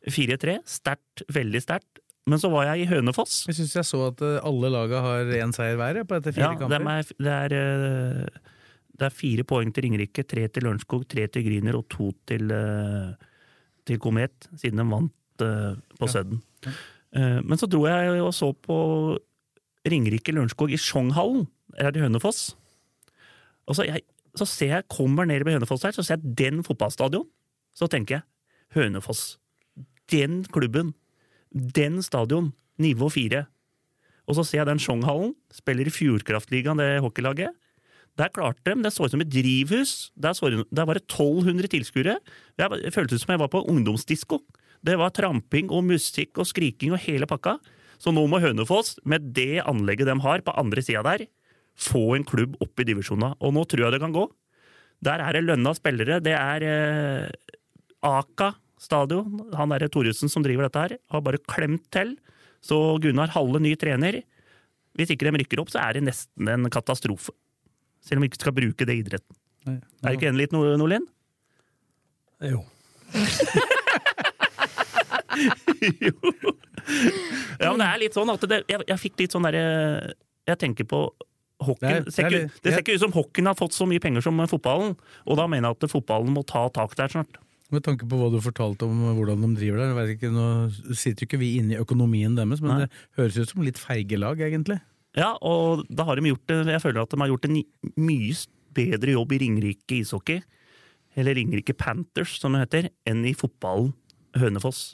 Speaker 3: 4-3. Sterkt. Veldig sterkt. Men så var jeg i Hønefoss.
Speaker 2: Jeg syns jeg så at øh, alle laga har én seier hver jeg, på etter fire
Speaker 3: Ja, det
Speaker 2: kamper.
Speaker 3: er, det, er, eh, det er fire poeng til Ringerike, tre til Lørenskog, tre til Grüner og to til, eh, til Komet, siden de vant eh, på Sudden. Eh, Men så dro jeg og så på Ringerike-Lørenskog i Sjongshallen, her i Hønefoss. Og så, jeg, så ser jeg kommer ned ved Hønefoss her, så ser jeg den fotballstadion. Så tenker jeg Hønefoss. Den klubben. Den stadion. Nivå fire. Og så ser jeg den Sjongshallen. Spiller i Fjordkraftligaen, det hockeylaget. Der klarte de. Det så ut som et drivhus. Der, så, der var det 1200 tilskuere. Jeg var- Det føltes ut som jeg var på ungdomsdisko. Det var tramping og musikk og skriking og hele pakka. Så nå må Hønefoss, med det anlegget de har på andre sida der, få en klubb opp i divisjona. Og nå tror jeg det kan gå. Der er det lønna spillere. Det er eh, Aka stadion. Han derre Thoresen som driver dette her, har bare klemt til. Så Gunnar Halle, ny trener. Hvis ikke de rykker opp, så er det nesten en katastrofe. Selv om vi ikke skal bruke det i idretten.
Speaker 2: Nei.
Speaker 3: Er du ikke enig litt, Nor- Nordlien?
Speaker 5: Jo.
Speaker 3: (laughs) jo. Ja, men det er litt sånn at det, jeg, jeg fikk litt sånn derre Jeg tenker på hockeyen.
Speaker 2: Det er-
Speaker 3: Det ser
Speaker 2: det er
Speaker 3: ikke
Speaker 2: litt-
Speaker 3: det ser ikke ut som hockeyen har fått så mye penger som fotballen. Og da mener jeg at fotballen må ta tak der snart.
Speaker 2: Med tanke på hva du fortalte om hvordan de driver der, jeg vet ikke, nå sitter jo ikke vi inne i økonomien deres, men
Speaker 3: Nei.
Speaker 2: det høres ut som litt feige lag, egentlig.
Speaker 3: Ja, og da har de gjort det, jeg føler at de har gjort en mye bedre jobb i Ringerike ishockey, eller Ringerike Panthers som det heter, enn i fotballen Hønefoss.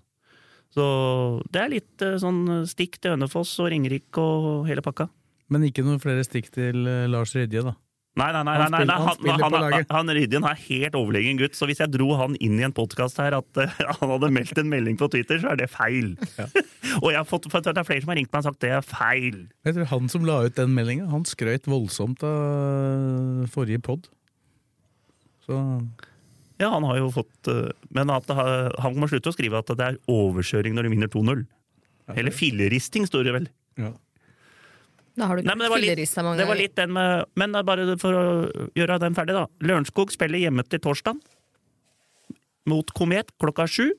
Speaker 3: Så det er litt eh, sånn stikk til Hønefoss og Ringerike og hele pakka.
Speaker 2: Men ikke noen flere stikk til eh, Lars Rydje, da.
Speaker 3: Nei, nei, nei, nei,
Speaker 2: Han
Speaker 3: nei,
Speaker 2: spiller-
Speaker 3: nei.
Speaker 2: han
Speaker 3: Han,
Speaker 2: spiller
Speaker 3: han,
Speaker 2: på
Speaker 3: han,
Speaker 2: laget.
Speaker 3: Rydien er helt overlegen gutt, så hvis jeg dro han inn i en podkast her at eh, (laughs) han hadde meldt en melding på Twitter, så er det feil. (laughs) og jeg har fått, for det er flere som har ringt meg og sagt det er feil.
Speaker 2: Jeg tror Han som la ut den meldinga, han skrøt voldsomt av forrige pod. Så
Speaker 3: Ja, han har jo fått eh, Men at det har- han må slutte å skrive at det er overkjøring når de vinner 2-0. Eller filleristing, står det vel.
Speaker 2: ja.
Speaker 4: Da har du
Speaker 3: Nei, men det var litt,
Speaker 4: fillerista mange
Speaker 3: det var litt den med Men det er bare for å gjøre den ferdig, da. Lørenskog spiller hjemme til torsdag mot Komet klokka sju.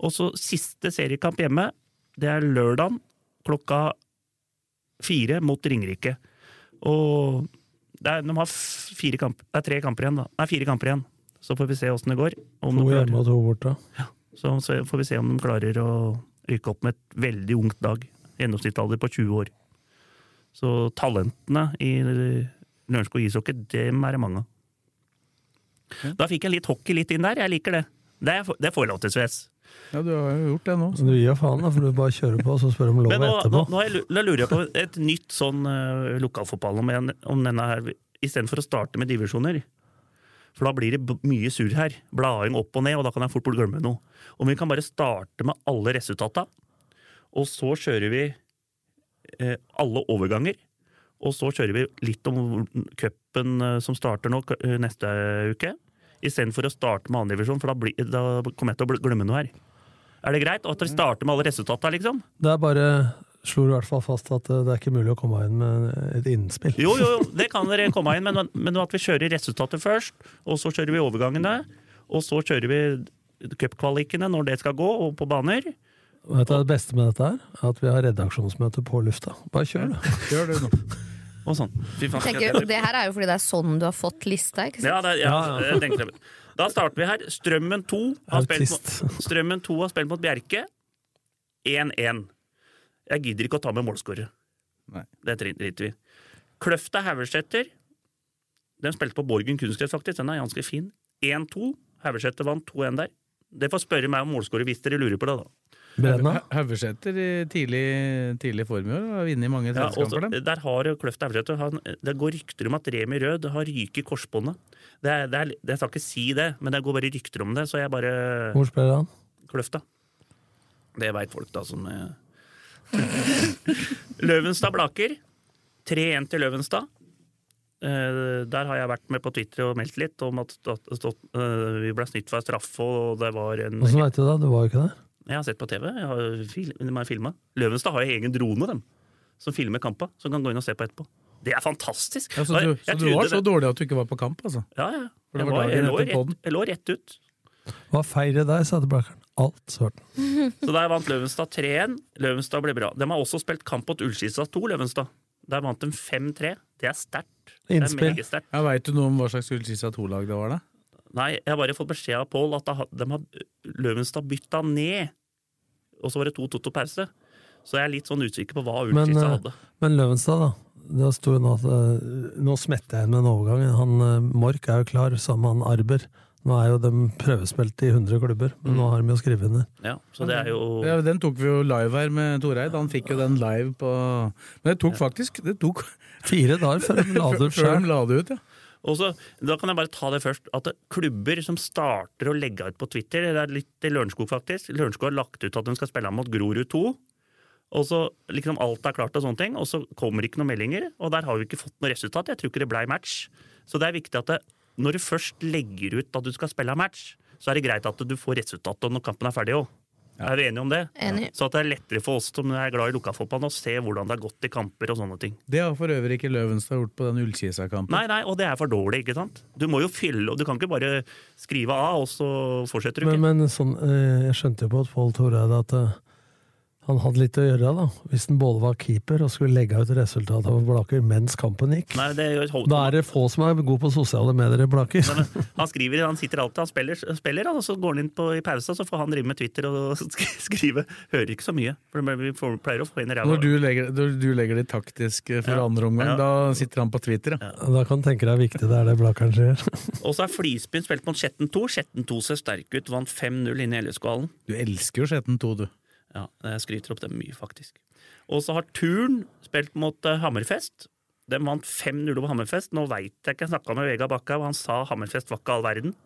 Speaker 3: Og så siste seriekamp hjemme, det er lørdag klokka fire mot Ringerike. Og det er, de har f- fire kamp, det er tre kamper igjen, da. Nei, fire kamper igjen. Så får vi se åssen det går. Om
Speaker 5: To
Speaker 3: de klarer-
Speaker 5: hjemme og to borte.
Speaker 3: så, så får vi se om de klarer å rykke opp med et veldig ungt lag. Gjennomsnittsalder på 20 år. Så talentene i Lørenskog ishockey, dem er det mange av. Da fikk jeg litt hockey litt inn der. Jeg liker det. Det, er, det får jeg lov til, Sves.
Speaker 2: Ja, du har jo gjort det nå.
Speaker 5: Men du gir faen, da, for du bare kjører på, og så spør om lov
Speaker 3: Men nå, nå,
Speaker 5: etterpå.
Speaker 3: nå, har jeg, lu- nå lurer jeg på et nytt sånn uh, lokalfotball om, en, om denne her, istedenfor å starte med divisjoner. For da blir det b- mye surr her. Blading opp og ned, og da kan jeg fort bort glemme noe. Om vi kan bare starte med alle resultata, og så kjører vi eh, alle overganger. Og så kjører vi litt om hvor- cupen eh, som starter nå k- eh, neste uke. Istedenfor å starte med andredivisjon, for da, blir- da kommer jeg til å bl- glemme noe her. Er det greit? Og at vi starter med alle resultata, liksom?
Speaker 5: Det er bare Slo du i hvert fall fast at eh, det er ikke mulig å komme inn med et innspill.
Speaker 3: Jo, jo, jo, det kan dere komme inn, men, men at vi kjører resultatet først, og så kjører vi overgangene, og så kjører vi cupkvalikene når det skal gå, og på baner.
Speaker 5: Vet du, hva det beste med dette her er at vi har redaksjonsmøte på lufta. Bare kjør, du.
Speaker 2: Gjør det nå.
Speaker 3: Og sånn. Fy faen, skal
Speaker 4: Tenker,
Speaker 3: jeg-
Speaker 4: og det her er jo fordi det er sånn du har fått lista. ikke sant?
Speaker 3: Ja, det, er- ja, jeg tenker det. Da starter vi her. Strømmen 2 har spilt
Speaker 5: (laughs) Autist.
Speaker 3: mot, Strømmen 2 har spilt mot Bjerke. 1-1. Jeg gidder ikke å ta med målskårer.
Speaker 2: Nei.
Speaker 3: Det drit- driter vi i. Kløfta Haugeseter. Den spilte på Borgen kunstgress, faktisk. Den er ganske fin. 1-2. Haugeseter vant 2-1 der. Det får spørre meg om målskårer hvis dere lurer på det, da.
Speaker 5: Brenna.
Speaker 2: Hau- Haugesæter i tidlig, tidlig form i år har vunnet mange
Speaker 3: Ja, også,
Speaker 2: treningskamper. dem.
Speaker 3: der har Kløft Aurete han- Det går rykter om at Remi Rød har ryket i korsbåndet. Det er, det er, jeg skal ikke si det, men det går bare rykter om det, så jeg bare
Speaker 5: Hvor spiller han?
Speaker 3: Kløfta. Det veit folk, da, som eh. (laughs) Løvenstad-Blaker. 3-1 til Løvenstad. Eh, der har jeg vært med på Twitter og meldt litt om at stått, stått, eh, vi ble snytt for en straffe, og det var en
Speaker 2: Mhm.
Speaker 5: Åssen veit du det? Du var jo ikke der.
Speaker 3: jeg har sett på TV. Jeg har fil de har filmet. Løvenstad har jo egen drone dem, som filmer kampa. Som kan gå inn og se på etterpå. Det er fantastisk!
Speaker 2: Ja, så du,
Speaker 3: Jeg-
Speaker 2: så
Speaker 3: jeg
Speaker 2: du
Speaker 3: trodde
Speaker 2: var så
Speaker 3: det-
Speaker 2: dårlig at du ikke var på kamp, altså?
Speaker 3: Ja, ja.
Speaker 2: For
Speaker 3: Jeg,
Speaker 2: det var
Speaker 3: var, jeg,
Speaker 2: dagen
Speaker 3: lå
Speaker 2: etter podden.
Speaker 3: rett, jeg lå rett ut.
Speaker 5: Hva feirer deg, sa Blakkeren. Alt svart.
Speaker 3: Så der vant Løvenstad 3-1. Løvenstad ble bra. De har også spilt kamp mot Ullskisa 2, Løvenstad. Der vant de 5-3. Det er sterkt. Det er
Speaker 5: Innspill.
Speaker 3: meget sterkt.
Speaker 2: Ja, Veit du noe om hva slags Ullskisa 2-lag det var, da?
Speaker 3: Nei, jeg har bare fått beskjed av Pål at da ha- de har Løvenstad bytta ned. Og så var det 2-2 til pause. Så jeg er litt sånn usikker på hva
Speaker 5: Men,
Speaker 3: Ullskisa
Speaker 5: eh,
Speaker 3: hadde.
Speaker 5: Men Løvenstad, da. Det sto jo nå at eh, Nå smetter jeg inn med en overgang. Han eh, Mork er jo klar, sammen med han Arber. Nå er jo de prøvespilt i 100 klubber, men nå har de jo skrevet under.
Speaker 3: Ja, så det er jo
Speaker 2: Ja, den tok vi jo live her med Toreid. Han fikk jo den live på Men det tok faktisk det tok
Speaker 3: (laughs)
Speaker 5: Fire dager før de la
Speaker 2: (laughs)
Speaker 5: det
Speaker 2: før
Speaker 5: ut sjøl.
Speaker 2: de la det ut, ja.
Speaker 3: Og så, da kan jeg bare ta det først, at klubber som starter å legge ut på Twitter, det er litt i Lørenskog faktisk, Lørenskog har lagt ut at de skal spille mot Grorud 2, og så liksom alt er klart og sånne ting, og så kommer ikke noen meldinger, og der har vi ikke fått noe resultat, jeg tror ikke det ble match. Så det er viktig at det, når du først legger ut at du skal spille match, så er det greit at du får resultatet når kampen er ferdig også. Er vi enige om det?
Speaker 4: Enig.
Speaker 3: Så at det er lettere for oss som er glad i lokalfotballen å se hvordan det har gått i kamper og sånne ting.
Speaker 2: Det har for øvrig ikke Løvenstad gjort på den Ullkisa-kampen.
Speaker 3: Nei, nei, og det er for dårlig, ikke sant? Du må jo fylle, og du kan ikke bare skrive av, og så fortsetter du ikke.
Speaker 5: Men, men sånn, eh, jeg skjønte jo på at Pål Toreide at eh, han hadde litt å gjøre da, hvis han både var keeper og skulle legge ut resultatet av Blaker mens kampen gikk.
Speaker 3: Nei, det gjør
Speaker 5: Da er det få som er gode på sosiale medier i Blaker.
Speaker 3: Han skriver, han sitter alltid, han spiller, spiller og så går han inn på, i pausa, så får han drive med Twitter og (laughs) sk- skrive. Hører ikke så mye, for vi får- pleier å få inn ræva.
Speaker 2: Når du legger, når du legger det taktisk eh, for
Speaker 3: Ja.
Speaker 2: andre omgang,
Speaker 3: Ja.
Speaker 2: da sitter han på Twitter. Ja.
Speaker 5: (laughs) Da kan du tenke deg hvor viktig det er det Blakeren sier.
Speaker 3: Og så er Flisbyen spilt mot Skjetten 2. Skjetten 2 ser sterk ut, vant 5-0 inne i LSK-hallen.
Speaker 2: Du elsker jo Skjetten 2, du.
Speaker 3: Ja, jeg skryter opp dem mye, faktisk. Og så har Turn spilt mot eh, Hammerfest. De vant 5-0 over Hammerfest. Nå veit jeg ikke, jeg snakka med Vega Bakka, og han sa Hammerfest var ikke all verden.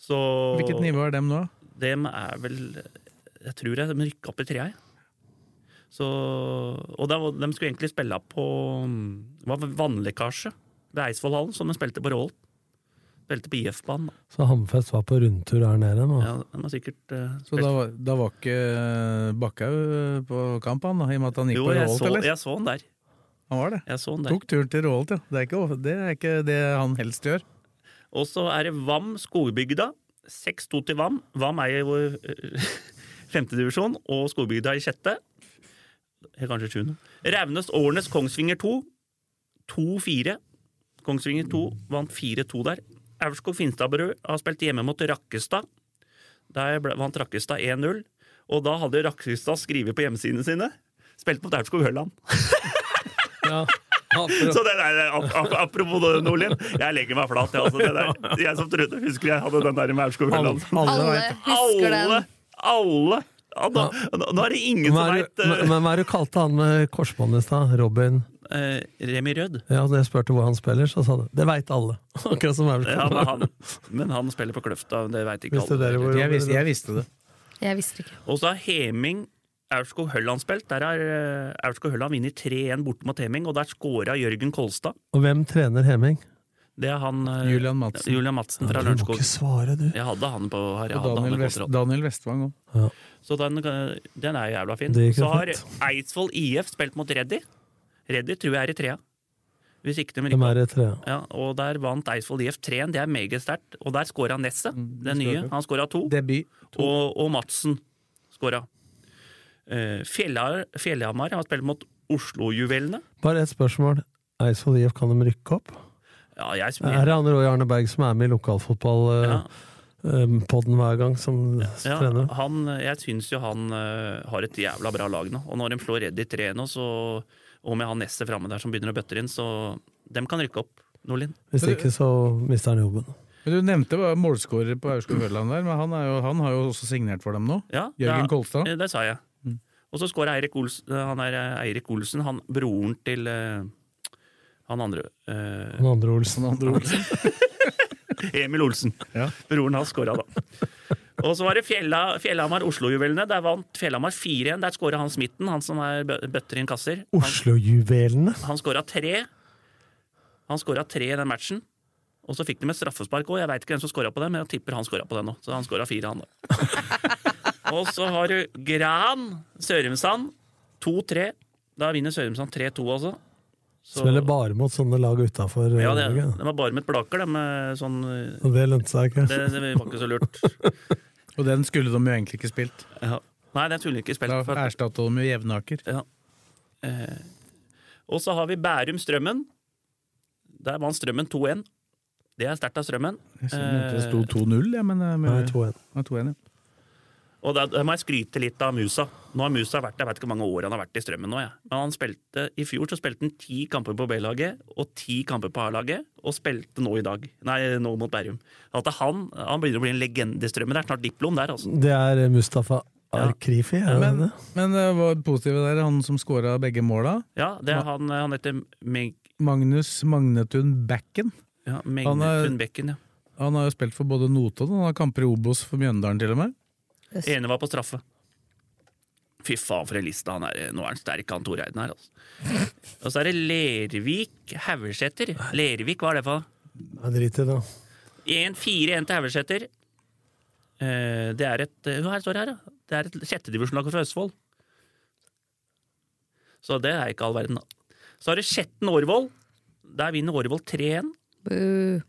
Speaker 3: Så
Speaker 2: Hvilket nivå er dem nå?
Speaker 3: Dem er vel Jeg tror jeg de rykka opp i trea, jeg. Så Og da, de skulle egentlig spille på mm, Det var vannlekkasje ved Eidsvollhallen, som de spilte på Rål. Spilte på IF-banen.
Speaker 5: Så Hammerfest var på rundtur her nede. nå.
Speaker 3: Ja, de har sikkert eh,
Speaker 2: Så da, var- da var ikke eh, Bakkhaug på kamp, han, da, i og med at han gikk
Speaker 3: Jo,
Speaker 2: på
Speaker 3: jeg
Speaker 2: Råholt,
Speaker 3: så,
Speaker 2: eller?
Speaker 3: jeg så han der.
Speaker 2: Han var det.
Speaker 3: Jeg så han der.
Speaker 2: Tok turen til Råholt, ja. Det er, ikke, of- det er ikke det han helst gjør.
Speaker 3: Og så er det Vam Skogbygda. 6-2 til Vam. Vam er i vår (laughs) femtedivisjon, og Skogbygda i sjette. Eh, Kanskje sjuende. Raunes Årnes Kongsvinger 2. 2-4. Kongsvinger 2 vant 4-2 der. Aurskog Finstadbrød har spilt hjemme mot Rakkestad. Der ble- vant Rakkestad 1-0. Og da hadde Rakkestad skrevet på hjemmesidene sine Spilt mot Aurskog Høland.
Speaker 5: Ja.
Speaker 3: (laughs) Så det der, ap ap apropos det, Nordlien. Jeg legger meg flat. Jeg, altså, det der, jeg som trodde husker jeg hadde den der med Aurskog
Speaker 5: Alle,
Speaker 3: Høland.
Speaker 5: alle
Speaker 4: Alle
Speaker 5: vet
Speaker 4: husker
Speaker 3: Alle!
Speaker 4: den.
Speaker 3: alle Ja, nå, nå, nå er det ingen
Speaker 5: Men
Speaker 3: som eh,
Speaker 5: hva er
Speaker 3: veit
Speaker 5: det- men- men hva er det du kalte han med korsbåndet i stad? Robin?
Speaker 3: Remi Rød.
Speaker 5: Ja, da jeg spurte hvor han spiller, så sa du 'det veit alle'. (laughs) Akkurat som Aurskog.
Speaker 3: Ja, men, han, men han spiller på Kløfta, det veit ikke
Speaker 5: Visste dere
Speaker 3: alle.
Speaker 5: hvor
Speaker 2: Jeg visste, jeg visste det.
Speaker 4: Jeg visste ikke.
Speaker 3: Og så har Heming Aurskog Høland spilt. Der har eh, Aurskog Høland vunnet 3-1 borte mot Heming, og der scora Jørgen Kolstad.
Speaker 5: Og hvem trener Heming?
Speaker 3: Det er han eh,
Speaker 2: Julian Madsen.
Speaker 3: Julian Madsen fra
Speaker 5: du må
Speaker 3: Lørenskog.
Speaker 5: ikke svare, du.
Speaker 3: Jeg hadde han på har jeg
Speaker 2: Og
Speaker 3: hadde
Speaker 2: Daniel,
Speaker 3: han på
Speaker 2: Vest,
Speaker 3: kontrakt.
Speaker 2: Daniel Vestvang òg.
Speaker 3: Så den, eh, den er jævla fin.
Speaker 5: Det gikk jo
Speaker 3: Så har
Speaker 5: fett.
Speaker 3: Eidsvoll IF spilt mot Reddy. Reddy tror jeg er i trea. Hvis ikke de
Speaker 5: Hvem
Speaker 3: rykker
Speaker 5: er det tre?
Speaker 3: ja, og Der vant Eidsvoll IF 3-1, det er meget sterkt. Og der scora Nesset, den nye. Han scora to.
Speaker 2: Debut.
Speaker 3: og, og Madsen skåra. Eh, Fjellha- Fjellhamar har spilt mot Oslo-juvelene.
Speaker 5: Bare ett spørsmål. Eidsvoll IF, kan de rykke opp?
Speaker 3: Ja, jeg
Speaker 5: Er
Speaker 3: smiler.
Speaker 5: det han Roy Arne Berg som er med i
Speaker 3: Ja,
Speaker 5: lokalfotballpodden podden hver gang, som
Speaker 3: ja,
Speaker 5: trener?
Speaker 3: han, jeg syns jo han eh, har et jævla bra lag nå. Og når de slår Reddy 3 nå, så og med han Nesset framme der som begynner å bøtte inn, så dem kan rykke opp. Nordlien.
Speaker 5: Hvis ikke, så mister han jobben.
Speaker 2: Men Du nevnte bare målskårer på Aurskog Høland der, men han, er jo, han har jo også signert for dem nå.
Speaker 3: Ja, det
Speaker 2: Jørgen
Speaker 3: er-
Speaker 2: Kolstad. Mm.
Speaker 3: eh, Det sa jeg. Og så skåra Eirik Olsen. Han er eh, Eirik Olsen, han broren til eh, han andre eh,
Speaker 5: Han andre Olsen.
Speaker 3: Emil Olsen.
Speaker 2: Ja.
Speaker 3: Broren hans skåra, da. Og så var det Fjella, Fjellhamar Oslo-juvelene. Der vant Fjellhamar 4-1. Der skåra han Smitten, han som er bø- bøtter inn kasser. Han,
Speaker 5: Oslo-juvelene!
Speaker 3: han skåra tre. Han skåra tre i den matchen. Og så fikk de med straffespark òg. Jeg veit ikke hvem som skåra på det, men jeg tipper han skåra på det nå. Så han skåra fire, han da. Og så har du Gran Sørumsand. 2-3. Da vinner Sørumsand 3-2, altså. Så-
Speaker 5: Spiller bare mot sånne lag utafor.
Speaker 3: ja, det, de var bare med et blaker, de. med Sånn,
Speaker 5: Og det lønte seg ikke.
Speaker 3: det, det var ikke så lurt.
Speaker 2: Og den skulle de jo egentlig ikke spilt.
Speaker 3: Ja. Nei, den skulle ikke
Speaker 2: Da
Speaker 3: spilt. For.
Speaker 2: erstatta de jo Jevnaker.
Speaker 3: Ja. Eh, og så har vi Bærum Strømmen. Der vant Strømmen 2-1. Det er sterkt av Strømmen.
Speaker 2: Jeg synes Det
Speaker 3: Eh,
Speaker 2: sto 2-0, ja, men eh,
Speaker 5: Nei,
Speaker 2: men-
Speaker 5: 2-1.
Speaker 2: Ja, 2-1, ja.
Speaker 3: Og der, der må jeg skryte litt av Musa. Nå har Musa vært der, jeg vet ikke hvor mange år han har vært i Strømmen nå. Jeg. Men han spilte, i fjor så spilte han ti kamper på B-laget og ti kamper på A-laget, og spilte nå i dag. Nei, nå mot Bærum. At han, han begynner å bli en legende i Strømmen. Det er snart diplom der, altså.
Speaker 5: Det er eh, Mustafa Arkrifi, er det
Speaker 2: Men,
Speaker 5: det?
Speaker 2: men eh, hva positive der, han som skåra begge måla,
Speaker 3: Ja, det er han, han heter Meg...
Speaker 2: Magnus Magnetun Backen.
Speaker 3: Ja,
Speaker 2: Han
Speaker 3: Megne
Speaker 2: er-
Speaker 3: Sundbekken, ja.
Speaker 2: Han har jo spilt for både Notodden han har kamper i Obos for Mjøndalen til og med.
Speaker 3: Ene var på straffe. Fy faen, for en liste han er. Nå er han sterk, han Tor Eiden her. Altså. Og så er det Lervik Haugeseter. Lervik, hva er det for noe?
Speaker 5: Nei, Drit i det.
Speaker 3: 1-4-1 til Haugeseter. Eh, Det er et eh, Hva er det står det her, da? Det er et sjettedivisjonslag fra Østfold. Så det er ikke all verden, da. Så har det Skjetten Årvoll. Der vinner Årvoll 3-1.
Speaker 4: Buh.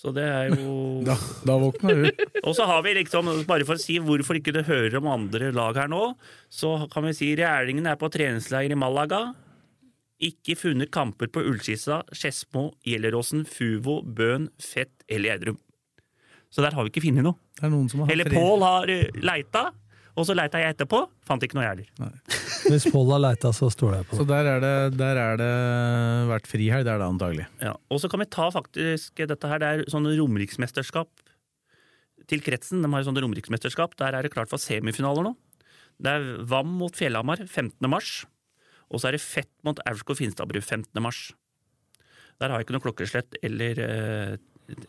Speaker 3: Så det er jo
Speaker 2: (laughs) Da, da våkna hun.
Speaker 3: Og så har vi liksom, bare for å si hvorfor ikke du hører om andre lag her nå, så kan vi si Rælingen er på treningsleir i Malaga. Ikke funnet kamper på Ullskissa, Skedsmo, Gjelleråsen, Fuvo, Bøn, Fett eller Gjerdrum. Så der har vi ikke funnet noe.
Speaker 2: Det er noen som har
Speaker 3: Eller
Speaker 2: fri-
Speaker 3: Pål har eh, leita, og så leita jeg etterpå. Fant ikke noe, jeg heller.
Speaker 5: Hvis Pål har leita, så stoler jeg på
Speaker 2: Så
Speaker 5: det.
Speaker 2: der er det, der er det vært frihelg, det er det antagelig.
Speaker 3: Ja. Og så kan vi ta faktisk dette her, det er sånne romeriksmesterskap til kretsen. De har jo sånne romeriksmesterskap. Der er det klart for semifinaler nå. Det er Vam mot Fjellhamar 15. mars. Og så er det Fett mot Aurskog Finstadbru 15. mars. Der har jeg ikke noe klokkeslett eller eh,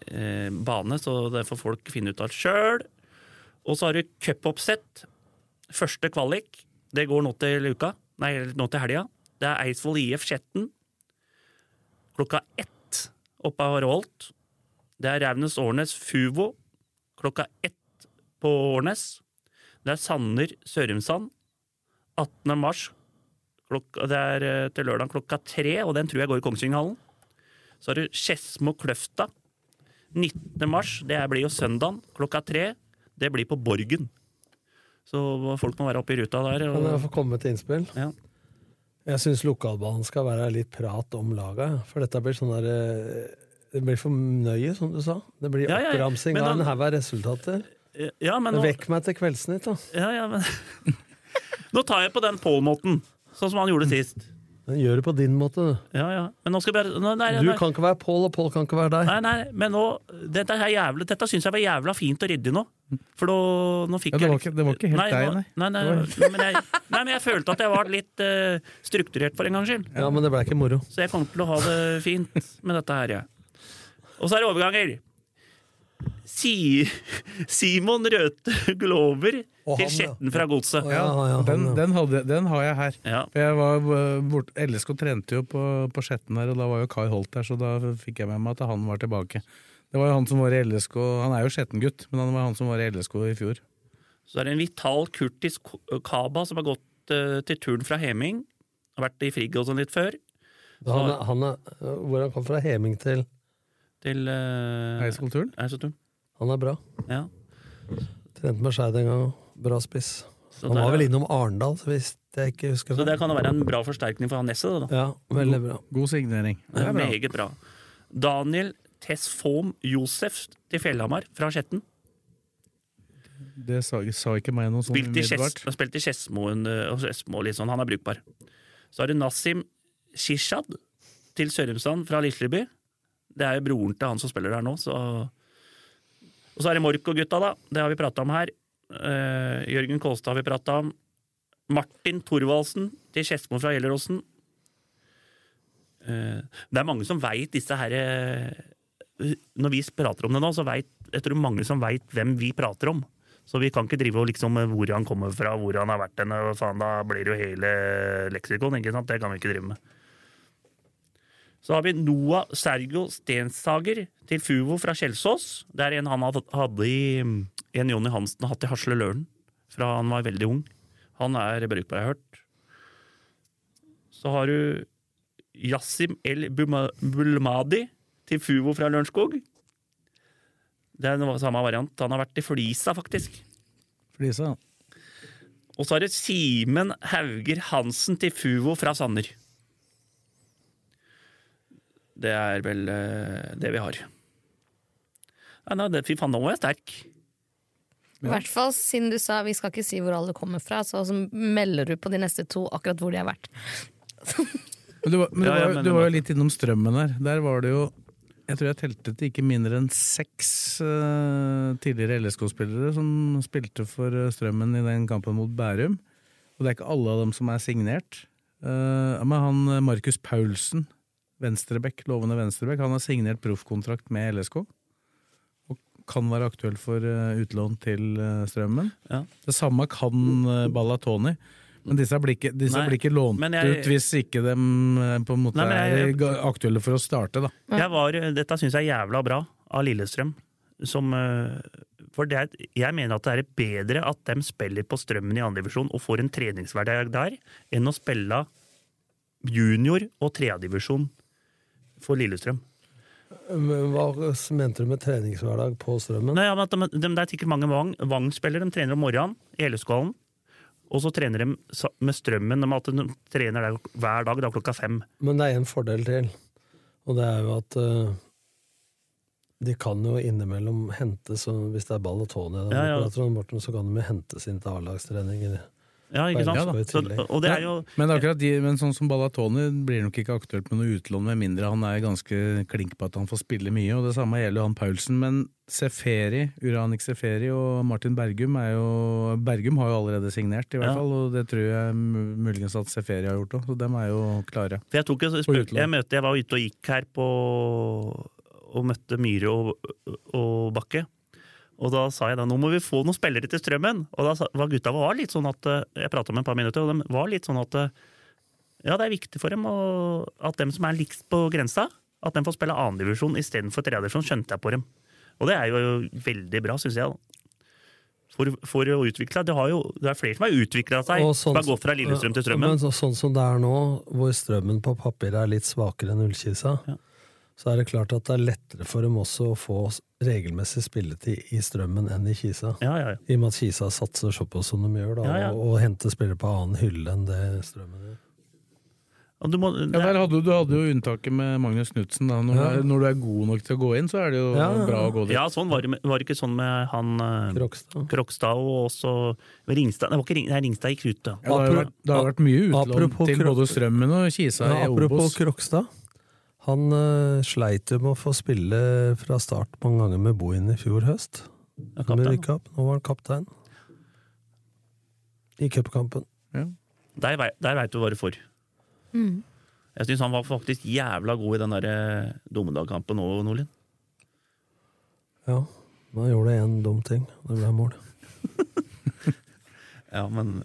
Speaker 3: eh, bane, så det får folk finne ut av sjøl. Og så har du cupoppsett. Første kvalik. Det går nå til uka. Nei, nå til helga. Det er Eidsvoll IF Skjetten klokka ett oppe av Hårholt. Det er Raunes Årnes Fuvo klokka ett på Årnes. Det er Sanner Sørumsand 18. mars. Klokka, det er eh, til lørdag klokka tre, og den tror jeg går i Kongsvinghallen. Så har du Skedsmo Kløfta 19. mars. Det er- blir jo søndagen klokka tre. Det blir på Borgen. Så folk må være oppe i ruta der.
Speaker 5: Kan jeg
Speaker 3: Og,
Speaker 5: få komme med et innspill?
Speaker 3: ja.
Speaker 5: Jeg syns lokalbanen skal være litt prat om laga, ja. for dette blir sånn der eh, det blir for nøye, som du sa. Det blir
Speaker 3: Ja, ja, ja.
Speaker 5: oppramsing
Speaker 3: Men
Speaker 5: av en
Speaker 3: da-
Speaker 5: haug av resultater.
Speaker 3: Ja, men nå,
Speaker 5: Vekk meg til Kveldsnytt, da.
Speaker 3: ja, ja, men, (laughs) nå tar jeg på den Paul-måten, sånn som han
Speaker 2: Mm.
Speaker 3: gjorde sist.
Speaker 5: Men gjør det på din måte, du.
Speaker 3: Ja, ja. Men nå skal vi bare nå- nei,
Speaker 5: Du
Speaker 3: nei,
Speaker 5: kan ikke være Pål, og Pål kan ikke være deg.
Speaker 3: nei, nei, men nå Dette, her jævlig- dette syns jeg var jævla fint og ryddig nå. For nå, nå fikk
Speaker 2: Ja, det,
Speaker 3: jeg
Speaker 2: var
Speaker 3: litt-
Speaker 2: ikke, det var ikke helt deg,
Speaker 3: nå-
Speaker 2: nei.
Speaker 3: Nei, nei,
Speaker 2: Det
Speaker 3: nei, men jeg, nei, men jeg følte at jeg var litt eh, strukturert for en gangs skyld.
Speaker 5: Ja, men det ble ikke moro.
Speaker 3: Så jeg kommer til å ha det fint med dette her, jeg. Og så er det overganger. Si, Simon Røthe Glover
Speaker 5: Og han,
Speaker 3: til Skjetten fra Godset.
Speaker 5: Ja, ja, ja,
Speaker 2: Den,
Speaker 5: han, ja.
Speaker 2: den, hadde, den har jeg her.
Speaker 3: Ja.
Speaker 2: For Jeg var eh, bort, LSK trente jo på, på Skjetten her, og da var jo Kai Holt der, så da fikk jeg med meg at han var tilbake. Det var jo han som var i LSK, han er jo Skjetten-gutt, men han var han som var i LSK i fjor.
Speaker 3: Så er det en vital Kurtis K- eh, Kaba som har gått eh, til turn fra Heming. Har vært i Frigg og sånn litt før.
Speaker 5: Han, er- han er, eh, hvor han kom fra Heming til
Speaker 3: Til uh,
Speaker 2: Heiskulturen.
Speaker 3: Eidsvollturen.
Speaker 5: Han er bra.
Speaker 3: Ja.
Speaker 5: Trente med Skeid en gang. Bra spiss.
Speaker 3: Så,
Speaker 5: Han var
Speaker 3: der-
Speaker 5: vel innom Arendal, så hvis jeg ikke husker
Speaker 3: så
Speaker 5: feil.
Speaker 3: det Mm. kan være en bra forsterkning for han Nesse. Da.
Speaker 5: Ja, veldig bra.
Speaker 2: God signering. Det
Speaker 3: Det
Speaker 2: er
Speaker 3: er
Speaker 2: bra.
Speaker 3: meget bra. Daniel Tesfom Josef til Fjellhamar fra Skjetten.
Speaker 2: Det sa, sa ikke meg noe sånn
Speaker 3: Spilt i, Kjes,
Speaker 2: umiddelbart.
Speaker 3: han spilte i Skedsmoen eh, og Skedsmo, litt sånn. Han er brukbar. Så har du Nassim Shishad til Sørumsand fra Lisleby. Det er jo broren til han som spiller der nå, så Og så er det Morko-gutta, da. Det har vi prata om her. Eh, Jørgen Kolstad har vi prata om. Martin Thorvaldsen til Skedsmo fra Gjelleråsen. Eh, det er mange som veit disse her eh, Når vi prater om det nå, så veit jeg tror mange som veit hvem vi prater om. Så vi kan ikke drive og liksom eh, hvor han kommer fra, hvor han har vært henne, og faen, da blir det jo hele leksikon, ikke sant? Det kan vi ikke drive med. Så har vi Noah Sergo Stenshager til Fuvo fra Kjelsås. Det er en han har fått- hadde i En Jonny Hansen har hatt i Hasle Løren fra han var veldig ung. Han er brukbar, jeg har hørt. Så har du Yassim El Buma- Bulmadi til Fuvo fra Lørenskog. Det er den samme variant. Han har vært i Flisa, faktisk.
Speaker 2: Flisa.
Speaker 3: Og så er det Simen Hauger Hansen til Fuvo fra Sanner. Det er vel eh, det vi har. Ja, nei, det, fy faen, nå var jeg sterk.
Speaker 4: I hvert fall siden du sa vi skal ikke si hvor alle kommer fra, så så melder du på de neste to akkurat hvor de har vært.
Speaker 2: Men du var, men du
Speaker 3: Ja, ja,
Speaker 2: var,
Speaker 3: men-
Speaker 2: du var jo litt innom strømmen her. Der var det jo Jeg tror jeg telte til ikke mindre enn seks eh, tidligere LSK-spillere som spilte for eh, strømmen i den kampen mot Bærum. Og det er ikke alle av dem som er signert. Eh, men han eh, Markus Paulsen, venstrebekk, lovende venstrebekk, han har signert proffkontrakt med LSK. Og kan være aktuell for eh, utlån til eh, strømmen.
Speaker 3: Ja.
Speaker 2: Det samme kan eh, Ballatoni. Men disse blir ikke, disse
Speaker 3: Nei,
Speaker 2: blir ikke lånt
Speaker 3: men jeg-
Speaker 2: ut hvis ikke de eh, på en måte
Speaker 3: Nei, men jeg-
Speaker 2: er ga- aktuelle for å starte, da.
Speaker 3: Jeg var, dette syns jeg er jævla bra av Lillestrøm. Som, eh, for det er, jeg mener at det er bedre at de spiller på Strømmen i andredivisjon og får en treningshverdag der, enn å spille junior- og tredjedivisjon for Lillestrøm.
Speaker 5: Men Hva mente du med treningshverdag på Strømmen?
Speaker 3: Nei, ja, men at de, de, det er sikkert mange Vang- Vang-spillere. De trener om morgenen i Helleskålen. Og så trener de sa- med strømmen om at de trener der hver dag da klokka fem.
Speaker 5: Men det er en fordel til, og det er jo at eh, de kan jo innimellom hentes, og hvis det er ball og tåne,
Speaker 3: Ja, ja.
Speaker 5: så kan de jo hentes inn til A-lagstrening. i det.
Speaker 3: Ja, ikke sant?
Speaker 5: Ja, da.
Speaker 3: så, og det er jo
Speaker 2: Men akkurat de, men sånn som Ballatoni blir nok ikke aktuelt med noe utlån, med mindre han er ganske klink på at han får spille mye. Og det samme gjelder jo han Paulsen. Men Seferi, Uranik Seferi og Martin Bergum er jo Bergum har jo allerede signert, i hvert
Speaker 3: Ja.
Speaker 2: fall. Og det tror jeg mu- muligens at Seferi har gjort òg, så dem er jo klare.
Speaker 3: For jeg, tok, jo-
Speaker 2: På utlån.
Speaker 3: jeg, møtte, jeg var ute og gikk her på Og møtte Myhre og, og Bakke. Og da sa jeg da nå må vi få noen spillere til Strømmen. Og da sa, var gutta var litt sånn at eh, Jeg prata med et par minutter, og de var litt sånn at eh, ja, det er viktig for dem å, at dem som er likst på grensa, at dem får spille annendivisjon istedenfor tredjedivisjon, skjønte jeg på dem. Og det er jo veldig bra, syns jeg. da. For, for å utvikle Det, har jo, det er flere som har utvikla seg.
Speaker 5: Og sånn
Speaker 3: som har gått fra Lillestrøm til Strømmen.
Speaker 5: Men så, sånn som det er nå, hvor strømmen på papiret er litt svakere enn ullkisa,
Speaker 3: Ja.
Speaker 5: så er det klart at det er lettere for dem også å få s- regelmessig spilletid i strømmen enn i Kisa.
Speaker 3: Ja, ja, ja.
Speaker 5: I og med at Kisa satser såpass som de gjør, da,
Speaker 3: Ja, ja.
Speaker 5: Og, og henter spillere på annen hylle enn det strømmen gjør.
Speaker 3: Ja, Du må,
Speaker 2: Ja, der hadde, du- du hadde jo unntaket med Magnus Knutsen. da. Når,
Speaker 5: Ja.
Speaker 2: du er- når du er god nok til å gå inn, så er det jo
Speaker 5: Ja.
Speaker 2: bra å gå dit.
Speaker 3: Ja, sånn var det med- var det ikke sånn med han eh,
Speaker 5: Krokstad.
Speaker 3: Krokstad og også Ringstad. Det var ikke Ring, nei, Ringstad gikk ut, da.
Speaker 2: Ja, det, har jo vært, det har vært mye utlån
Speaker 5: Apropos
Speaker 2: til
Speaker 5: kropp-
Speaker 2: både Strømmen og Kisa
Speaker 5: Ja,
Speaker 2: i
Speaker 5: apropos
Speaker 2: Obos.
Speaker 5: Krokstad. Han eh, sleit jo med å få spille fra start mange ganger med Bohin i fjor høst.
Speaker 3: Ja,
Speaker 5: Han
Speaker 3: kaptein.
Speaker 5: ble rykket opp. Nå var han kaptein. I cupkampen.
Speaker 3: Der, vei- der veit du hva du får. Jeg syns han var faktisk jævla god i den derre dommedagkampen òg, Nordlien.
Speaker 5: Ja. Da gjorde jeg en dum ting. Det ble mål.
Speaker 3: Ja, men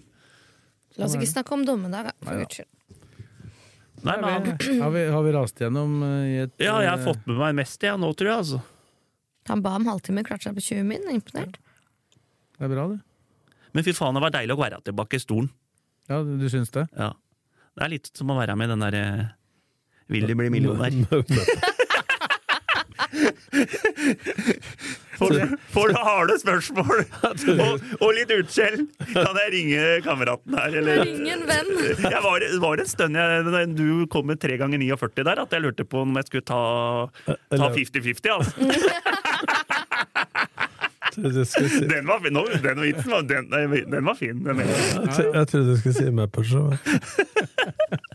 Speaker 4: La oss ikke snakke om dommedag, da. For guds skyld.
Speaker 3: Nei, men han,
Speaker 2: Har vi, har vi rast gjennom eh, i et
Speaker 3: Ja, jeg har
Speaker 2: eh,
Speaker 3: fått med meg mest, jeg, nå, tror jeg, altså.
Speaker 4: Han ba om halvtime, klarte seg på 20 min. Imponert.
Speaker 2: Det er bra, det.
Speaker 3: Men fy faen, det var deilig å være tilbake i stolen.
Speaker 2: Ja, du, du syns det?
Speaker 3: Ja. Det er litt som å være med i den eh, derre Vil de bli millionær? (laughs) Får du, får du harde spørsmål (laughs) og, og litt utskjell? Kan jeg ringe kameraten her, eller?
Speaker 4: Ring en venn!
Speaker 3: (laughs) Jeg var, det var en stund jeg, da du kom med tre ganger 49 der, at jeg lurte på om jeg skulle ta
Speaker 2: Eh,
Speaker 3: ta 50-50. Altså.
Speaker 5: trodde du skulle
Speaker 3: (laughs)
Speaker 5: si-
Speaker 3: Den var fin! nå- Den, vitsen var- den, nei, den var fin. Den mener jeg.
Speaker 5: Jeg tro- jeg trodde du skulle si Mapperson.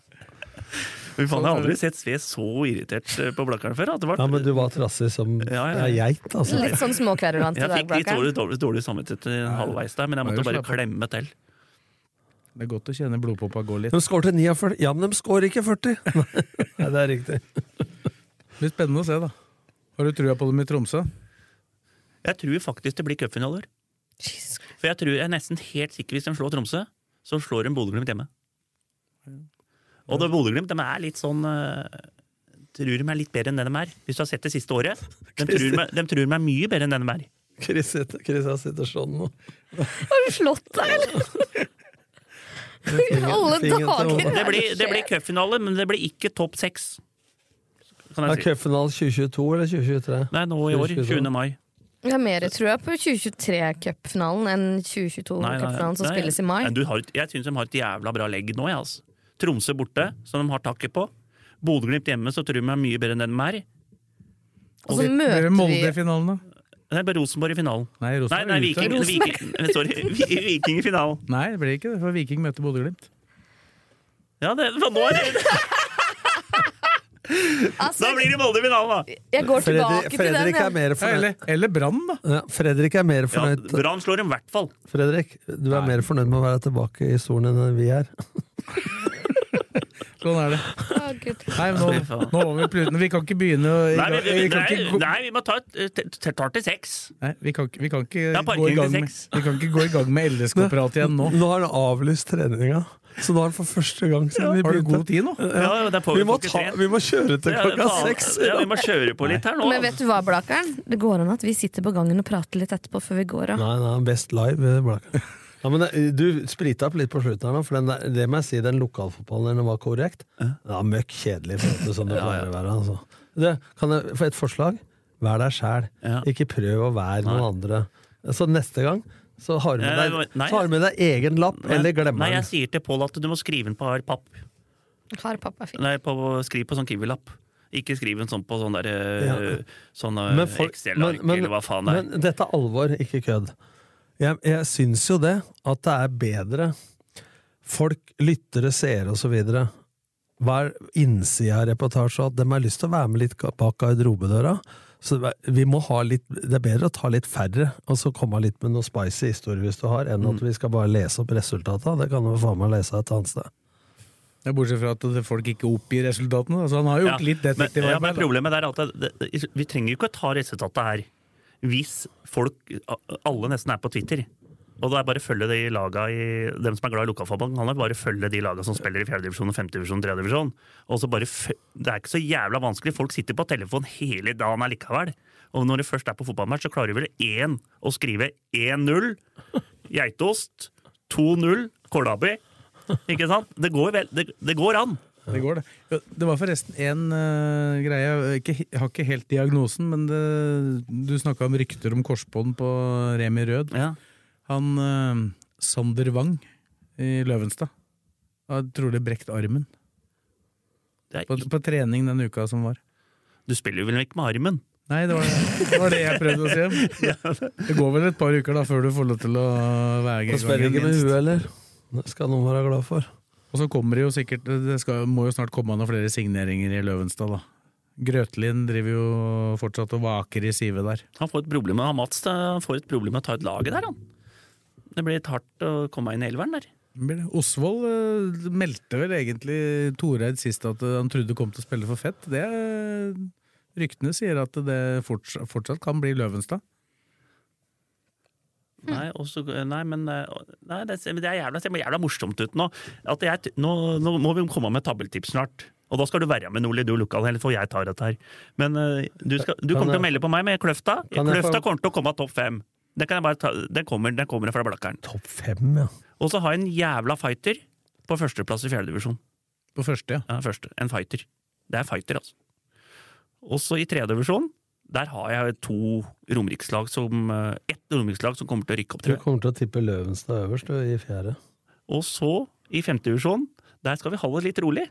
Speaker 3: Fy faen, jeg har aldri sett Sve så irritert eh, på Blakkaren før. At det var,
Speaker 5: Ja, men du var trassig som
Speaker 3: Ja, ja.
Speaker 5: ja, geit, altså.
Speaker 4: Litt sånn småkverulante
Speaker 3: jeg
Speaker 4: der,
Speaker 3: fikk litt
Speaker 4: Blakkaren.
Speaker 3: dårlig, dårlig, dårlig samvittighet eh, halvveis der, men jeg
Speaker 2: Nei,
Speaker 3: måtte
Speaker 2: jo,
Speaker 3: bare
Speaker 2: slapp av.
Speaker 3: klemme til.
Speaker 2: Det er godt å kjenne blodpoppa gå litt.
Speaker 5: De skårte 49. Ja, men de skårer ikke 40! (laughs) Nei, det er riktig.
Speaker 2: Det blir spennende å se, da. Har du trua på dem i Tromsø?
Speaker 3: Jeg tror faktisk det blir cupfinaler.
Speaker 4: Jesus Christ.
Speaker 3: For jeg tror jeg er nesten helt sikker hvis de slår Tromsø, så slår de Bodø-Glimt hjemme. Og det Bodø-Glimt de er litt sånn eh, Tror de er litt bedre enn det de er. Hvis du har sett det siste året. De tror de, de, tror de er mye bedre enn det de er.
Speaker 5: Chris sitter, Chris her sitter sånn nå.
Speaker 4: Har du slått deg, eller? (laughs) Alle
Speaker 5: fingeren til
Speaker 4: dager!
Speaker 5: hånda.
Speaker 3: Det blir, det blir cupfinale, men det blir ikke topp seks. Kan
Speaker 5: Er
Speaker 3: jeg si.
Speaker 5: cupfinalen 2022 eller 2023?
Speaker 3: Nei, nå i år. 20. mai.
Speaker 4: Jeg har mer trua på 2023-cupfinalen enn 2022-cupfinalen som
Speaker 3: nei.
Speaker 4: spilles i mai.
Speaker 3: Nei, du har, et- jeg syns de har et jævla bra legg nå. jeg, altså. Tromsø borte, som de har taket på. Bodø-Glimt hjemme, så tror de de er mye bedre enn det de er.
Speaker 4: Og så
Speaker 2: Blir
Speaker 4: møter
Speaker 2: det Molde i
Speaker 4: vi
Speaker 2: finalen, da?
Speaker 3: Nei, bare Rosenborg i finalen.
Speaker 2: Nei,
Speaker 3: Nei,
Speaker 2: Rosenborg
Speaker 3: nei
Speaker 2: er ute.
Speaker 3: Viking, Viking, (laughs) sorry, Vi- Viking i finalen.
Speaker 2: Nei, det blir ikke det, for Viking møter Bodø-Glimt.
Speaker 3: Ja, det, for nå er det,
Speaker 4: altså,
Speaker 3: (laughs) da blir det Molde i finalen, da!
Speaker 4: Jeg går tilbake
Speaker 5: Fredrik,
Speaker 4: til den.
Speaker 5: Fredrik er
Speaker 4: Ja.
Speaker 5: mer
Speaker 2: Ja,
Speaker 5: fornøyd.
Speaker 2: eller eller Brann, da.
Speaker 5: Ja, Fredrik er mer
Speaker 3: Ja,
Speaker 5: fornøyd.
Speaker 3: Brann slår dem i hvert fall.
Speaker 5: Fredrik, du er mer fornøyd med å være tilbake i stolen enn vi er.
Speaker 2: Sånn er det.
Speaker 4: Å, Gud.
Speaker 2: Nei, men nå, nå må vi prute. Vi kan ikke begynne å
Speaker 3: Nei, vi,
Speaker 2: vi kan
Speaker 3: nei,
Speaker 2: ikke gå-
Speaker 3: nei, vi må ta et t- t- tar til seks.
Speaker 2: Nei, vi kan, ikke- vi kan ikke
Speaker 3: Det er
Speaker 2: gå i
Speaker 3: parkering til
Speaker 2: gang med,
Speaker 3: seks.
Speaker 2: vi kan ikke gå i
Speaker 3: (laughs)
Speaker 2: gang med LS-koprat igjen nå.
Speaker 5: Nå har han avlyst treninga, så nå har han for første gang siden vi
Speaker 2: Har du god
Speaker 5: begynte.
Speaker 2: tid nå?
Speaker 3: Ja, det er på-
Speaker 5: Vi må,
Speaker 3: på
Speaker 5: ta,
Speaker 3: tre.
Speaker 5: vi må kjøre til
Speaker 3: Ja, det er
Speaker 5: klokka
Speaker 3: faen-
Speaker 5: seks!
Speaker 3: Ja, vi må kjøre på litt her nå.
Speaker 4: Men vet du hva, Blakkaren? Det går an at vi sitter på gangen og prater litt etterpå før vi går av.
Speaker 5: Nei, nei, best live. eh, Blaker. Ja, men det- du sprita opp litt på slutten her nå, for den, der, det må jeg si, den lokalfotballen den var korrekt. Den var møkk kjedelig i forhold til sånn det pleier å være. Altså. Det, kan jeg få et forslag? Vær deg sjæl.
Speaker 3: Ja.
Speaker 5: Ikke prøv å være noen andre. Så neste gang så har du med
Speaker 3: Nei,
Speaker 5: deg,
Speaker 3: Eh, nei,
Speaker 5: så har du med deg egen lapp,
Speaker 3: Nei,
Speaker 5: eller glemmer
Speaker 3: Nei, jeg
Speaker 5: den.
Speaker 3: sier til Pål at du må skrive den på hard papp.
Speaker 4: Har pappa fint.
Speaker 3: Nei, på, skriv på sånn Kiwi-lapp. Ikke skriv den sånn på sånn der eh, sånn eh,
Speaker 5: Men folk-
Speaker 3: Excel-ark
Speaker 5: men-
Speaker 3: eller hva faen det er.
Speaker 5: Men dette er alvor, ikke kødd. Jeg, jeg syns jo det, at det er bedre folk, lyttere, seere osv. Hver innsida av reportasje at de har lyst til å være med litt bak garderobedøra. Så det er- vi må ha litt, Det er bedre å ta litt færre, og så komme litt med noe spicy historie hvis du har, enn
Speaker 3: Mm.
Speaker 5: at vi skal bare lese opp resultatene. Det kan du faen meg lese et annet sted.
Speaker 2: Ja, bortsett fra at folk ikke oppgir resultatene. da, Så han har
Speaker 3: Ja,
Speaker 2: gjort litt
Speaker 3: men, ja, men
Speaker 2: detektivarbeid. da.
Speaker 3: problemet der er at det, det, vi trenger jo ikke å ta resultatet her hvis folk, a- alle nesten er på Twitter. Og da er bare å følge de laga i, dem som er glad i lokalfotballen, kan da bare følge de laga som spiller i 4. divisjon, 5. divisjon, 3. divisjon. Og så bare, fø- det er ikke så jævla vanskelig. Folk sitter på telefon hele dagen allikevel. Og når du først er på fotballmatch, så klarer du vel én å skrive 1-0, geitost, 2-0, kålrabi. Ikke sant? Det går, vel, det, det går an.
Speaker 2: Det går, det. Ja, Det var forresten en eh, greie jeg ikke, he- har ikke helt diagnosen, men det, du snakka om rykter om korsbånd på Remi Rød.
Speaker 3: Ja.
Speaker 2: Han eh, Sander Wang i Løvenstad har trolig brekt armen.
Speaker 3: Det
Speaker 2: På,
Speaker 3: er,
Speaker 2: på trening den uka som var.
Speaker 3: du spiller jo vel ikke med armen?
Speaker 2: Nei, det var det, det, var det jeg prøvde å
Speaker 3: (laughs)
Speaker 2: si. Det går vel et par uker da før du får lov til å være
Speaker 5: Og spiller
Speaker 2: i
Speaker 5: ikke med huet
Speaker 2: gang.
Speaker 5: heller. Det skal noen være glad for.
Speaker 2: Og så kommer det jo sikkert Det skal, må jo snart komme noen flere signeringer i Løvenstad, da. Grøtlin driver jo fortsatt og vaker i sivet der.
Speaker 3: Han får et problem med han Mats, da, han får et problem med å ta ut laget der, han. Det blir litt hardt å komme inn i elveren der.
Speaker 2: Blir det- Osvold eh, meldte vel egentlig Toreid sist at eh, han trodde kom til å spille for Fett. Det, eh, ryktene sier at det fortsatt, fortsatt kan bli Løvenstad.
Speaker 3: Nei, og så- nei, men eh, nei, det, ser- men det er jævla, det ser jævla morsomt ut nå. At jeg, t- nå. Nå må vi komme med tabelltips snart. Og da skal du være med, Nordli, du lokal, eller for jeg tar dette her. Men eh, du, skal, du
Speaker 5: Kan
Speaker 3: kommer til å
Speaker 5: jeg-
Speaker 3: melde på meg med Kløfta.
Speaker 5: Kan jeg
Speaker 3: Kløfta
Speaker 5: få-
Speaker 3: kommer til å komme av topp fem. Den, kan jeg bare ta, den, kommer, den kommer fra Blakkeren.
Speaker 5: Topp fem, ja.
Speaker 3: Og så har jeg en jævla fighter på førsteplass i fjerdedivisjon.
Speaker 2: På første, ja.
Speaker 3: Ja, første. En fighter. Det er fighter, altså. Også i tredjedivisjon, der har jeg to romerikslag som eh, Ett romerikslag som kommer til å rykke opp.
Speaker 5: Du
Speaker 3: Tror jeg.
Speaker 5: kommer til å tippe Løvenstad øverst du, i fjerde.
Speaker 3: Og så, i femte divisjon, der skal vi holde det litt rolig.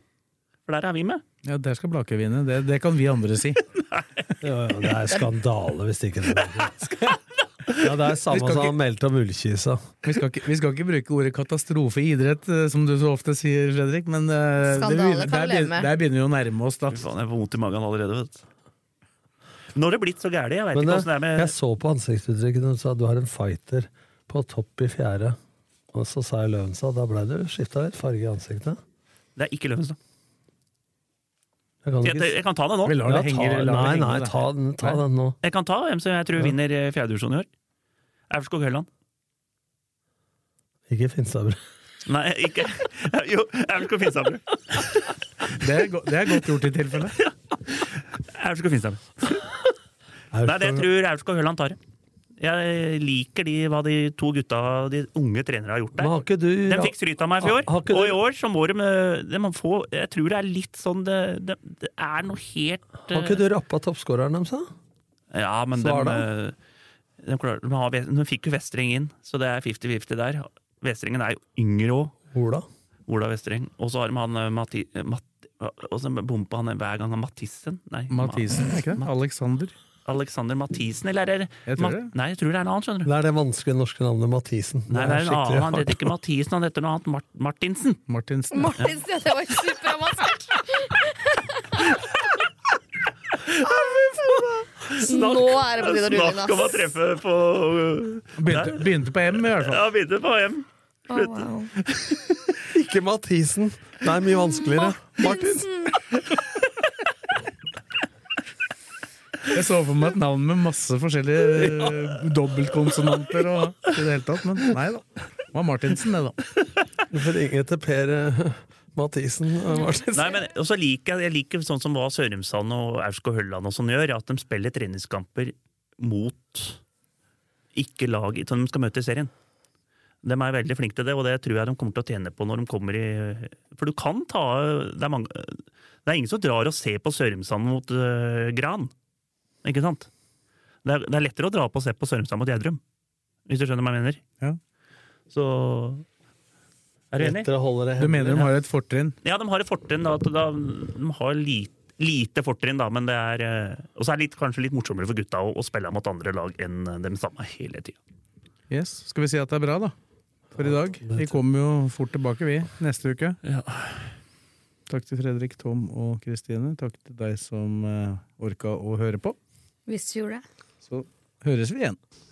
Speaker 3: For der er vi med.
Speaker 2: ja der skal Blake vinne. Det, det kan vi andre si.
Speaker 5: Ja, ja, det er skandale hvis det ikke det
Speaker 3: (laughs)
Speaker 5: er Ja, det er samme som han meldte om Ullkisa.
Speaker 2: Vi skal, ikke, vi skal ikke bruke ordet katastrofe i idrett, eh, som du så ofte sier, Fredrik, men eh, det
Speaker 4: Skandale
Speaker 2: begynner-
Speaker 4: kan
Speaker 2: der,
Speaker 4: vi leve med.
Speaker 2: begynner, der begynner vi å nærme oss, da.
Speaker 3: Fy faen, jeg får vondt i magen allerede, vet du. eh, Nå har det blitt så gærent. Jeg veit
Speaker 5: Men
Speaker 3: ikke
Speaker 5: det,
Speaker 3: åssen det er med
Speaker 5: jeg så på ansiktsuttrykket når du sa du har en fighter på topp i fjerde. Og så sa jeg Løvenstad. Da blei du skifta litt farge i ansiktet.
Speaker 3: Det er ikke Løvenstad.
Speaker 5: Jeg kan
Speaker 3: Jeg,
Speaker 5: ikke
Speaker 3: jeg kan ta det nå.
Speaker 2: Vi lar
Speaker 5: ja,
Speaker 2: det henge.
Speaker 5: ta,
Speaker 2: lar det
Speaker 5: Nei,
Speaker 2: henge,
Speaker 5: nei,
Speaker 2: da.
Speaker 5: ta, den- ta den nå.
Speaker 3: Jeg kan ta hvem som jeg tror vinner eh, fjerde divisjon i år. Aurskog Høland.
Speaker 5: Ikke Finstadbru.
Speaker 3: Nei, ikke (laughs) Jo, Aurskog Finstadbru.
Speaker 2: Det, er go- det er godt gjort i tilfelle.
Speaker 3: Aurskog Finstadbru. Nei, det jeg tror Aurskog Høland tar det. Jeg liker de, hva de to gutta, de unge trenere, har gjort
Speaker 5: Men
Speaker 3: der.
Speaker 5: har ikke du
Speaker 3: Den fikk skryt av meg i fjor,
Speaker 5: Har ikke
Speaker 3: og i
Speaker 5: du-
Speaker 3: år så må de, eh, de må få Jeg tror det er litt sånn Det, det, det er noe helt eh,
Speaker 5: Har ikke du rappa toppskåreren deres, da?
Speaker 3: Ja, men de,
Speaker 5: Svar
Speaker 3: eh, de, klarer- de, har, de fikk jo Vestreng inn, så det er 50-50 der. Vestrengen er jo yngre òg,
Speaker 5: Ola?
Speaker 3: Ola Vestreng. Og så har de han eh, Mati, eh, Mat, og så bompa han hver gang han Mathisen. Nei,
Speaker 2: Mathisen, er ikke det? Alexander.
Speaker 3: Ma- Alexander Mathisen, eller er det
Speaker 2: Jeg tror det.
Speaker 3: Nei, jeg tror det er en annen, skjønner du.
Speaker 5: Det er det vanskelige norske navnet Mathisen.
Speaker 3: Nei, det er en
Speaker 5: skikkelig
Speaker 3: annen, Han
Speaker 5: hardt.
Speaker 3: heter ikke Mathisen, han heter noe annet. Mart Martinsen.
Speaker 2: Martinsen.
Speaker 4: Martin, ja. det var jo superamaskert! Nå er det på tide å rulle inn,
Speaker 3: Snakk om å
Speaker 4: ass.
Speaker 3: treffe på
Speaker 2: Begynte, begynte på M, i hvert fall.
Speaker 3: Ja, begynte på hjem.
Speaker 4: Å, wow.
Speaker 5: Ikke Mathisen! Det er mye vanskeligere. Martinsen!
Speaker 2: Jeg så for meg et navn med masse forskjellige eh, dobbeltkonsonanter og i det hele tatt, men nei da. Det var Martinsen, det, da.
Speaker 5: Hvorfor ringe til Per eh, Mathisen? eh, Martin?
Speaker 3: (laughs) Nei, men også liker jeg, jeg liker sånn som hva Sørumsand og Aurskog Høland og sånn gjør, at de spiller treningskamper mot ikke lag som de skal møte i serien. De er veldig flinke til det, og det tror jeg de kommer til å tjene på når de kommer i For du kan ta Det er, mange, det er ingen som drar og ser på Sørumsand mot øh, Gran, ikke sant? Det er, det er lettere å dra på og se på Sørumsand mot Gjerdrum, hvis du skjønner hva jeg mener.
Speaker 2: Ja.
Speaker 3: Så Er du enig?
Speaker 5: Lettere å holde det
Speaker 2: Du
Speaker 5: hemmelig.
Speaker 2: mener de har et fortrinn?
Speaker 3: Ja, de har et fortrinn. Da, at da, de har lite, lite fortrinn, da, men det er eh, Og så er det litt, kanskje litt morsommere for gutta å, å spille mot andre lag enn dem samme hele tida.
Speaker 2: Yes. Skal vi si at det er bra, da? For i dag. Vi kommer jo fort tilbake, vi. Neste uke.
Speaker 3: Ja.
Speaker 2: Takk til Fredrik, Tom og Kristine. Takk til deg som eh, orka å høre på.
Speaker 4: Hvis du gjorde det.
Speaker 2: Så høres vi igjen.